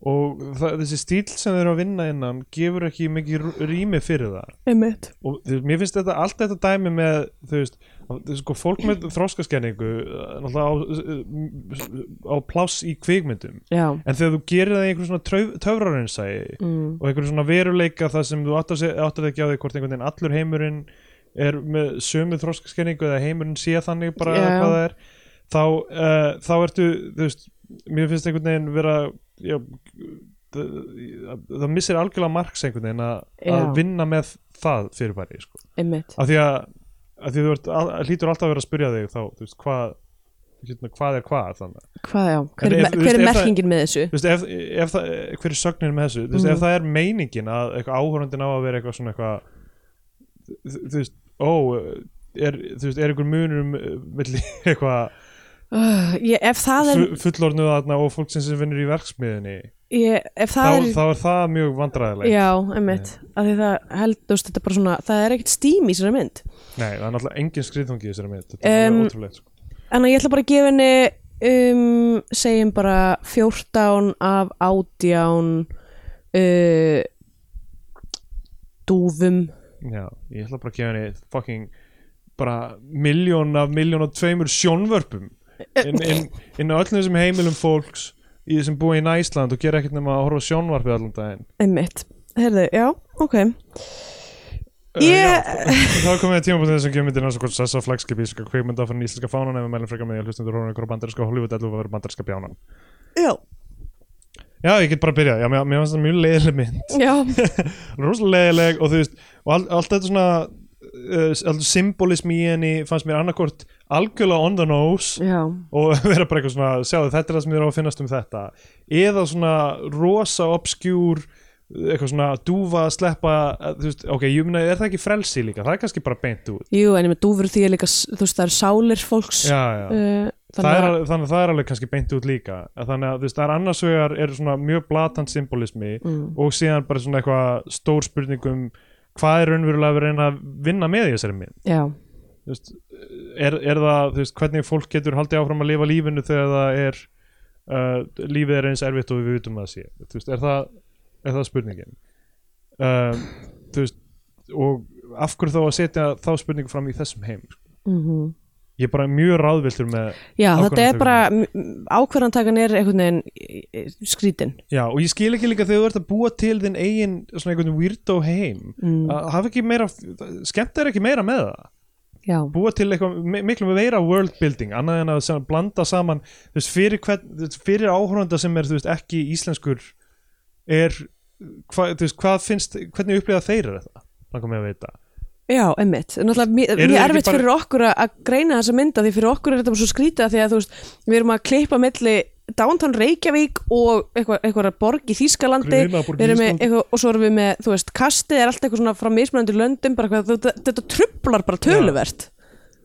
[SPEAKER 2] og það, þessi stíl sem þeir eru að vinna innan gefur ekki mikið rú- rými fyrir það
[SPEAKER 3] einmitt.
[SPEAKER 2] og þú veist, mér finnst þetta allt þetta dæmi með þú veist, að- þú veist, sko, fólk með þróskaskenningu náttúrulega á, eh, á pláss í kvikmyndum
[SPEAKER 3] Já,
[SPEAKER 2] en þegar þú gerir það í einhverjum svona töfrarinsæi mm. og einhverjum svona veruleika það sem þú áttar sig- áttar þig ekki á því hvort einhvern veginn allur heimurinn er með sömu þróskaskenningu eða heimurinn sé þannig bara
[SPEAKER 3] Já.
[SPEAKER 2] yeah. hvað það er þá, uh, þá ertu þú veist, mér finnst einhvern veginn vera já, það, það missir algjörlega marks einhvern veginn að, að
[SPEAKER 3] Já.
[SPEAKER 2] vinna með það fyrirbæri sko.
[SPEAKER 3] einmitt.
[SPEAKER 2] af því að, að því þú ert, að, hlýtur alltaf að vera að spyrja þig þá þú veist, hvað, hérna, hvað er hvað þannig
[SPEAKER 3] Hvað, já, hver,
[SPEAKER 2] En
[SPEAKER 3] er
[SPEAKER 2] ef-
[SPEAKER 3] me-
[SPEAKER 2] þú
[SPEAKER 3] hver er
[SPEAKER 2] veist, ef það-
[SPEAKER 3] merkingin með þessu?
[SPEAKER 2] Þú veist, ef, ef það, hver er sögnin með þessu Þú veist,
[SPEAKER 3] Mhm.
[SPEAKER 2] ef það er meiningin að eitthvað áhörundin á að vera eitthvað svona eitthvað þú þú veist, ó er, þú veist, er einhver munur um uh, milli eitthvað
[SPEAKER 3] Uh, ég, ef það er
[SPEAKER 2] fu- fullorðnuð þarna og fólk sem sem vinnur í verksmiðinni
[SPEAKER 3] ég, ef
[SPEAKER 2] þá,
[SPEAKER 3] það er
[SPEAKER 2] þá er það mjög vandræðilegt
[SPEAKER 3] já, einmitt, af því það heldust þetta er bara svona, það er ekkert stím í sér mynd
[SPEAKER 2] nei, það er náttúrulega engin skriðungi í þessari mynd þetta er
[SPEAKER 3] Em,
[SPEAKER 2] um, ótrúlegt sko.
[SPEAKER 3] en ég ætla bara að gefa henni um, segjum bara 14 af 18 uh, dúfum
[SPEAKER 2] já, ég ætla bara að gefa henni fucking bara miljón af miljón og tveimur sjónvörpum inn, inn, inn á öllum þessum heimilum fólks í þessum búið í Ísland og gera ekkert nema að horfa á sjónvarpið allan daginn
[SPEAKER 3] einmitt, heyrðu, já, ok
[SPEAKER 2] Uh,
[SPEAKER 3] Ég-
[SPEAKER 2] já, þá- þá komið að tímabútið þessum gjömyndin hans og hvort sessa flagskip íslenska kvikmynda fyrir íslenska fánan ef við mælum frekar með því að hlustundur hóna ykkur á bandarinska Hollywood ellu að vera bandarinska bjánan
[SPEAKER 3] já,
[SPEAKER 2] Já, ég get bara að byrja, já, mér, mér fannst það mjög leiðileg mynd
[SPEAKER 3] já,
[SPEAKER 2] rosalega leiðileg og þú veist og all, allt þetta svona uh, allt symbolism í henni fannst mér annarkort algjörlega on the nose
[SPEAKER 3] já
[SPEAKER 2] og vera bara eitthvað svona, sjáðu þetta er það sem þér á að finnast um þetta eða svona rosa obskjúr eitthvað svona dúfa, sleppa eh, þú veist, ok, ég meina, er það ekki frelsi líka það er kannski bara beint út
[SPEAKER 3] jú, en ég með dúfur því er líka, s- þú veist, það er sálir fólks
[SPEAKER 2] já, já.
[SPEAKER 3] Uh,
[SPEAKER 2] það
[SPEAKER 3] þannig
[SPEAKER 2] er,
[SPEAKER 3] að,
[SPEAKER 2] alveg- þannig að það er alveg kannski beint út líka Að þannig að þú veist, það er annars vegar er svona mjög blatant symbolismi
[SPEAKER 3] Mm.
[SPEAKER 2] og síðan bara svona eitthvað stór spurningum hvað er raunverulega að reyna að vinna með í þessari mynd
[SPEAKER 3] já,
[SPEAKER 2] Þú veist, er, er það, þú veist, hvernig fólk getur haldið áfram að lifa lífinu þegar það er uh, lífið er eins erfitt og við vitum að það sé Þú veist, er, það, er það spurningin um, þú veist og af hverju þá að setja þá spurningu fram í þessum heim
[SPEAKER 3] mhm
[SPEAKER 2] ég er bara mjög ráðviltur með
[SPEAKER 3] Já, þetta er
[SPEAKER 2] ákvarðanatökuna.
[SPEAKER 3] bara, ákvarðantakan er einhvern veginn í- í- skrítin.
[SPEAKER 2] Já, og ég skil ekki líka þegar þú ert að búa til þinn eigin svona einhvern weirdo heim mm. að hafa ekki meira, skemmt er ekki meira með það
[SPEAKER 3] Já,
[SPEAKER 2] búa til eitthvað mi- miklu meira world building annað en að sem, blanda saman þú veist, fyrir, hvern, þú veist, fyrir áhorfanda sem er þú veist, ekki íslenskur er hva, þú veist, hvað finnst, hvernig upplifa þeir þetta, langar mig að vita
[SPEAKER 3] já, emmitt. Náttúrulega mjög-
[SPEAKER 2] Eru
[SPEAKER 3] mjög
[SPEAKER 2] þeir ekki
[SPEAKER 3] erfitt
[SPEAKER 2] bara-
[SPEAKER 3] fyrir okkur að- að greina þessa mynda því fyrir okkur er þetta bara svo skrítið af því að þú veist, við erum að klippa milli downtown Reykjavík og eitthvað, eitthvað borg í Þýskalandi
[SPEAKER 2] Grunaborg í
[SPEAKER 3] Við erum með
[SPEAKER 2] Þýskalandi.
[SPEAKER 3] eitthvað, og svo erum við með, þú veist, kastið er allt eitthvað svona frá mismunandi löndum, bara eitthvað, þú- þetta, þetta trublar bara töluvert.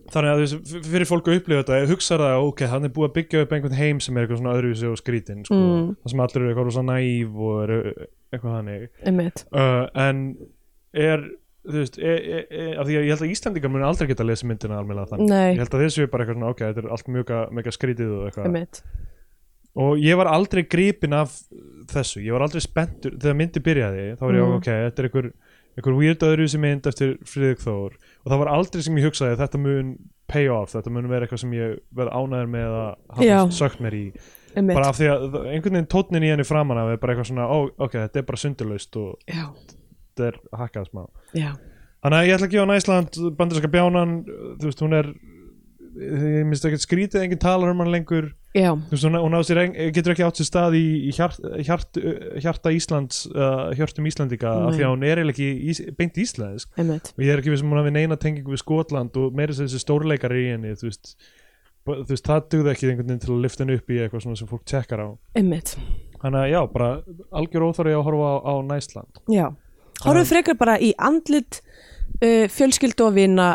[SPEAKER 2] þannig að þú veist, f- fyrir fólk að upplifa þetta hugsa það, ok, hann er búið að byggja upp einhvern heim sem er eitthvað svona öðruvísi og skrítin sko, það sem allir eru eitthvað rosa næv og eru eitthvað þannig
[SPEAKER 3] Emmitt.
[SPEAKER 2] uh, en er þú veist, e, e, e, af því að ég held að Íslandingar muni aldrei geta að lesa myndina almennilega þannig
[SPEAKER 3] Nei.
[SPEAKER 2] ég held að þessu er bara eitthvað svona, ok, þetta er allt mjög mega skrítið og eitthvað
[SPEAKER 3] Emmitt.
[SPEAKER 2] og ég var aldrei gripin af þessu, ég var aldrei spenntur þegar myndi byrjaði, þá var ég
[SPEAKER 3] Mm.
[SPEAKER 2] ok, þetta er einhver, einhver weird öðru sem mynd eftir Friðrik Þór og það var aldrei sem ég hugsaði að þetta mun pay off, þetta mun vera eitthvað sem ég verð ánæður með að hafa
[SPEAKER 3] Já.
[SPEAKER 2] sökt mér í
[SPEAKER 3] einmitt.
[SPEAKER 2] bara af því að það- einhvern veginn tótnin í henni framan af er bara eitthvað svona, ó, ok, þetta er bara sundurlaust og
[SPEAKER 3] já,
[SPEAKER 2] þetta er hakkað smá
[SPEAKER 3] já,
[SPEAKER 2] Þannig að ég ætla að gefa Næsland bandarinska bjánan, þú veist, hún er ég minnst ekki skrítið, enginn talar um hann lengur
[SPEAKER 3] já,
[SPEAKER 2] þú veist, hún, hún á sér, en, getur ekki átt sér stað í, í hjart, hjart, hjarta Íslands uh, hjörtum Íslandika, af
[SPEAKER 3] Nei.
[SPEAKER 2] því að hún er eiginlega ekki ís, beint íslensk
[SPEAKER 3] einmitt
[SPEAKER 2] og ég er ekki viss um hún hafi neina tengingu við Skotland og meira sem þessi stórleikar í henni þú veist, ba- þú veist, það dugði ekki einhvern veginn til að lifta henni upp í eitthvað svona sem fólk tekkar á
[SPEAKER 3] einmitt,
[SPEAKER 2] þannig að já, bara algjör óþarfi að horfa á, á Næsland
[SPEAKER 3] já horfum frekar bara í andlit uh, fjölskyldu og vina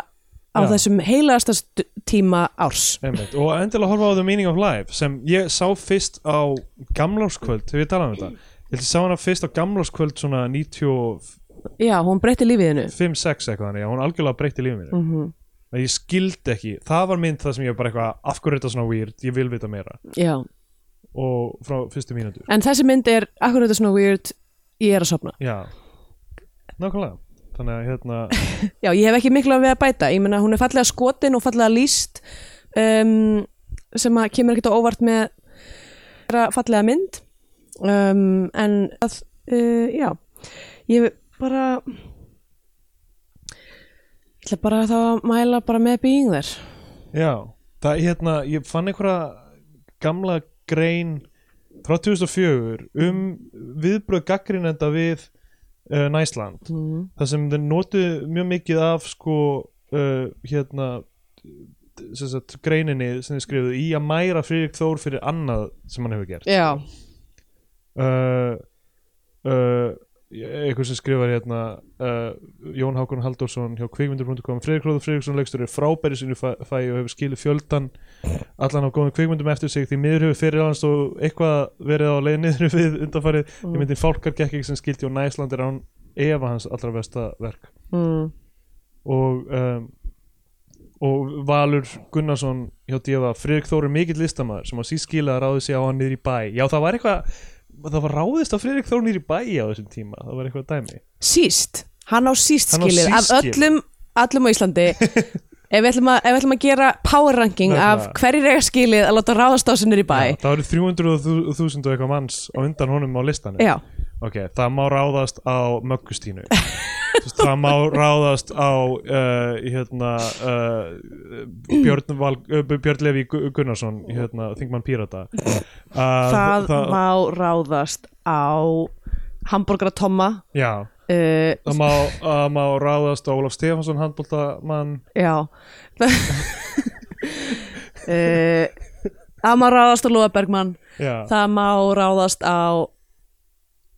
[SPEAKER 3] á
[SPEAKER 2] Já.
[SPEAKER 3] þessum heilagasta st- tíma árs
[SPEAKER 2] Einmitt. og endilega horfa á The Meaning of Life sem ég sá fyrst á gamlárskvöld hefur ég talað um þetta ég held ég sá hana fyrst á gamlárskvöld svona 95-6
[SPEAKER 3] já, hún breytti lífiðinu
[SPEAKER 2] eitthvað þannig að hún algjörlega breytti lífið mér
[SPEAKER 3] mm -hmm.
[SPEAKER 2] að ég skildi ekki, það var mynd það sem ég var bara eitthvað af hverju er þetta svona weird, ég vil vita meira
[SPEAKER 3] já,
[SPEAKER 2] og frá fyrstu mínútur
[SPEAKER 3] en þessi mynd er akkur þetta svona weird, ég er að sopna
[SPEAKER 2] já, nákvæmlega þannig að hérna,
[SPEAKER 3] Já, ég hef ekki miklu að við að bæta Ég meina, hún er fallega skotin og fallega líst um, sem að kemur ekkert á óvart með þeirra fallega mynd um, en að, uh, já ég bara ég ætla bara þá að mæla bara með being þér
[SPEAKER 2] já það hérna, ég fann einhverja gamla grein frá 2004 um viðbröð gaggrinenda við uh, Næsland
[SPEAKER 3] mm.
[SPEAKER 2] það sem þeir notu mjög mikið af sko uh, hérna sem sagt, greininni sem þeir skrifuðu í að mæra Friðrik Þór fyrir annað sem hann hefur gert
[SPEAKER 3] Já,
[SPEAKER 2] uh, uh, einhver sem skrifar hérna uh, Jón Hákon Halldórsson hjá kvikmyndur.com Friðrik Róður Friðriksson leikstur er frábæri sinni fæ fæi og hefur skilið fjöldan allan á góðum kvikmyndum eftir sig því miður hefur fyrir hans og eitthvað verið á leið niður við undanfarið mm. í myndin Fálkar gekk ekki sem skildi og Næsland er án efa hans allra besta verk
[SPEAKER 3] mm.
[SPEAKER 2] og um, og Valur Gunnarsson hjá Dífa, Friðrik Þór er mikill listamaður sem á síst skila að ráði sig á hann niður í bæ já það var eitthvað, það var ráðist á Friðrik Þór niður í bæ á þessum tíma, það var eitthvað dæmi
[SPEAKER 3] síst, hann á síst
[SPEAKER 2] Hann á
[SPEAKER 3] skilið
[SPEAKER 2] síst
[SPEAKER 3] af
[SPEAKER 2] skilið.
[SPEAKER 3] öllum, öllum á Íslandi ef við ætlum að, ef við ætlum að gera power ranking af
[SPEAKER 2] Nefnilega.
[SPEAKER 3] hverjir eiga skilið að láta ráðast á sinnur í bæ
[SPEAKER 2] já, það eru 300.000 og eitthvað manns á undan honum á listanum
[SPEAKER 3] já.
[SPEAKER 2] ok, það má ráðast á Möggustínu Þú veist, það má ráðast á uh, hérna uh, Björn, Val, uh, Björn Levi Gu- Gunnarsson hérna, Þingmann Pírata uh,
[SPEAKER 3] það, má ráðast á hambúrgara Tomma
[SPEAKER 2] já,
[SPEAKER 3] uh,
[SPEAKER 2] Það má, að má ráðast á Ólaf Stefansson handbóltamann
[SPEAKER 3] já uh, það má ráðast á Lóa Bergmann
[SPEAKER 2] Já,
[SPEAKER 3] það má ráðast á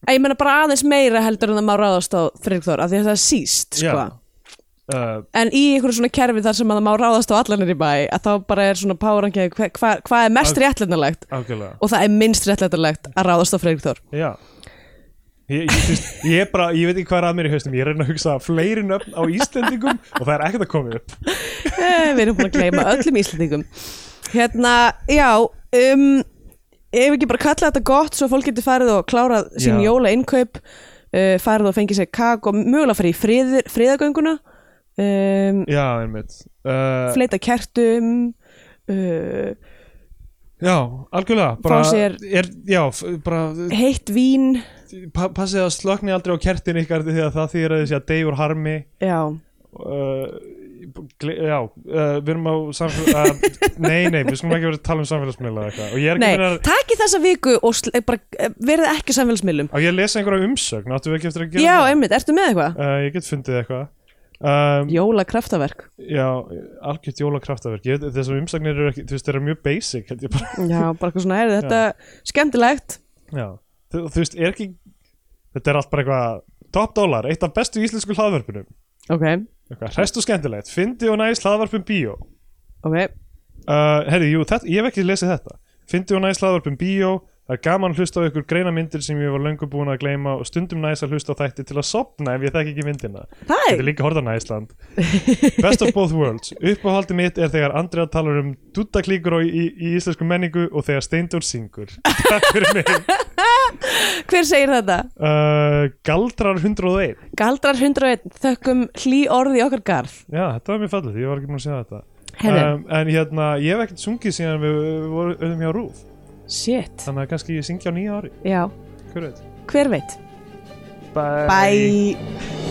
[SPEAKER 3] Æ, ég meina bara aðeins meira heldur en það má ráðast á Friðrikþór af því að það er síst sko.
[SPEAKER 2] Já. uh,
[SPEAKER 3] en í einhverju svona kerfi þar sem að það má ráðast á allanir í bæ að þá bara er svona párangið hvað hva, hva er mest
[SPEAKER 2] Að-
[SPEAKER 3] réttlætnarlegt
[SPEAKER 2] algjörlega
[SPEAKER 3] og það er minnst réttlætnarlegt að ráðast á Friðrikþór
[SPEAKER 2] Já Ég, ég, fyrst, ég, er bara, ég veit ekki hvað er að mér í haustum Ég er að reyna að hugsa fleiri nöfn á Íslendingum og það er ekkert að koma upp
[SPEAKER 3] Eh, Við erum búin að gleyma öllum Íslandingum Hérna, já um, Ef ekki bara kalla þetta gott Svo fólk getur farið og klárað sín
[SPEAKER 2] Já.
[SPEAKER 3] jóla innkaup uh, Farið og fengið sér kak Og mögulega farið í friðir, friðagönguna um,
[SPEAKER 2] Já, einmitt uh,
[SPEAKER 3] Fleita kertum uh,
[SPEAKER 2] Já, algjörlega bara,
[SPEAKER 3] Fá sér-
[SPEAKER 2] er, Já, f- bara
[SPEAKER 3] Heitt vín
[SPEAKER 2] pa, Passið að slökni aldrei á kertin ykkar því að það þýðir að þessi að deyjur harmi
[SPEAKER 3] Já,
[SPEAKER 2] uh, gle- Já, uh, við erum á samfélag uh, Nei, nei, við skulum ekki vera að tala um samfélagsmiðla eða eitthvað. og ég er ekki
[SPEAKER 3] nei,
[SPEAKER 2] að reyna að-
[SPEAKER 3] takið þessa viku og sl- eh, bara, eh, verið ekki á samfélagsmiðlum
[SPEAKER 2] Á ég að lesa einhverja umsögn, áttu við ekki eftir að gera
[SPEAKER 3] Já,
[SPEAKER 2] það?
[SPEAKER 3] einmitt, ertu með eitthvað?
[SPEAKER 2] Uh, ég get fundið eitthvað um,
[SPEAKER 3] Jóla kraftaverk
[SPEAKER 2] Já, algjört jólakraftaverk Ég- Þessar umsagnir eru ekki, þú veist, þeir eru mjög basic held ég bara.
[SPEAKER 3] Já, bara eitthvað svona, er þetta skemmtilegt
[SPEAKER 2] Já, þú, þú veist, er ekki Þetta er allt bara eitthvað Top dólar, eitt af bestu íslensku hlaðverpunum
[SPEAKER 3] Ok,
[SPEAKER 2] Eitthvað, Hrest og skemmtilegt, fyndi og næs hlaðverpum bíó
[SPEAKER 3] ok
[SPEAKER 2] uh, Herri, jú, þetta, ég hef ekki lesið þetta Fyndi og næs hlaðverpum bíó Það er gaman að hlusta á ykkur greina myndir sem ég var löngu búin að gleyma og stundum næs að hlusta á þætti til að sopna ef ég þekki ekki myndina.
[SPEAKER 3] Það
[SPEAKER 2] Þetta
[SPEAKER 3] er
[SPEAKER 2] er líka hortan að Ísland. Best of both worlds. Uppáhaldi mitt er þegar Andrea talar um duttaklíkur í, í, í íslensku menningu og þegar Steindór syngur. Takk fyrir mig.
[SPEAKER 3] Hver segir þetta?
[SPEAKER 2] Uh, Galdrar 101.
[SPEAKER 3] Galdrar 101, þökkum hlý orði í okkar garð
[SPEAKER 2] Já, þetta var mjög fallið. Ég var ekki búin að segja þetta.
[SPEAKER 3] Herri,
[SPEAKER 2] Um, en hérna, ég hef ekkert sungið síðan við við vorum hjá Rúf.
[SPEAKER 3] shit,
[SPEAKER 2] Þannig að kannski ég syngi á nýja ári.
[SPEAKER 3] já,
[SPEAKER 2] Hver veit?
[SPEAKER 3] hver veit? Bye.